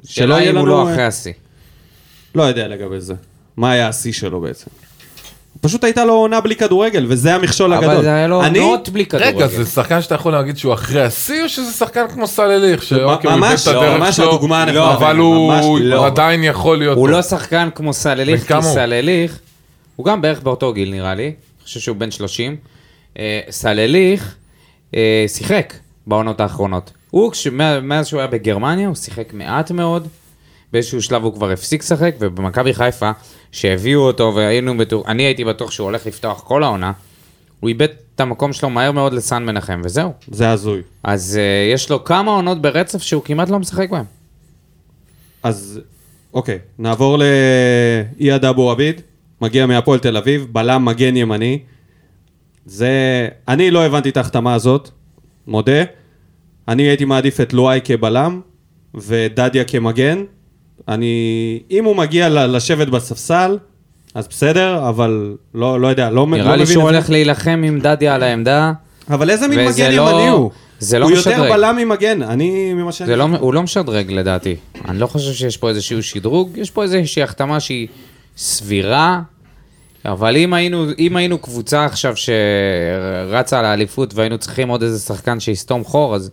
שלא יהיה לנו...
אה,
לא אחרי השיא.
לא יודע לגבי זה. מה היה השיא שלו בעצם. פשוט הייתה לו עונה בלי כדורגל, וזה המכשול הגדול.
אבל זה היה לו
אני-
נוט בלי כדורגל.
רגע, זה שחקן שאתה יכול להגיד שהוא אחרי השיא, או שזה שחקן כמו סלליך, שאוקיי, הוא
ממש
איבד את
לא,
הדרך
ממש
שלו,
הדוגמה הנכונה.
אבל
ממש לא.
הוא עדיין יכול להיות...
הוא
טוב.
לא שחקן כמו סלליך,
בן כמה
כי
הוא?
סלליך, הוא גם בערך באותו גיל נראה לי, אני חושב שהוא בן 30. אה, סלליך אה, שיחק בעונות האחרונות. הוא, כש- מה- מאז שהוא היה בגרמניה, הוא שיחק מעט מאוד. באיזשהו שלב הוא כבר הפסיק לשחק, ובמכבי חיפה, שהביאו אותו והיינו בטוח, אני הייתי בטוח שהוא הולך לפתוח כל העונה, הוא איבד את המקום שלו מהר מאוד לסן מנחם, וזהו.
זה הזוי.
אז אה, יש לו כמה עונות ברצף שהוא כמעט לא משחק בהן.
אז אוקיי, נעבור לאייד אבו עביד, מגיע מהפועל תל אביב, בלם מגן ימני. זה... אני לא הבנתי את ההחתמה הזאת, מודה. אני הייתי מעדיף את לואי כבלם ודדיה כמגן. אני... אם הוא מגיע ל- לשבת בספסל, אז בסדר, אבל לא, לא יודע, לא, מ- לא
נראה
מבין
לי
את
שהוא
זה.
הולך להילחם עם דדיה על העמדה.
אבל איזה מין
וזה
מגן
לא-
ימני הוא?
זה לא
הוא יותר
משדרג.
בלם ממגן, אני ממה שאני...
זה לא, הוא לא משדרג לדעתי. אני לא חושב שיש פה איזשהו שדרוג, יש פה איזושהי החתמה שהיא סבירה, אבל אם היינו, אם היינו קבוצה עכשיו שרצה על האליפות והיינו צריכים עוד איזה שחקן שיסתום חור, אז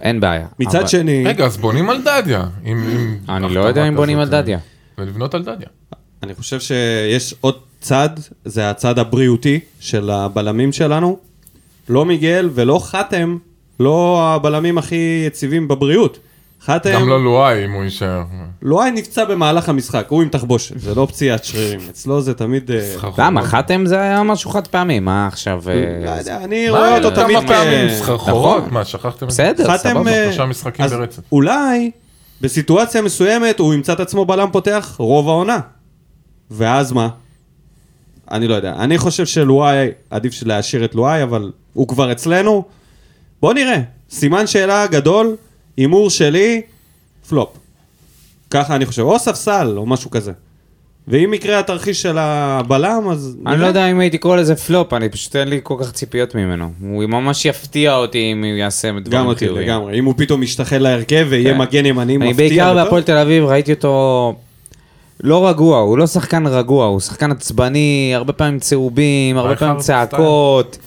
אין בעיה.
מצד
אבל...
שני...
רגע, אז בונים על דדיה. עם- עם
אני לא
החתמה
יודע אם
כזאת.
בונים על דדיה.
ולבנות על דדיה.
אני חושב שיש עוד צד, זה הצד הבריאותי של הבלמים שלנו. לא מיגל ולא חתם, לא הבלמים הכי יציבים בבריאות. חתם,
גם לא לואי, אם הוא יישאר.
לואי נפצע במהלך המשחק, הוא עם תחבושת, זה לא פציעת שרירים. אצלו זה תמיד... אה,
למה? חתם זה היה משהו חד פעמי, מה עכשיו... אה,
לא
זה-
יודע, אני
מה,
רואה אותו תמיד כן.
כמה פעמים סחרחורות?
נכון.
מה, שכחתם? את זה?
בסדר,
חתם...
סבבה.
אה,
שלושה משחקים
אז
ברצף.
אולי בסיטואציה מסוימת הוא ימצא את עצמו בלם פותח רוב העונה. ואז מה? אני לא יודע. אני חושב שלואי, עדיף להשאיר את לואי, אבל הוא כבר אצלנו. בוא נראה. סימן שאלה גדול, הימור שלי, פלופ. ככה אני חושב. או ספסל, או משהו כזה. ואם יקרה התרחיש של הבלם, אז...
אני
נראה.
לא יודע אם הייתי קורא לזה פלופ, אני פשוט אין לי כל כך ציפיות ממנו. הוא ממש יפתיע אותי אם הוא יעשה
גם
דברים
אותי
כן,
חיוביים.
לגמרי. אם הוא פתאום ישתחל להרכב ויהיה
כן.
מגן ימני מפתיע.
אני בעיקר
וטוב.
בהפועל תל אביב ראיתי אותו לא רגוע, הוא לא שחקן רגוע, הוא שחקן עצבני, הרבה פעמים צהובים, הרבה פעמים
בכר סטייל.
צעקות,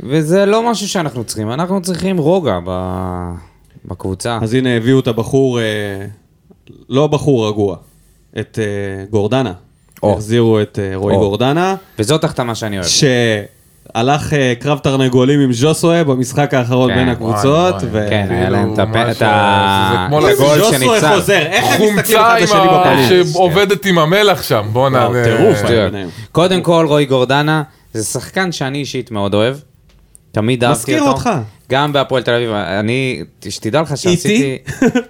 וזה לא משהו שאנחנו צריכים, אנחנו צריכים רוגע ב- בקבוצה.
אז הנה הביאו את הבחור, אה, לא בחור רגוע, את אה, גורדנה.
או.
החזירו את אה, רועי
או.
גורדנה,
וזאת החתמה שאני אוהב.
שהלך אה, קרב תרנגולים עם ז'וסווה במשחק האחרון
כן.
בין
וואי,
הקבוצות.
וואי.
ו-
כן, היה
כאילו,
להם את הפ-
ממש,
את ה-
זה כמו
את
לגול
הגול
ז'וסווה
שניצל.
חוזר, איך הם מסתכלים
חומצה
אחד
עם
לשני
ה...
אה,
בפנים?
שעובדת עם המלח שם, בואנה.
וואו,
זה-
טירוף,
זה-
אה.
שטויות.
ביניהם.
כן. קודם כל, רועי גורדנה זה שחקן שאני אישית מאוד אוהב. תמיד אהבתי אותו.
מזכיר אותך.
גם בהפועל תל אביב. אני, שתדע לך שעשיתי...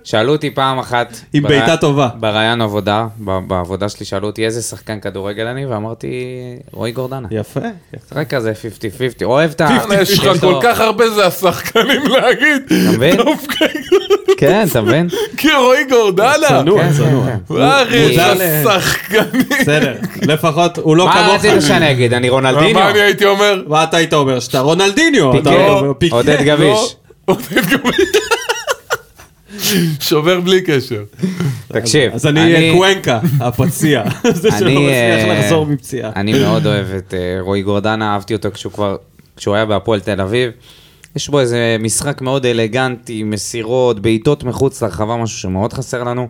שאלו אותי פעם אחת...
עם
ברי-
בעיטה טובה.
בראיון עבודה, ב- בעבודה שלי שאלו אותי איזה שחקן כדורגל אני, ואמרתי, רועי גורדנה.
יפה.
רק כזה 50-50,
אה,
אוהב את ה...
יש לך
יש לו-
כל כך הרבה זה השחקנים להגיד.
אתה מבין? כן, אתה מבין?
כי רועי גורדנה!
צנוע,
כן,
צנוע.
כן,
ארי,
מודע
השחקנים!
בסדר, לפחות הוא לא
מה
כמוך.
רצית שאני אגיד? אני רונלדיניו?
מה אני הייתי אומר?
מה אתה היית אומר? שאתה רונלדיניו. אתה
פיקה.
אומר, פיקה.
עודד
לא,
גביש,
עודד גביש. שובר בלי קשר.
תקשיב.
אז אני אה, קוונקה, הפציע. זה שלא
אני,
מצליח
אה,
לחזור מפציעה.
אני מאוד אוהב את אה, רועי גורדנה, אהבתי אותו כשהוא כבר, כשהוא היה בהפועל תל אביב. יש בו איזה משחק מאוד אלגנטי, מסירות, בעיטות מחוץ לרחבה, משהו שמאוד חסר לנו.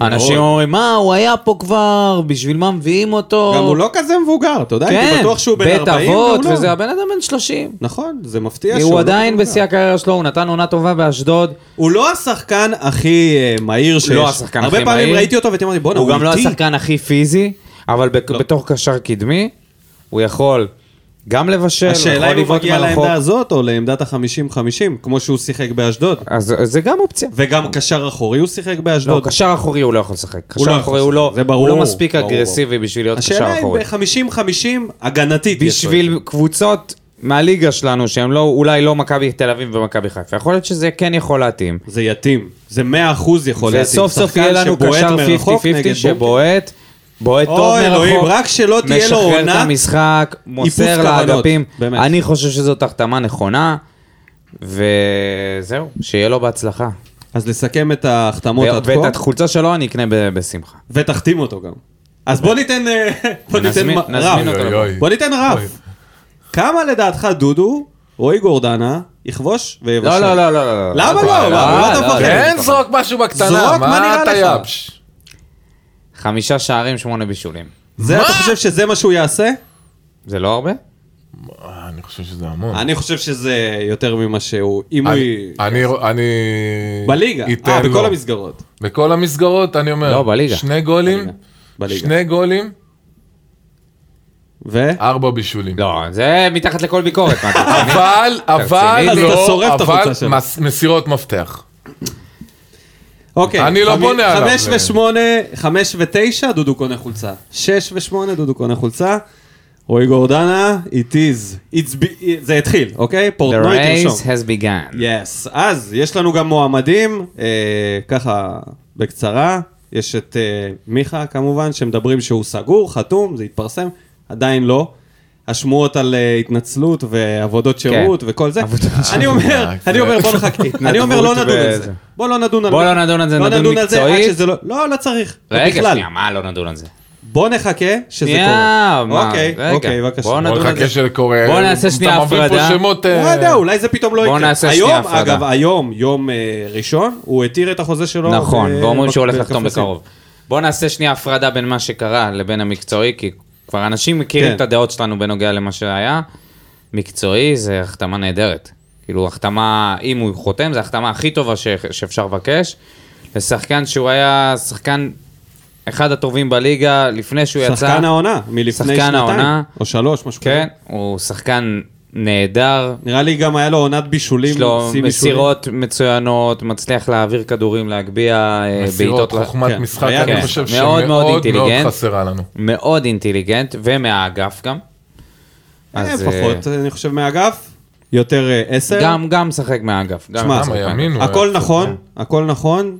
אנשים אומרים, מה, הוא היה פה כבר, בשביל מה מביאים אותו?
גם הוא לא כזה מבוגר, אתה יודע,
כן,
הייתי בטוח שהוא בן 40.
בית
והוא
אבות,
לא.
וזה הבן אדם בן 30.
נכון, זה מפתיע שהוא
הוא
לא
עדיין
מבוגר.
בשיא הקריירה שלו, הוא נתן עונה טובה באשדוד.
הוא לא השחקן הכי אה, מהיר שיש.
לא השחקן הכי
הרבה פעמים
מהיר.
ראיתי אותו ואתם אומרים, בואנה,
הוא
הוא
גם לא
איטי. לא.
השחקן הכי פיזי, אבל בק- בתור קשר קדמי, הוא יכול גם לבשל, הוא
השאלה
יכול
אם הוא
לבעוט
מגיע
מרחוק.
לעמדה הזאת או לעמדת ה-50-50, כמו שהוא שיחק באשדוד.
אז אז זה גם אופציה.
וגם קשר אחורי הוא שיחק
לא,
באשדוד.
קשר אחורי הוא לא יכול לשחק.
הוא לא
קשר אחורי
יכול
הוא לא,
לשחק, זה ברור,
הוא לא מספיק
ברור,
אגרסיבי בשביל להיות קשר
השאלה אם
אחורי.
ב-50-50 הגנתית יש לו.
בשביל קבוצות מהליגה שלנו, שהם לא, אולי לא מכבי תל אביב ומכבי חיפה, יכול להיות שזה כן יכול להתאים.
זה יתאים, זה 100% יכול להתאים.
וסוף סוף
שחקן
יהיה לנו
שבועט
קשר
מרחוק
50-50
נגד בונקר.
שבועט, בועט טוב מרחוק.
אוי אלוהים, רק שלא תהיה לו
משחרר את
עונה.
המשחק, מוסר
כוונות,
לאגפים.
באמת.
אני חושב שזאת החתמה נכונה, וזהו, שיהיה לו בהצלחה.
אז לסכם את ההחתמות
ו-
עד
ואת
כה,
החולצה שלו אני אקנה ב- בשמחה.
ותחתים אותו גם. אז בוא ניתן אה, בוא ניתן
נזמין-
מ- רף.
נזמין אותו.
אוי, אוי.
בוא ניתן
אוי.
רף. כמה לדעתך דודו, רועי גורדנה, יכבוש ויבשל?
לא, לא, לא, לא, לא.
למה לא? מה, מה אתה מפחד?
כן, זרוק משהו בקטנה,
זרוק, מה נראה
מה אתה
לך?
יבש?
חמישה שערים, שמונה בישולים.
זה, אתה חושב שזה מה שהוא יעשה?
זה לא הרבה?
אה, אני חושב שזה המון.
אני חושב שזה יותר ממה שהוא, אם הוא...
אני- אני... אני...
בליגה.
ייתן
אה, בכל
לו.
המסגרות.
בכל המסגרות, אני אומר.
לא, בליגה.
שני גולים,
בליגה.
שני גולים,
ו?
ארבע בישולים.
לא, זה מתחת לכל ביקורת. מה, אתה רציני?
אבל, אבל,
רציני?
אז אתה
לא,
שורף את
אבל
החולצה שלו.
מס- מסירות מפתח.
אוקיי.
אני לא
חמי-
בונה עליו.
חמש ושמונה, חמש ותשע, דודו קונה חולצה. שש ושמונה, דודו קונה חולצה. רועי גורדנה, it is. It's be... זה התחיל, אוקיי?
The
פורטנוי תרשום.
race has begun.
יס. אז, יש לנו גם מועמדים, אה, ככה, בקצרה. יש את אה, מיכה, כמובן, שמדברים שהוא סגור, חתום, זה התפרסם. עדיין לא. השמועות על אה, התנצלות ועבודות
כן.
שירות וכל זה. אני אומר, אני אומר, בוא נחכה. אני אומר, לא נדון על זה.
אה, וזה.
בוא לא נדון על
בוא
זה.
לא נדון על זה, נדון
על זה עד
מקצועית.
שזה לא, לא, לא צריך.
רגע,
בכלל.
שנייה, מה לא נדון על זה?
בוא נחכה שזה
שנייה,
קורה.
מה,
אוקיי,
רגע.
אוקיי, בבקשה.
בוא
בוא
נדון על
נחכה
זה.
שקורה.
בוא נעשה שנייה
אתה מביא
הפרדה.
פה שמות...
לא
אה,
יודע, אולי זה פתאום לא
בוא
יקרה.
נעשה
היום,
שנייה הפרדה.
אגב, היום, יום אה, ראשון, הוא התיר את החוזה שלו. אה,
נכון,
ב-
ואומרים שהוא
בק-
הולך לחתום
בקפריסין.
בקרוב. בוא נעשה שנייה הפרדה בין מה שקרה לבין המקצועי, כי כבר אנשים מכירים
כן.
את הדעות שלנו בנוגע למה שהיה. מקצועי זה החתמה נהדרת. כאילו, החתמה, אם הוא חותם, זו החתמה הכי טובה ש- שאפשר לבקש. לשחקן שהוא היה שחקן אחד הטובים בליגה, לפני שהוא יצא...
שחקן העונה, מלפני
שחקן העונה.
שנתיים. או שלוש, משהו כזה.
כן, הוא שחקן נהדר,
נראה לי גם היה לו עונת בישולים.
יש לו
שיא
מסירות מצוינות, מצליח להעביר כדורים, להגביה אה,
מסירות, לא
בעיטות. ל-
חוכמת
כן.
משחק,
היה
אני
כזה.
חושב
מאוד מאוד
שמאוד מאוד
אינטליגנט.
חסרה לנו.
מאוד אינטליגנט, ומהאגף גם.
בישולים.
אז
אה,
אה,
פחות, אני חושב, מהאגף. יותר אה, עשר.
גם, גם משחק מהאגף. גם
שמע,
משחק
למה
מהאגף.
ימין הוא
הכל
היה כן.
נכון, הכל נכון.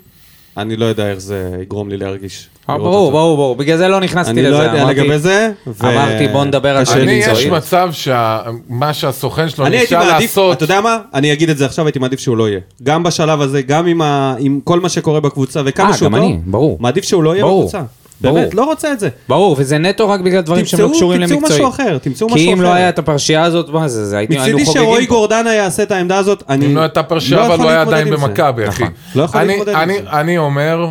אני לא יודע איך זה יגרום לי להרגיש.
אה,
לראות
ברור,
אותו.
ברור, ברור. בגלל זה לא נכנסתי
אני
לזה.
לא יודע
אמרתי-
לגבי זה. ו-
אמרתי, בוא נדבר על
קשה
זה
לי
אני,
לצעוק.
יש
מקצועית.
מצב שמה שהסוכן שלו
אני הייתי
ניסה
מעדיף,
לעשות,
אתה יודע מה? אני אגיד את זה עכשיו, הייתי מעדיף שהוא לא יהיה. גם בשלב הזה, גם עם, ה, עם כל מה שקורה בקבוצה וכמה
אה,
שהוא
גם
טוב,
אני, ברור.
מעדיף שהוא לא יהיה
ברור.
בקבוצה.
ברור.
באמת, לא רוצה את זה.
ברור, וזה נטו רק בגלל דברים שהם לא
תמצאו-
קשורים
תמצאו
למקצועי.
משהו אחר, תמצאו
כי
משהו
אם לא
אחר.
היה את הפרשייה הזאת, מה זה, זה, היינו היינו
מצידי
לא חוגגים.
שרועי
פה.
גורדנה יעשה את העמדה הזאת, אני
אם לא הייתה פרשה, אבל
יכול
הוא היה
להתמודד
עדיין
עם זה.
במכבי, אחי.
נכון. לא יכול
אני-
להתמודד עם
אני-
זה.
אני אומר,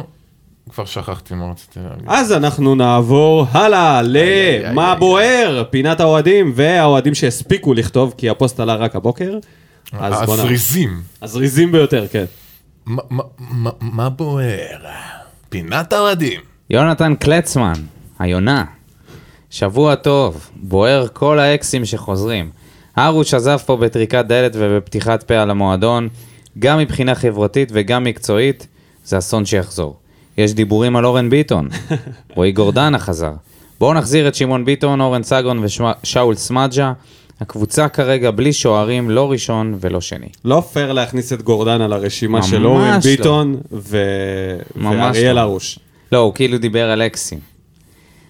כבר שכחתי מה רציתי להגיד.
אז אנחנו נעבור הלאה למה בוער, פינת האוהדים והאוהדים שהספיקו לכתוב, כי הפוסט עלה רק הבוקר.
אה,
אז בוא נעבור.
הזריזים.
הזריזים ביותר, כן.
מה- מה- מה- מה בוער? פינת האוהדים.
יונתן קלצמן, היונה. שבוע טוב, בוער כל האקסים שחוזרים. ארוש עזב פה בטריקת דלת ובפתיחת פה על המועדון, גם מבחינה חברתית וגם מקצועית, זה אסון שיחזור. יש דיבורים על אורן ביטון, רועי גורדנה חזר. בואו נחזיר את שמעון ביטון, אורן סגרון ושאול סמדג'ה. הקבוצה כרגע בלי שוערים, לא ראשון ולא שני.
לא פייר להכניס את גורדנה לרשימה
ממש
של אורן
לא.
ביטון ו-
ממש
ואריאל
לא.
הרוש.
לא, הוא כאילו דיבר על אקסים.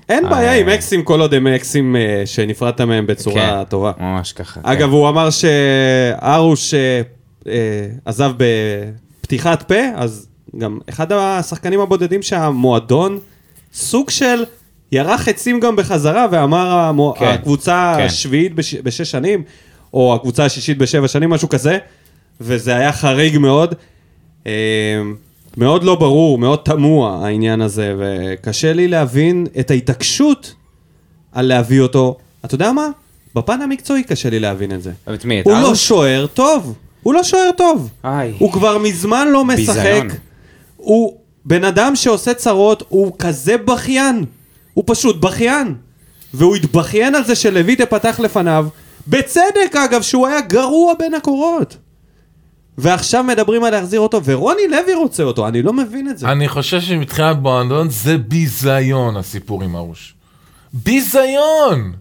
אין בעיה
אה.
עם אקסים כל עוד הם אקסים אה, שנפרדת מהם בצורה
כן,
טובה.
ממש ככה. כן.
אגב, הוא אמר שהרוש אה, אה, עזב בפתיחת פה, אז גם אחד השחקנים הבודדים שהמועדון, סוג של ירח עצים גם בחזרה, ואמר המו-
כן,
הקבוצה
כן.
השביעית בש- בשש שנים, או הקבוצה השישית בשבע שנים, משהו כזה, וזה היה חריג מאוד. אה, מאוד לא ברור, מאוד תמוה העניין הזה, וקשה לי להבין את ההתעקשות על להביא אותו. אתה יודע מה? בפן המקצועי קשה לי להבין את זה.
את מי? את
הוא לא
ארוש?
שוער טוב, הוא לא שוער טוב.
איי.
הוא כבר מזמן לא משחק.
ביזיון.
הוא בן אדם שעושה צרות, הוא כזה בכיין. הוא פשוט בכיין. והוא התבכיין על זה שלויטה פתח לפניו, בצדק אגב, שהוא היה גרוע בין הקורות. ועכשיו מדברים על להחזיר אותו, ורוני לוי רוצה אותו, אני לא מבין את זה.
אני חושב שמבחינת בוענדון זה ביזיון הסיפור עם הרוש. ביזיון!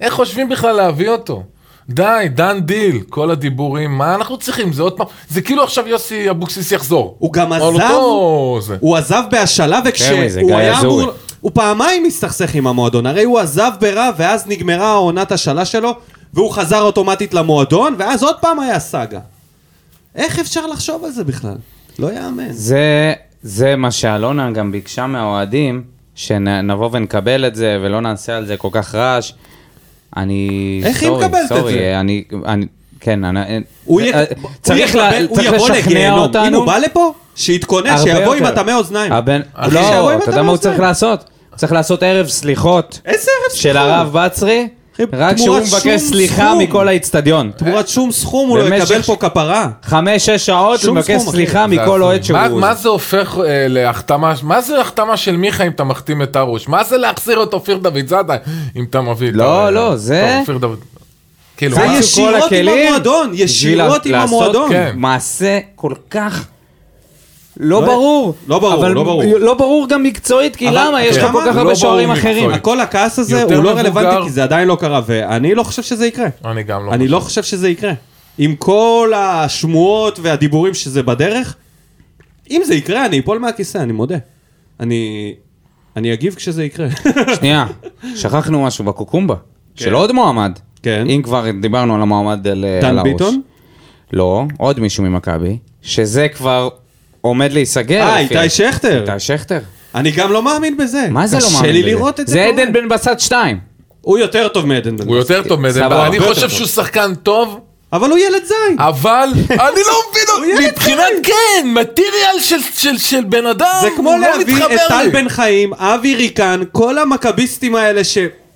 איך חושבים בכלל להביא אותו? די, דן דיל, כל הדיבורים, מה אנחנו צריכים? זה עוד פעם, זה כאילו עכשיו יוסי אבוקסיס יחזור.
הוא גם
על
עזב,
אותו זה.
הוא עזב בהשאלה
כן, זה
וכשהוא
גיא
היה
אזורי.
אמור... הוא פעמיים הסתכסך עם המועדון, הרי הוא עזב ברע ואז נגמרה העונת השאלה שלו והוא חזר אוטומטית למועדון ואז עוד פעם היה סאגה. איך אפשר לחשוב על זה בכלל? לא יאמן.
זה, זה מה שאלונה גם ביקשה מהאוהדים, שנבוא ונקבל את זה ולא נעשה על זה כל כך רעש. אני...
איך היא
סורי,
מקבלת את
סורי,
זה?
אני... אני כן, אני...
הוא יק-
אה,
הוא
צריך לה-
יקבל- הוא
צריך
יבוא
לשכנע
לגיהנום.
אותנו.
אם הוא בא לפה, שיתכונן,
הרבה
שיבוא עם
יותר.
הטמא אוזניים.
הבן...
אחי, שיבוא
לא,
עם
אתה יודע
הטמא
מה הוא
אוזניים.
צריך לעשות? הוא צריך לעשות ערב סליחות
איזה ערב
של
סליחה?
הרב בצרי,
אחי,
רק
תמורת
שהוא
שום
מבקש סליחה
סכום.
מכל האצטדיון.
תמורת שום סכום הוא לא
במשך-
יקבל פה כפרה.
חמש, שש שעות, הוא
שום
מבקש
סכום, אחי.
סליחה מכל אוהד שהוא...
מה, מה זה הופך אה, להחתמה, מה זה החתמה של מיכה אם אתה מחתים את הרוש? מה זה להחזיר את אופיר דוד זאדה אם אתה מביא את
לא,
ה-
לא, זה-
את אופיר דוד. כאילו,
זה
מה?
יש- ישירות
כל
עם
הכלים
המועדון, ישירות
בשביל
עם
לעשות
המועדון.
כן.
מעשה כל כך לא
לא-
ברור.
לא ברור,
אבל
לא ברור.
לא ברור גם מקצועית, כי
אבל-
למה? יש לך
כמה?
כל כך
לא
הרבה
ברור
שוערים
מקצועית.
אחרים.
כל הכעס הזה
יותר
הוא לא
מבוגר.
רלוונטי כי זה עדיין לא קרה, ואני לא חושב שזה יקרה.
אני גם לא
אני לא חושב שזה יקרה. עם כל השמועות והדיבורים שזה בדרך, אם זה יקרה, אני אפול מהכיסא, אני מודה. אני... אני אגיב כשזה יקרה.
שנייה, שכחנו משהו בקוקומבה, של עוד מועמד.
כן.
אם כבר דיברנו על המועמד על על
דן
הראש.
ביטון?
לא, עוד מישהו ממכבי, שזה כבר עומד להיסגר.
אה,
לפי-
איתי שכטר.
איתי שכטר.
אני גם לא מאמין בזה.
מה זה לא מאמין?
קשה לי
בזה?
לראות את זה.
זה
קורה.
עדן בן בסט 2.
הוא יותר טוב מעדן בן.
הוא
בסט.
יותר טוב
סבבה,
מדבר,
הרבה
אני
יותר
חושב
טוב.
שהוא שחקן טוב,
אבל הוא ילד
אה,
זין.
אבל אני לא מבין,
ילד
אותו. מבחינת כן, מטריאל של- של- של בן אדם,
זה כמו
הוא לא
להביא
מתחבר
את טל
לי.
בן חיים, אבי ריקן, כל המכביסטים האלה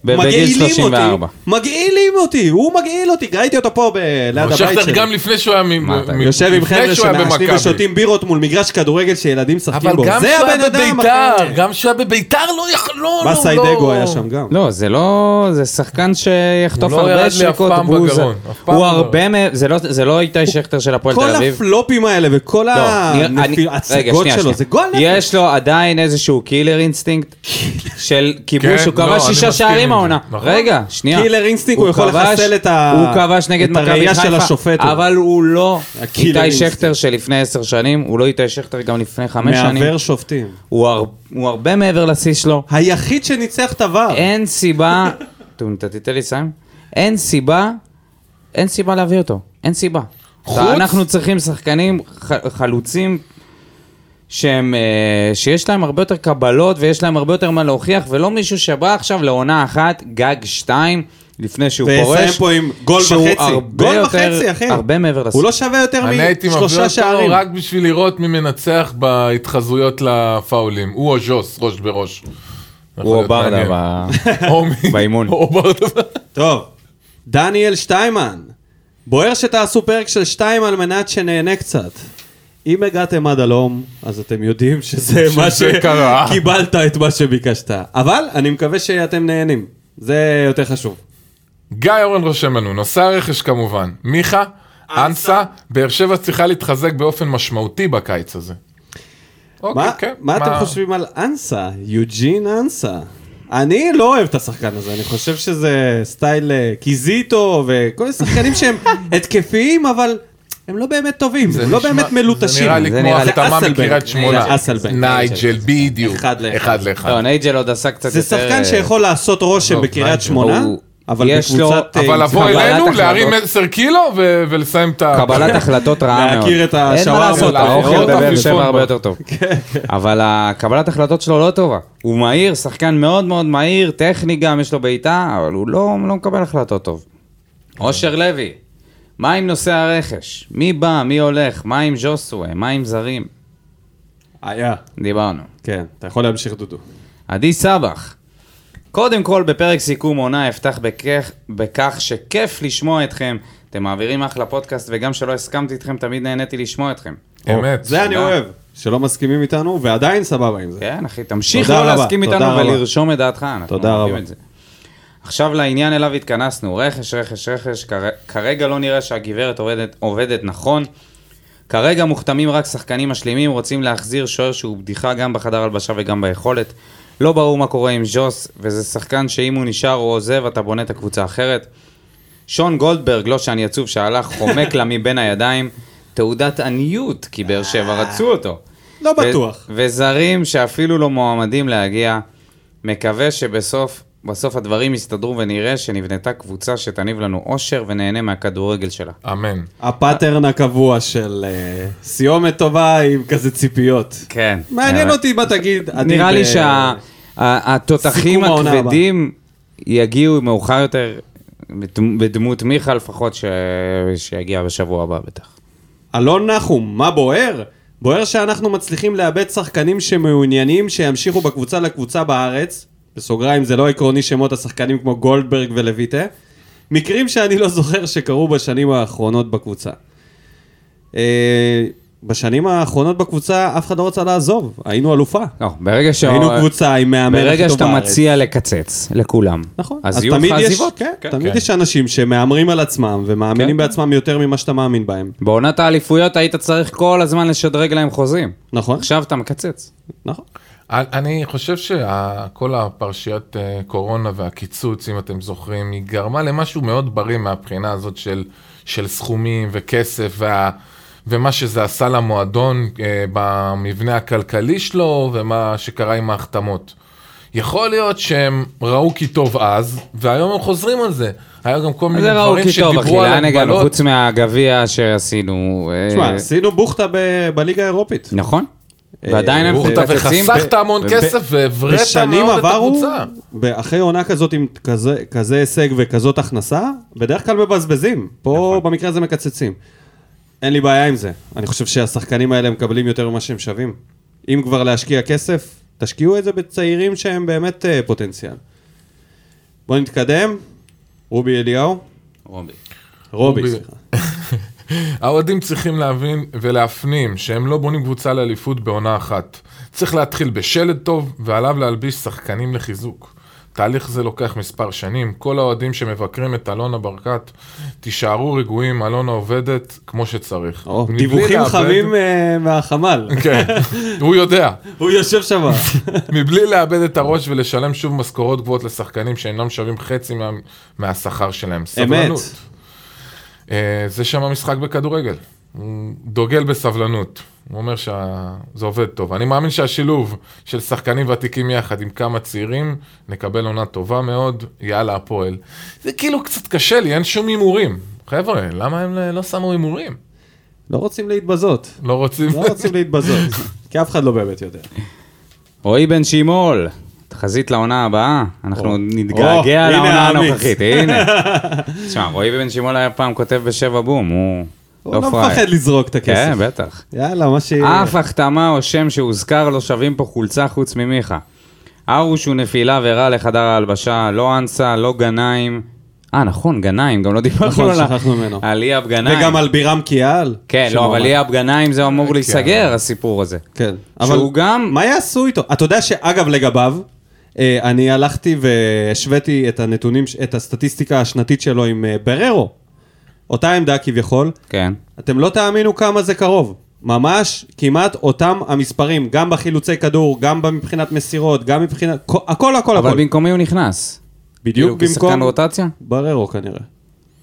בגיל
שמגעילים אותי.
34.
מגעילים אותי, הוא מגעיל אותי. ראיתי אותו פה ב- ליד הבית
שכטר
שלי.
גם לפני שהוא היה מ-
מה אתה-
מ-
יושב עם
לפני
חבר'ה
שהוא היה
שמעשנים
במכבי.
ושותים בירות מול מגרש כדורגל שילדים
אבל
משחקים בו.
גם
זה
כשהוא
הבן
היה
אדם
בביתר, גם כשהוא היה בביתר לא יכול, לא, לא, לא.
מסאי דגו היה שם גם.
לא, זה לא... זה שחקן שיחטוף
הוא לא ירד לי
הרבה
אף
שריקות
פעם
בוז.
בגרון, אף פעם
הוא
לא.
הרבה מ... זה לא- זה לא איתי שכטר של הפועל
כל
תל אביב.
הפלופים האלה וכל
לא, נראה- אני- רגע,
ההצגות
שנייה,
שלו,
שנייה.
זה גול נפש.
יש לו עדיין איזשהו קילר אינסטינקט של כיבוש,
כן,
הוא
לא,
כבש
אני
שישה
מסכים עם
שערים
זה,
העונה.
נכון.
רגע, שנייה.
קילר אינסטינקט, הוא יכול
כבש-
לחסל את ה-
הוא כבש נגד
את
מכבי חיפה.
הראייה של השופט.
אבל הוא לא
הקילר
איתי
אינסטינקט.
שכטר שלפני עשר שנים, הוא לא איתי שכטר גם לפני חמש שנים.
מעוור שופטים.
הוא הר- הוא הרבה מעבר לשיא שלו.
היחיד שניצח את הוואר.
אין סיבה, טוב, אתה תיתן לי לסיים? אין סיבה, אין סיבה להביא אותו. אין סיבה.
חוץ-
אנחנו צריכים שחקנים ח- חלוצים שהם, אה, שיש להם הרבה יותר קבלות ויש להם הרבה יותר מה להוכיח, ולא מישהו שבא עכשיו לעונה אחת, גג שתיים, לפני שהוא
ויסיים
פורש.
פה עם גול
שהוא
וחצי.
הרבה
גול
יותר-
וחצי, אחי.
הרבה מעבר לסוף.
הוא לא שווה יותר
אני הייתי מביא
משלושה
אותו
שערים.
רק בשביל לראות מי מנצח בהתחזויות לפאולים. הוא או ז'וס, ראש בראש. יכול
הוא או
להיות
ברדה
מעניין.
ב...
או מי-
באימון.
או ברדה.
טוב, דניאל שטיימן, בוער שתעשו פרק של שתיים על מנת שנהנה קצת. אם הגעתם עד הלום, אז אתם יודעים שזה מה
שזה קרה.
שקיבלת את מה שביקשת. אבל אני מקווה שאתם נהנים, זה יותר חשוב.
גיא אורן רושם לנו, נושא הרכש כמובן. מיכה, אנסה, באר שבע צריכה להתחזק באופן משמעותי בקיץ הזה. אוקיי,
מה,
כן,
מה אתם חושבים על אנסה? יוג'ין אנסה. אני לא אוהב את השחקן הזה, אני חושב שזה סטייל אה, קיזיטו וכל מיני שחקנים שהם התקפיים, אבל הם לא באמת טובים, הם לא
נשמע-
באמת מלוטשים.
זה נראה לי
זה
כמו
נראה לי
החתמה
אסלבנק.
מקריית
זה
שמונה.
אסלבנק.
נייג'ל, בדיוק.
אחד לאחד.
אחד לאחד.
לא, נייג'ל עוד עשה קצת יותר...
זה שחקן
אה,
שיכול לעשות רושם
עזוב,
בקריית
נייג'ל.
שמונה,
הוא-
אבל
יש לו-
בקבוצת... אה,
אבל לבוא
קבלת
אלינו,
החלטות.
להרים 10 קילו ו- ולסיים את ה...
קבלת החלטות רעה מאוד.
להכיר את
אין מה
השווארמה,
לעשות, האוכל
לאכול
בבאר
עפיפון
שבע
פה.
הרבה כן. יותר טוב. אבל הקבלת החלטות שלו לא טובה. הוא מהיר, שחקן מאוד מאוד מהיר, טכני גם, יש לו בעיטה, אבל הוא לא לא מקבל החלטות טוב. אושר לוי, מה עם נושא הרכש? מי בא? מי הולך? מה עם ז'וסווה? מה עם זרים?
היה,
דיברנו.
אה, כן, אתה יכול להמשיך דודו.
עדי סבח. קודם כל, בפרק סיכום עונה אפתח בכך, בכך שכיף לשמוע אתכם. אתם מעבירים אחלה פודקאסט, וגם שלא הסכמתי איתכם, תמיד נהניתי לשמוע אתכם.
אמת.
זה אני
תודה.
אוהב, שלא מסכימים איתנו, ועדיין סבבה עם זה.
כן, אחי, תמשיך
תודה
לא
רבה,
להסכים
תודה
איתנו
רבה.
ולרשום את דעתך, אנחנו
תודה
אוהבים
רבה.
את זה. עכשיו לעניין אליו התכנסנו, רכש, רכש, רכש, כר- כרגע לא נראה שהגברת עובדת, עובדת נכון. כרגע מוחתמים רק שחקנים משלימים, רוצים להחזיר שוער שהוא בדיחה גם בחדר הלבשה וגם ביכולת. לא ברור מה קורה עם ז'וס, וזה שחקן שאם הוא נשאר או עוזב, אתה בונה את הקבוצה האחרת. שון גולדברג, לא שאני עצוב, שהלך חומק לה מבין הידיים, תעודת עניות, כי באר שבע רצו אותו.
לא
ו-
בטוח.
וזרים שאפילו לא מועמדים להגיע. מקווה שבסוף בסוף הדברים יסתדרו ונראה שנבנתה קבוצה שתניב לנו אושר ונהנה מהכדורגל שלה.
אמן.
הפאטרן הקבוע של אה, סיומת טובה עם כזה ציפיות.
כן.
מעניין אותי מה תגיד. אני
נראה לי
ב-
שהתותחים
סיכום העונה
הכבדים יגיעו מאוחר יותר, בדמ- בדמות מיכה לפחות, ש- שיגיע בשבוע הבא בטח.
אלון נחום, מה בוער? בוער שאנחנו מצליחים לאבד שחקנים שמעוניינים שימשיכו בקבוצה לקבוצה בארץ, בסוגריים זה לא עקרוני שמות השחקנים כמו גולדברג ולויטה, מקרים שאני לא זוכר שקרו בשנים האחרונות בקבוצה. אה, בשנים האחרונות בקבוצה אף אחד לא רצה לעזוב, היינו אלופה.
לא, ברגע ש...
היינו קבוצה עם מאמן הכי טוב בארץ.
ברגע שאתה מציע לקצץ לכולם,
נכון.
אז יהיו לך
תמיד יש-
עזיבות.
כן,
כן.
תמיד יש אנשים שמהמרים על עצמם ומאמינים בעצמם יותר ממה שאתה מאמין בהם.
בעונת האליפויות היית צריך כל הזמן לשדרג להם חוזים.
נכון,
עכשיו אתה מקצץ.
נכון.
אני חושב שכל הפרשיית אה, קורונה והקיצוץ, אם אתם זוכרים, היא גרמה למשהו מאוד בריא מהבחינה הזאת של, של סכומים וכסף וה, ומה שזה עשה למועדון אה, במבנה הכלכלי שלו ומה שקרה עם ההחתמות. יכול להיות שהם ראו כי טוב אז, והיום הם חוזרים על זה. היה גם כל מיני
זה ראו
דברים
כי טוב, אחי,
שדיברו על
לאן הגענו?
הגבלות.
חוץ מהגביע שעשינו. אה,
תשמע, עשינו בוכטה ב- בליגה האירופית.
נכון?
אה,
ועדיין הם
ברוך אתה
מקצצים.
וחסכת המון
ב-
כסף והבראת
בשנים
מאוד את
עברו,
הקבוצה.
אחרי עונה כזאת עם כזה- כזה הישג וכזאת הכנסה, בדרך כלל מבזבזים. פה
נכון.
במקרה הזה מקצצים. אין לי בעיה עם זה. אני חושב שהשחקנים האלה מקבלים יותר ממה שהם שווים. אם כבר להשקיע כסף, תשקיעו את זה בצעירים שהם באמת אה, פוטנציאל. בואו נתקדם. רובי אליהו.
רובי.
רובי,
רובי.
סליחה.
האוהדים צריכים להבין ולהפנים שהם לא בונים קבוצה לאליפות בעונה אחת. צריך להתחיל בשלד טוב, ועליו להלביש שחקנים לחיזוק. תהליך זה לוקח מספר שנים, כל האוהדים שמבקרים את אלונה ברקת, תישארו רגועים, אלונה עובדת כמו שצריך.
או,
מבלי
דיווחים
לאבד-
חמים אה, מהחמ"ל.
כן, הוא יודע.
הוא יושב שם.
מבלי לאבד את הראש ולשלם שוב משכורות גבוהות לשחקנים שאינם שווים חצי מה... מהשכר שלהם.
אמת.
סבלנות. אה, זה שם המשחק בכדורגל. הוא דוגל בסבלנות. הוא אומר שזה שה... עובד טוב. אני מאמין שהשילוב של שחקנים ותיקים יחד עם כמה צעירים, נקבל עונה טובה מאוד, יאללה הפועל. זה כאילו קצת קשה לי, אין שום הימורים. חבר'ה, למה הם לא שמו הימורים?
לא רוצים להתבזות.
לא רוצים...
לא רוצים להתבזות. כי אף אחד לא באמת יודע.
רועי בן שימול, תחזית לעונה הבאה, אנחנו נתגעגע
הנה
לעונה
האמיץ.
הנוכחית, הנה. תשמע, רועי בן שימול היה פעם כותב בשבע בום, הוא
הוא לא
לא
מפחד
פראייר.
לזרוק את
כן,
הכסף.
בטח.
יאללה, מה ש...
אף החתמה או שם שהוזכר לא שווים פה חולצה חוץ ממיכה. ארוש הוא נפילה ורע לחדר ההלבשה, לא אנסה, לא גנאים. אה, נכון, גנאים, גם לא
נכון,
דיברנו על ה-
שכחנו ממנו.
על ליאב גנאים.
וגם על אה, בירם קיאל.
כן, לא,
שמועמד.
אבל ליאב גנאים זה אמור להיסגר, הסיפור הזה.
כן.
שהוא גם-
מה יעשו איתו? אתה יודע שאגב, לגביו, אה, אני הלכתי והשוויתי את הנתונים, ש- את הסטטיסטיקה השנתית שלו עם אה, בררו. אותה עמדה כביכול.
כן.
אתם לא תאמינו כמה זה קרוב. ממש כמעט אותם המספרים, גם בחילוצי כדור, גם מבחינת מסירות, גם מבחינת... כל- הכל הכל
אבל
הכל.
במקומי הוא נכנס.
בדיוק
כאילו, כשחקן
במקום...
רוטציה?
בררו כנראה.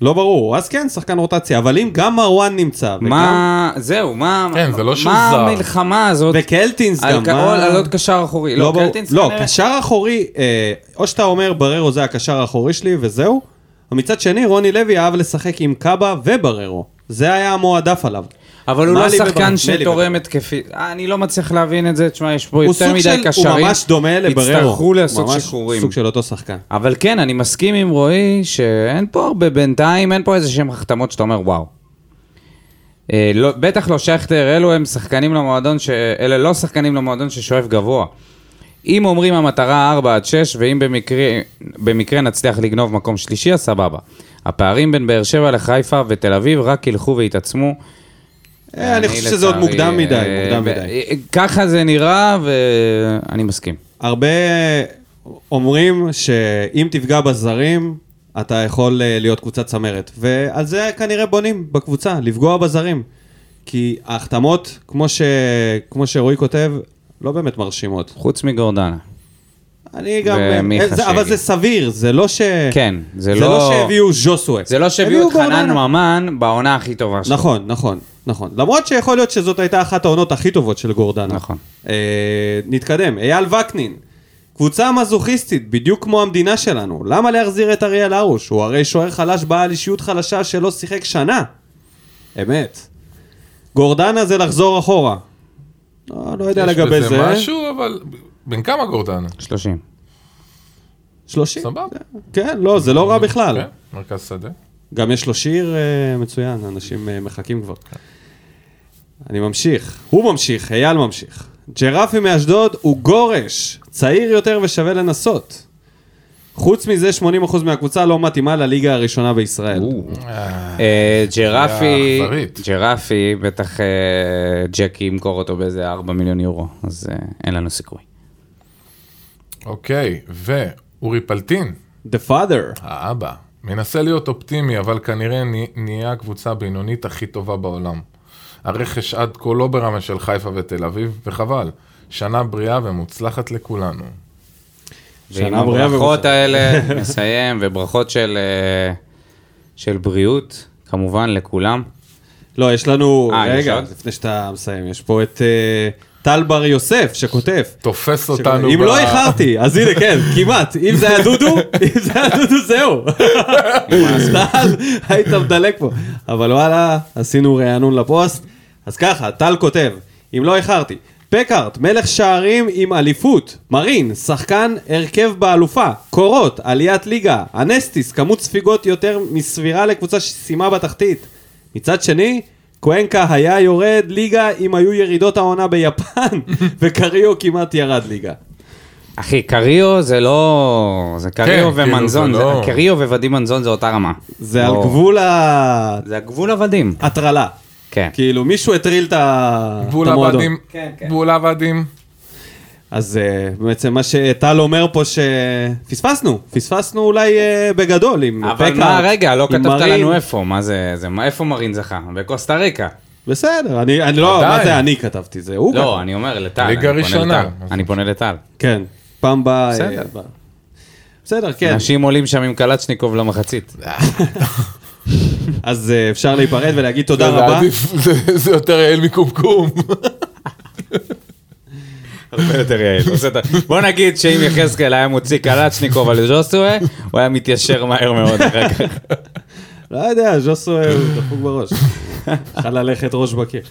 לא ברור, אז כן, שחקן רוטציה, אבל אם גם מרואן נמצא, וגם...
מה, זהו, מה...
כן, זה לא שהוא
מה
זר.
המלחמה הזאת?
וקלטינס
על
גם,
ק-
מה-
או על עוד קשר אחורי.
לא,
לא,
ברור.
קלטינס
לא,
כנראה-
קשר אחורי, אה, או שאתה אומר בררו זה הקשר האחורי שלי וזהו, ומצד שני רוני לוי אהב לשחק עם קאבה ובררו. זה היה המועדף עליו.
אבל הוא
מה
לא
לי בברק?
שחקן
מלי בברק.
שתורם התקפי. אה, אני לא מצליח להבין את זה, תשמע, יש פה
הוא
יותר
סוג
מדי
של,
קשרים.
הוא ממש דומה לבררו.
יצטרכו לעשות
ממש
שחרורים.
סוג של אותו שחקן.
אבל כן, אני מסכים עם רועי שאין פה הרבה, בינתיים אין פה איזה שהם החתמות שאתה אומר וואו. אה, לא, בטח לא שכטר, אלו הם שחקנים למועדון, ש... אלה לא שחקנים למועדון ששואף גבוה. אם אומרים המטרה 4 עד 6, ואם במקרה, במקרה נצליח לגנוב מקום שלישי, אז סבבה. הפערים בין באר שבע לחיפה ותל אביב רק ילכו ויתעצמו.
אה, אני חושב שזה עוד
לצערי,
מוקדם מדי,
אה,
מוקדם
ב-
מדי.
אה, ככה זה נראה, ואני מסכים.
הרבה אומרים שאם תפגע בזרים, אתה יכול אה, להיות קבוצת צמרת. ועל זה כנראה בונים בקבוצה, לפגוע בזרים. כי ההחתמות, כמו, ש... כמו שרועי כותב, לא באמת מרשימות.
חוץ מגורדנה.
אני גם...
ומיכה
אה, זה,
שהגיע.
אבל זה סביר, זה לא ש...
כן, זה
זה לא
לא-
שהביאו ז'וסווה.
זה לא שהביאו את
גורדנה.
חנן ממן בעונה הכי טובה שלו.
נכון, נכון, נכון. למרות שיכול להיות שזאת הייתה אחת העונות הכי טובות של גורדנה.
נכון.
אה, נתקדם. אייל וקנין, קבוצה מזוכיסטית, בדיוק כמו המדינה שלנו. למה להחזיר את אריאל הרוש? הוא הרי שוער חלש בעל אישיות חלשה שלא שיחק שנה. אמת. גורדנה זה לחזור אחורה. לא, לא יודע לגבי
יש
זה.
בזה משהו, אבל... בן כמה גורדנה?
30.
30?
סבבה.
כן, לא, זה לא רע בכלל.
כן, מרכז שדה.
גם יש לו שיר אה, מצוין, אנשים אה, מחכים כבר. אני ממשיך, הוא ממשיך, אייל ממשיך. ג'רפי מאשדוד הוא גורש, צעיר יותר ושווה לנסות. חוץ מזה, 80% מהקבוצה לא מתאימה לליגה הראשונה בישראל.
אה, ג'רפי,
שנייה אכזרית.
ג'רפי, בטח אה, ג'קי ימכור אותו באיזה 4 מיליון יורו, אז אה, אין לנו סיכוי.
אוקיי, ואורי פלטין,
The father.
האבא, מנסה להיות אופטימי, אבל כנראה נה- נהיה הקבוצה הבינונית הכי טובה בעולם. הרכש עד כה לא ברמה של חיפה ותל אביב, וחבל. שנה בריאה ומוצלחת לכולנו.
ועם
שנה בריאה
הברכות
ומוצלחת.
האלה נסיים, וברכות של, אה, של בריאות, כמובן, לכולם.
לא, יש לנו...
אה, יש
רגע,
עוד?
לפני שאתה מסיים, יש פה את אה, טל בר יוסף שכותב.
תופס אותנו
אם
ב-
לא איחרתי, אז הנה, כן, כמעט. אם זה היה דודו, אם זה היה דודו, זהו. טל, היית מדלק פה. אבל וואלה, עשינו רענון לפוסט. אז ככה, טל כותב, אם לא איחרתי, פקארט, מלך שערים עם אליפות, מרין, שחקן הרכב באלופה, קורות, עליית ליגה, אנסטיס, כמות ספיגות יותר מסבירה לקבוצה שסיימה בתחתית. מצד שני, קוונקה היה יורד ליגה אם היו ירידות העונה ביפן, וקריו כמעט ירד ליגה.
אחי, קריו זה לא... זה קריו
כן,
כאילו,
ומנזון,
זה
זה-
לא-
קריו וואדים מנזון זה אותה רמה.
זה על
לא-
גבול ההטרלה.
זה הגבול הוודים. כן.
כאילו, מישהו הטריל את ה- את
גבול
המועדון.
עבדים,
כן, כן.
גבול עבדים.
אז אה, בעצם מה שטל אומר פה שפספסנו, פספסנו אולי אה, בגדול עם
אבל
פקארט,
מה, רגע, לא
עם
כתבת
מרין.
לנו איפה, מה זה, זה- מה- איפה מרין זכה? בקוסטה ריקה.
אוקיי. בסדר, אני אני לא,
עדיין.
מה זה אני כתבתי, זה הוא
לא,
כתב.
אני אומר לטל.
ליגה
אני פונה
ראשונה.
לטל. אני פונה לטל.
כן, פעם באה...
בסדר.
אה, ב- בסדר, כן.
אנשים עולים שם עם קלצ'ניקוב למחצית.
אז אה, אפשר להיפרד ולהגיד תודה
לא, זה
רבה.
עדיף, זה- זה יותר יעל מקומקום.
הרבה יותר יעיל. בוא נגיד שאם יחזקאל היה מוציא קלצ'ניקוב על ז'וסווה, הוא היה מתיישר מהר מאוד אחר כך.
לא יודע, ז'וסו אה, הוא דפוק בראש. יכול ללכת ראש בקיר.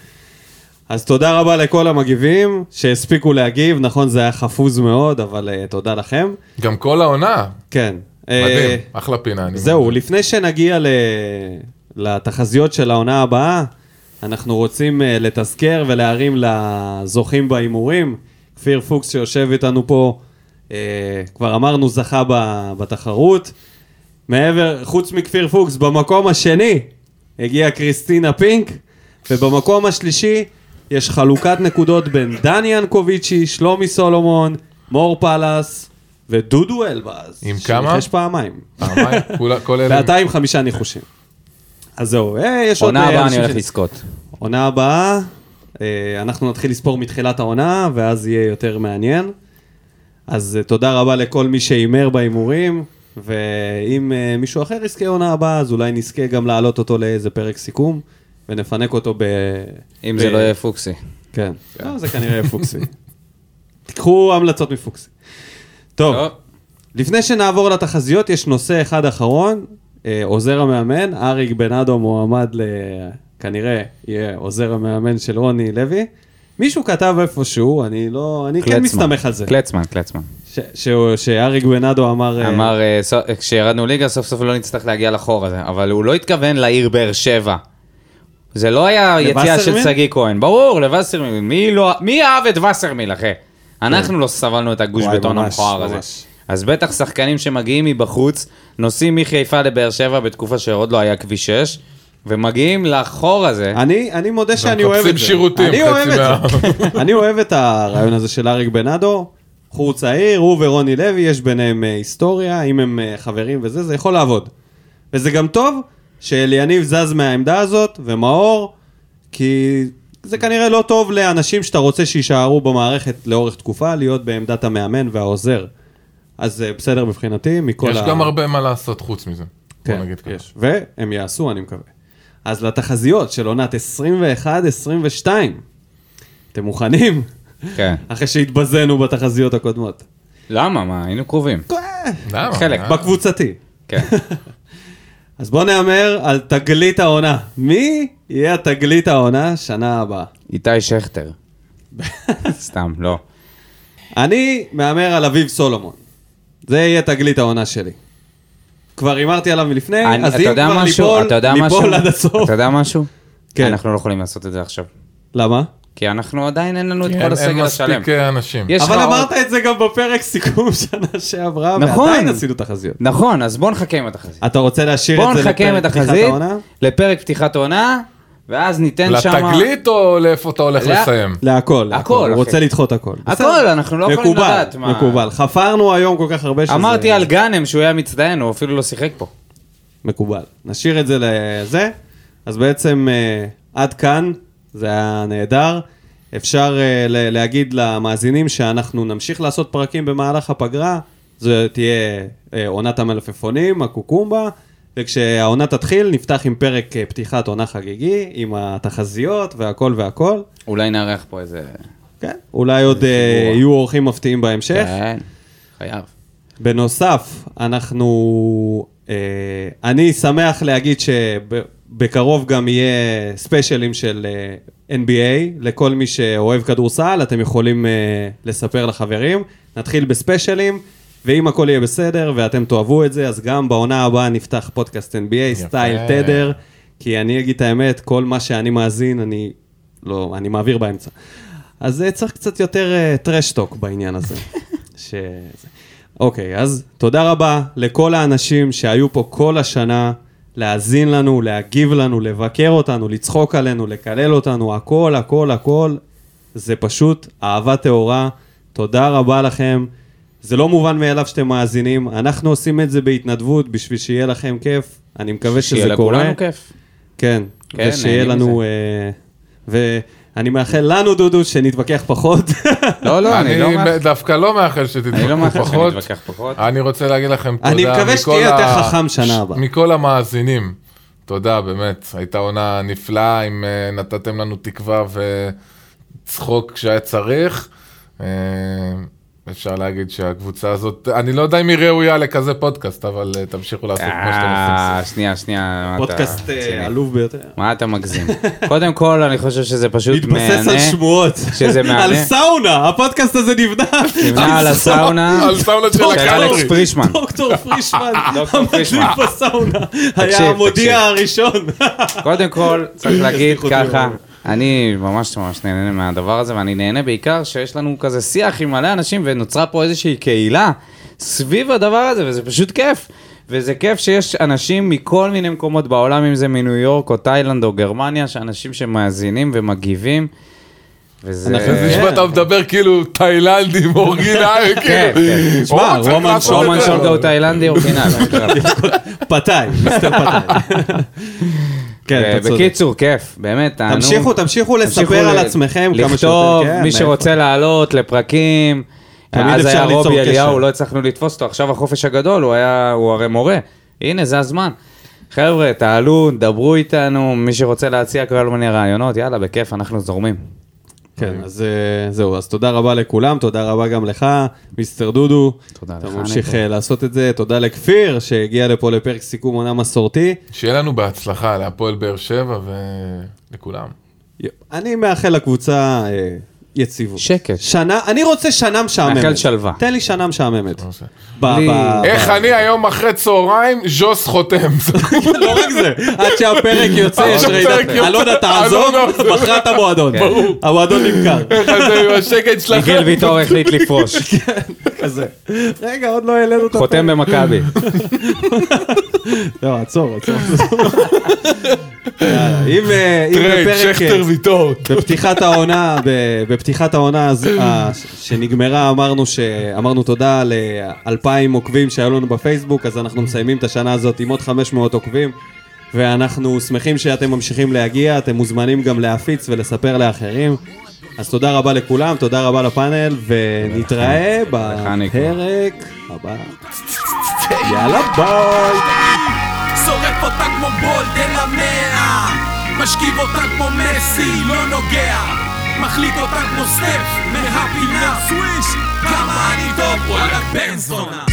אז תודה רבה לכל המגיבים שהספיקו להגיב, נכון זה היה חפוז מאוד, אבל אה, תודה לכם.
גם כל העונה.
כן. אה,
מדהים, אחלה פינה. אני לא
זהו,
אומר.
לפני שנגיע ל... לתחזיות של העונה הבאה, אנחנו רוצים אה, לתזכר ולהרים לזוכים בהימורים. כפיר פוקס שיושב איתנו פה, אה, כבר אמרנו זכה ב... בתחרות. מעבר, חוץ מכפיר פוקס, במקום השני הגיעה קריסטינה פינק, ובמקום השלישי יש חלוקת נקודות בין דני ינקוביצ'י, שלומי סולומון, מור פלס ודודו אלבז.
עם כמה? אה,
שניחש פעמיים.
פעמיים, כולה- כל אלה.
ואתה עם חמישה ניחושים. אז זהו, אה, יש עוד...
עונה
אה,
הבאה אני
אנשים
הולך
ש-
לזכות.
עונה הבאה, אה, אנחנו נתחיל לספור מתחילת העונה, ואז יהיה יותר מעניין. אז אה, תודה רבה לכל מי שהימר בהימורים, ואם אה, מישהו אחר יזכה עונה הבאה, אז אולי נזכה גם להעלות אותו לאיזה פרק סיכום, ונפנק אותו ב...
אם
ב-
זה לא יהיה פוקסי.
כן. לא, זה כנראה יהיה פוקסי. תיקחו המלצות מפוקסי. טוב,
טוב.
לפני שנעבור לתחזיות, יש נושא אחד אחרון. אה, עוזר המאמן, אריק בנאדו מועמד ל... כנראה יהיה עוזר המאמן של רוני לוי. מישהו כתב איפשהו, אני לא... אני כן
קלצמן.
מסתמך על זה.
קלצמן, קלצמן.
ש- שהוא- שאריק בנאדו אמר... אה,
אמר, אה, ס- כשירדנו ליגה סוף סוף לא נצטרך להגיע לחור הזה, אבל הוא לא התכוון לעיר באר שבע. זה לא היה יציאה של
לווסרמיל?
שגיא כהן, ברור, לווסרמיל, מי לא, מי אהב את וסרמיל, אחי? אנחנו לא סבלנו את הגוש
וואי,
בטון
ממש,
המכוער הזה.
ממש.
אז בטח שחקנים שמגיעים מבחוץ, נוסעים מחיפה לבאר שבע בתקופה שעוד לא היה כביש 6, ומגיעים לחור הזה.
אני, אני מודה שאני אוהב את זה.
מחפשים שירותים,
אני
חצי
אוהב את
מה-
זה. אני אוהב את הרעיון הזה של אריק בנאדו. בחור צעיר, הוא ורוני לוי, יש ביניהם אה, היסטוריה, אם הם אה, חברים וזה, זה יכול לעבוד. וזה גם טוב שאליניב זז מהעמדה הזאת, ומאור, כי זה כנראה לא טוב לאנשים שאתה רוצה שיישארו במערכת לאורך תקופה, להיות בעמדת המאמן והעוזר. אז אה, בסדר מבחינתי, מכל
יש גם הרבה מה לעשות חוץ מזה. בוא
כן,
נגיד ככה.
יש. והם יעשו, אני מקווה. אז לתחזיות של עונת 21-22, אתם מוכנים?
כן.
אחרי שהתבזינו בתחזיות הקודמות.
למה? מה, היינו קרובים.
למה?
חלק,
אה?
בקבוצתי.
כן.
אז בואו נהמר על תגלית העונה. מי יהיה התגלית העונה שנה הבאה?
איתי שכטר. סתם, לא.
אני מהמר על אביב סולומון. זה יהיה תגלית העונה שלי. כבר הימרתי עליו מלפני,
אני-
אז
אתה
אם
יודע
כבר
משהו? אתה
ליפול,
יודע משהו?
ליפול עד הסוף.
אתה יודע משהו?
כן.
אנחנו לא יכולים לעשות את זה עכשיו.
למה?
כי אנחנו עדיין אין לנו את
כן, אין-
כל
אין
הסגל השלם.
מספיק אה, אנשים.
יש
אבל
לך עוד-
אמרת את זה גם בפרק סיכום שנה שעברה,
נכון.
ועדיין עשינו תחזיות.
נכון, אז בוא נחכה עם התחזית.
אתה רוצה להשאיר
בוא
את זה
נחכה עם התחזית לפרק פתיחת העונה, ואז ניתן שם...
לתגלית או לאיפה אתה הולך
לא.
לסיים?
להכל,
הכל,
הכל, הוא
אחי.
רוצה לדחות הכל.
הכל, אנחנו לא יכולים
מקובל,
לדעת מה...
מקובל, חפרנו היום כל כך הרבה שזה...
אמרתי על גאנם שהוא היה מצטיין, הוא אפילו לא שיחק פה.
מקובל. נשאיר את זה לזה. אז בעצם אה, עד כאן, זה היה נהדר. אפשר אה, ל- להגיד למאזינים שאנחנו נמשיך לעשות פרקים במהלך הפגרה. זו תהיה אה, עונת המלפפונים, הקוקומבה, וכשהעונה תתחיל נפתח עם פרק אה, פתיחת עונה חגיגי, עם התחזיות והכל והכל.
אולי נארח פה איזה...
כן. אולי עוד אה, יהיו אורחים מפתיעים בהמשך.
כן, חייב.
בנוסף, אנחנו... אה, אני שמח להגיד שבקרוב גם יהיה ספיישלים של אה, NBA, לכל מי שאוהב כדורסל, אתם יכולים אה, לספר לחברים. נתחיל בספיישלים, ואם הכל יהיה בסדר ואתם תאהבו את זה, אז גם בעונה הבאה נפתח פודקאסט NBA, סטייל תדר, כי אני אגיד את האמת, כל מה שאני מאזין, אני... לא, אני מעביר באמצע. אז אה, צריך קצת יותר טרשטוק בעניין הזה. ש... זה. אוקיי, אז תודה רבה לכל האנשים שהיו פה כל השנה, להאזין לנו, להגיב לנו, לבקר אותנו, לצחוק עלינו, לקלל אותנו, הכל, הכל, הכל. זה פשוט אהבה טהורה. תודה רבה לכם. זה לא מובן מאליו שאתם מאזינים, אנחנו עושים את זה בהתנדבות בשביל שיהיה לכם כיף. אני מקווה שזה
שיהיה
קורה.
לכולנו כיף.
כן,
כן,
ושיהיה
נהנים
לנו... אה, ואני מאחל לנו, דודו, שנתווכח פחות.
לא, לא, אני לא...
אני
מאחל-
דווקא לא מאחל
אני לא מאחל
שתתווכחו פחות.
שנתווכח פחות.
אני רוצה להגיד לכם תודה.
אני מקווה
מכל
שתהיה יותר
ה-
חכם שנה
ש-
הבאה.
מכל המאזינים. תודה, באמת. הייתה עונה נפלאה, אם אה, נתתם לנו תקווה וצחוק כשהיה צריך. אה, אפשר להגיד שהקבוצה הזאת, אני לא יודע אם היא ראויה לכזה פודקאסט, אבל אה, תמשיכו לעשות כמו שאתם
אה,
עושים.
שנייה, שנייה. מה אתה-
פודקאסט אה,
רציני.
עלוב ביותר.
מה אתה מגזים? קודם כל, אני חושב שזה פשוט
מתבסס
מהנה.
על שמועות.
שזה מהנה.
על סאונה, הפודקאסט הזה נבנה.
נבנה על הסאונה.
על סאונה של
של אלכס
הקלורי.
פרישמן.
דוקטור פרישמן,
דוקטור פרישמן.
המדליף בסאונה, היה
תקשיב.
המודיע הראשון.
קודם כל, צריך להגיד
סליחות,
ככה,
יוראי.
אני ממש ממש נהנה מהדבר הזה, ואני נהנה בעיקר שיש לנו כזה שיח עם מלא אנשים, ונוצרה פה איזושהי קהילה סביב הדבר הזה, וזה פשוט כיף. וזה כיף שיש אנשים מכל מיני מקומות בעולם, אם זה מניו יורק או תאילנד או גרמניה, שאנשים שמאזינים ומגיבים. וזה...
זה נשמע, אתה מדבר כאילו תאילנדים, אורגינל,
כן,
כאילו.
כן.
שמע,
או, צריך
רומן
לעשות את
רומן
זה.
שולגה הוא תאילנדי אורגינל. אני חושב.
פתאי, מיסטר פתאי. כן, אתה צודק.
בקיצור, כיף, באמת, תענוג.
תמשיכו, תמשיכו לספר
ל-
על עצמכם כמה שיותר.
לכתוב,
כן,
מי
מאיפה.
שרוצה לעלות לפרקים.
תמיד
אז
אפשר
היה
ליצור
רובי
קשר.
אליהו, לא הצלחנו לתפוס אותו, עכשיו החופש הגדול, הוא היה, הוא הרי מורה. הנה, זה הזמן. חבר'ה, תעלו, דברו איתנו, מי שרוצה להציע כל מיני רעיונות, יאללה, בכיף, אנחנו זורמים. אוקיי.
כן, אז אה, זהו, אז תודה רבה לכולם, תודה רבה גם לך, מיסטר דודו.
תודה לך,
אתה ממשיך
נטו.
אה, לעשות את זה, תודה לכפיר שהגיע לפה לפרק סיכום עונה מסורתי.
שיהיה לנו בהצלחה להפועל באר שבע ולכולם.
אני מאחל לקבוצה אה, יציבות.
שקט.
שנה, אני רוצה שנה משעממת.
מאחל שלווה. לא
תן לי שנה משעממת.
עושה.
ב-
לי-
ב-
איך
ב-
אני היום אחרי צהריים, ז'וס חותם.
לא רק זה, עד שהפרק יוצא
עד
יש
אה, שהפרק
רעידת.
יוצא. אה, לא,
אלונה תעזוב,
אלונה-
מכרה את המועדון.
כן.
המועדון נמכר.
איך זה עם השקט שלכם?
מיגל ויטור החליט לפרוש,
כזה. רגע, עוד לא העלינו את הפרק.
חותם במכבי.
לא, עצור, עצור. יאללה, אם אה, אם
טרייד,
בפרק...
שכטר ויטור.
בפתיחת העונה, ב- בפתיחת העונה הז- ה- ש- שנגמרה אמרנו ש- אמרנו תודה ל-2,000 עוקבים שהיו לנו בפייסבוק, אז אנחנו מסיימים את השנה הזאת עם עוד 500 עוקבים, ואנחנו שמחים שאתם ממשיכים להגיע, אתם מוזמנים גם להפיץ ולספר לאחרים. אז תודה רבה לכולם, תודה רבה לפאנל, ונתראה
ניקו.
בפרק הבא. יאללה ביי!
שורף אותה כמו בולדן המאה משכיב אותה כמו מסי, לא נוגע מחליט אותה כמו סטף מהפינה סוויש כמה אני טוב, וואלה בן זונה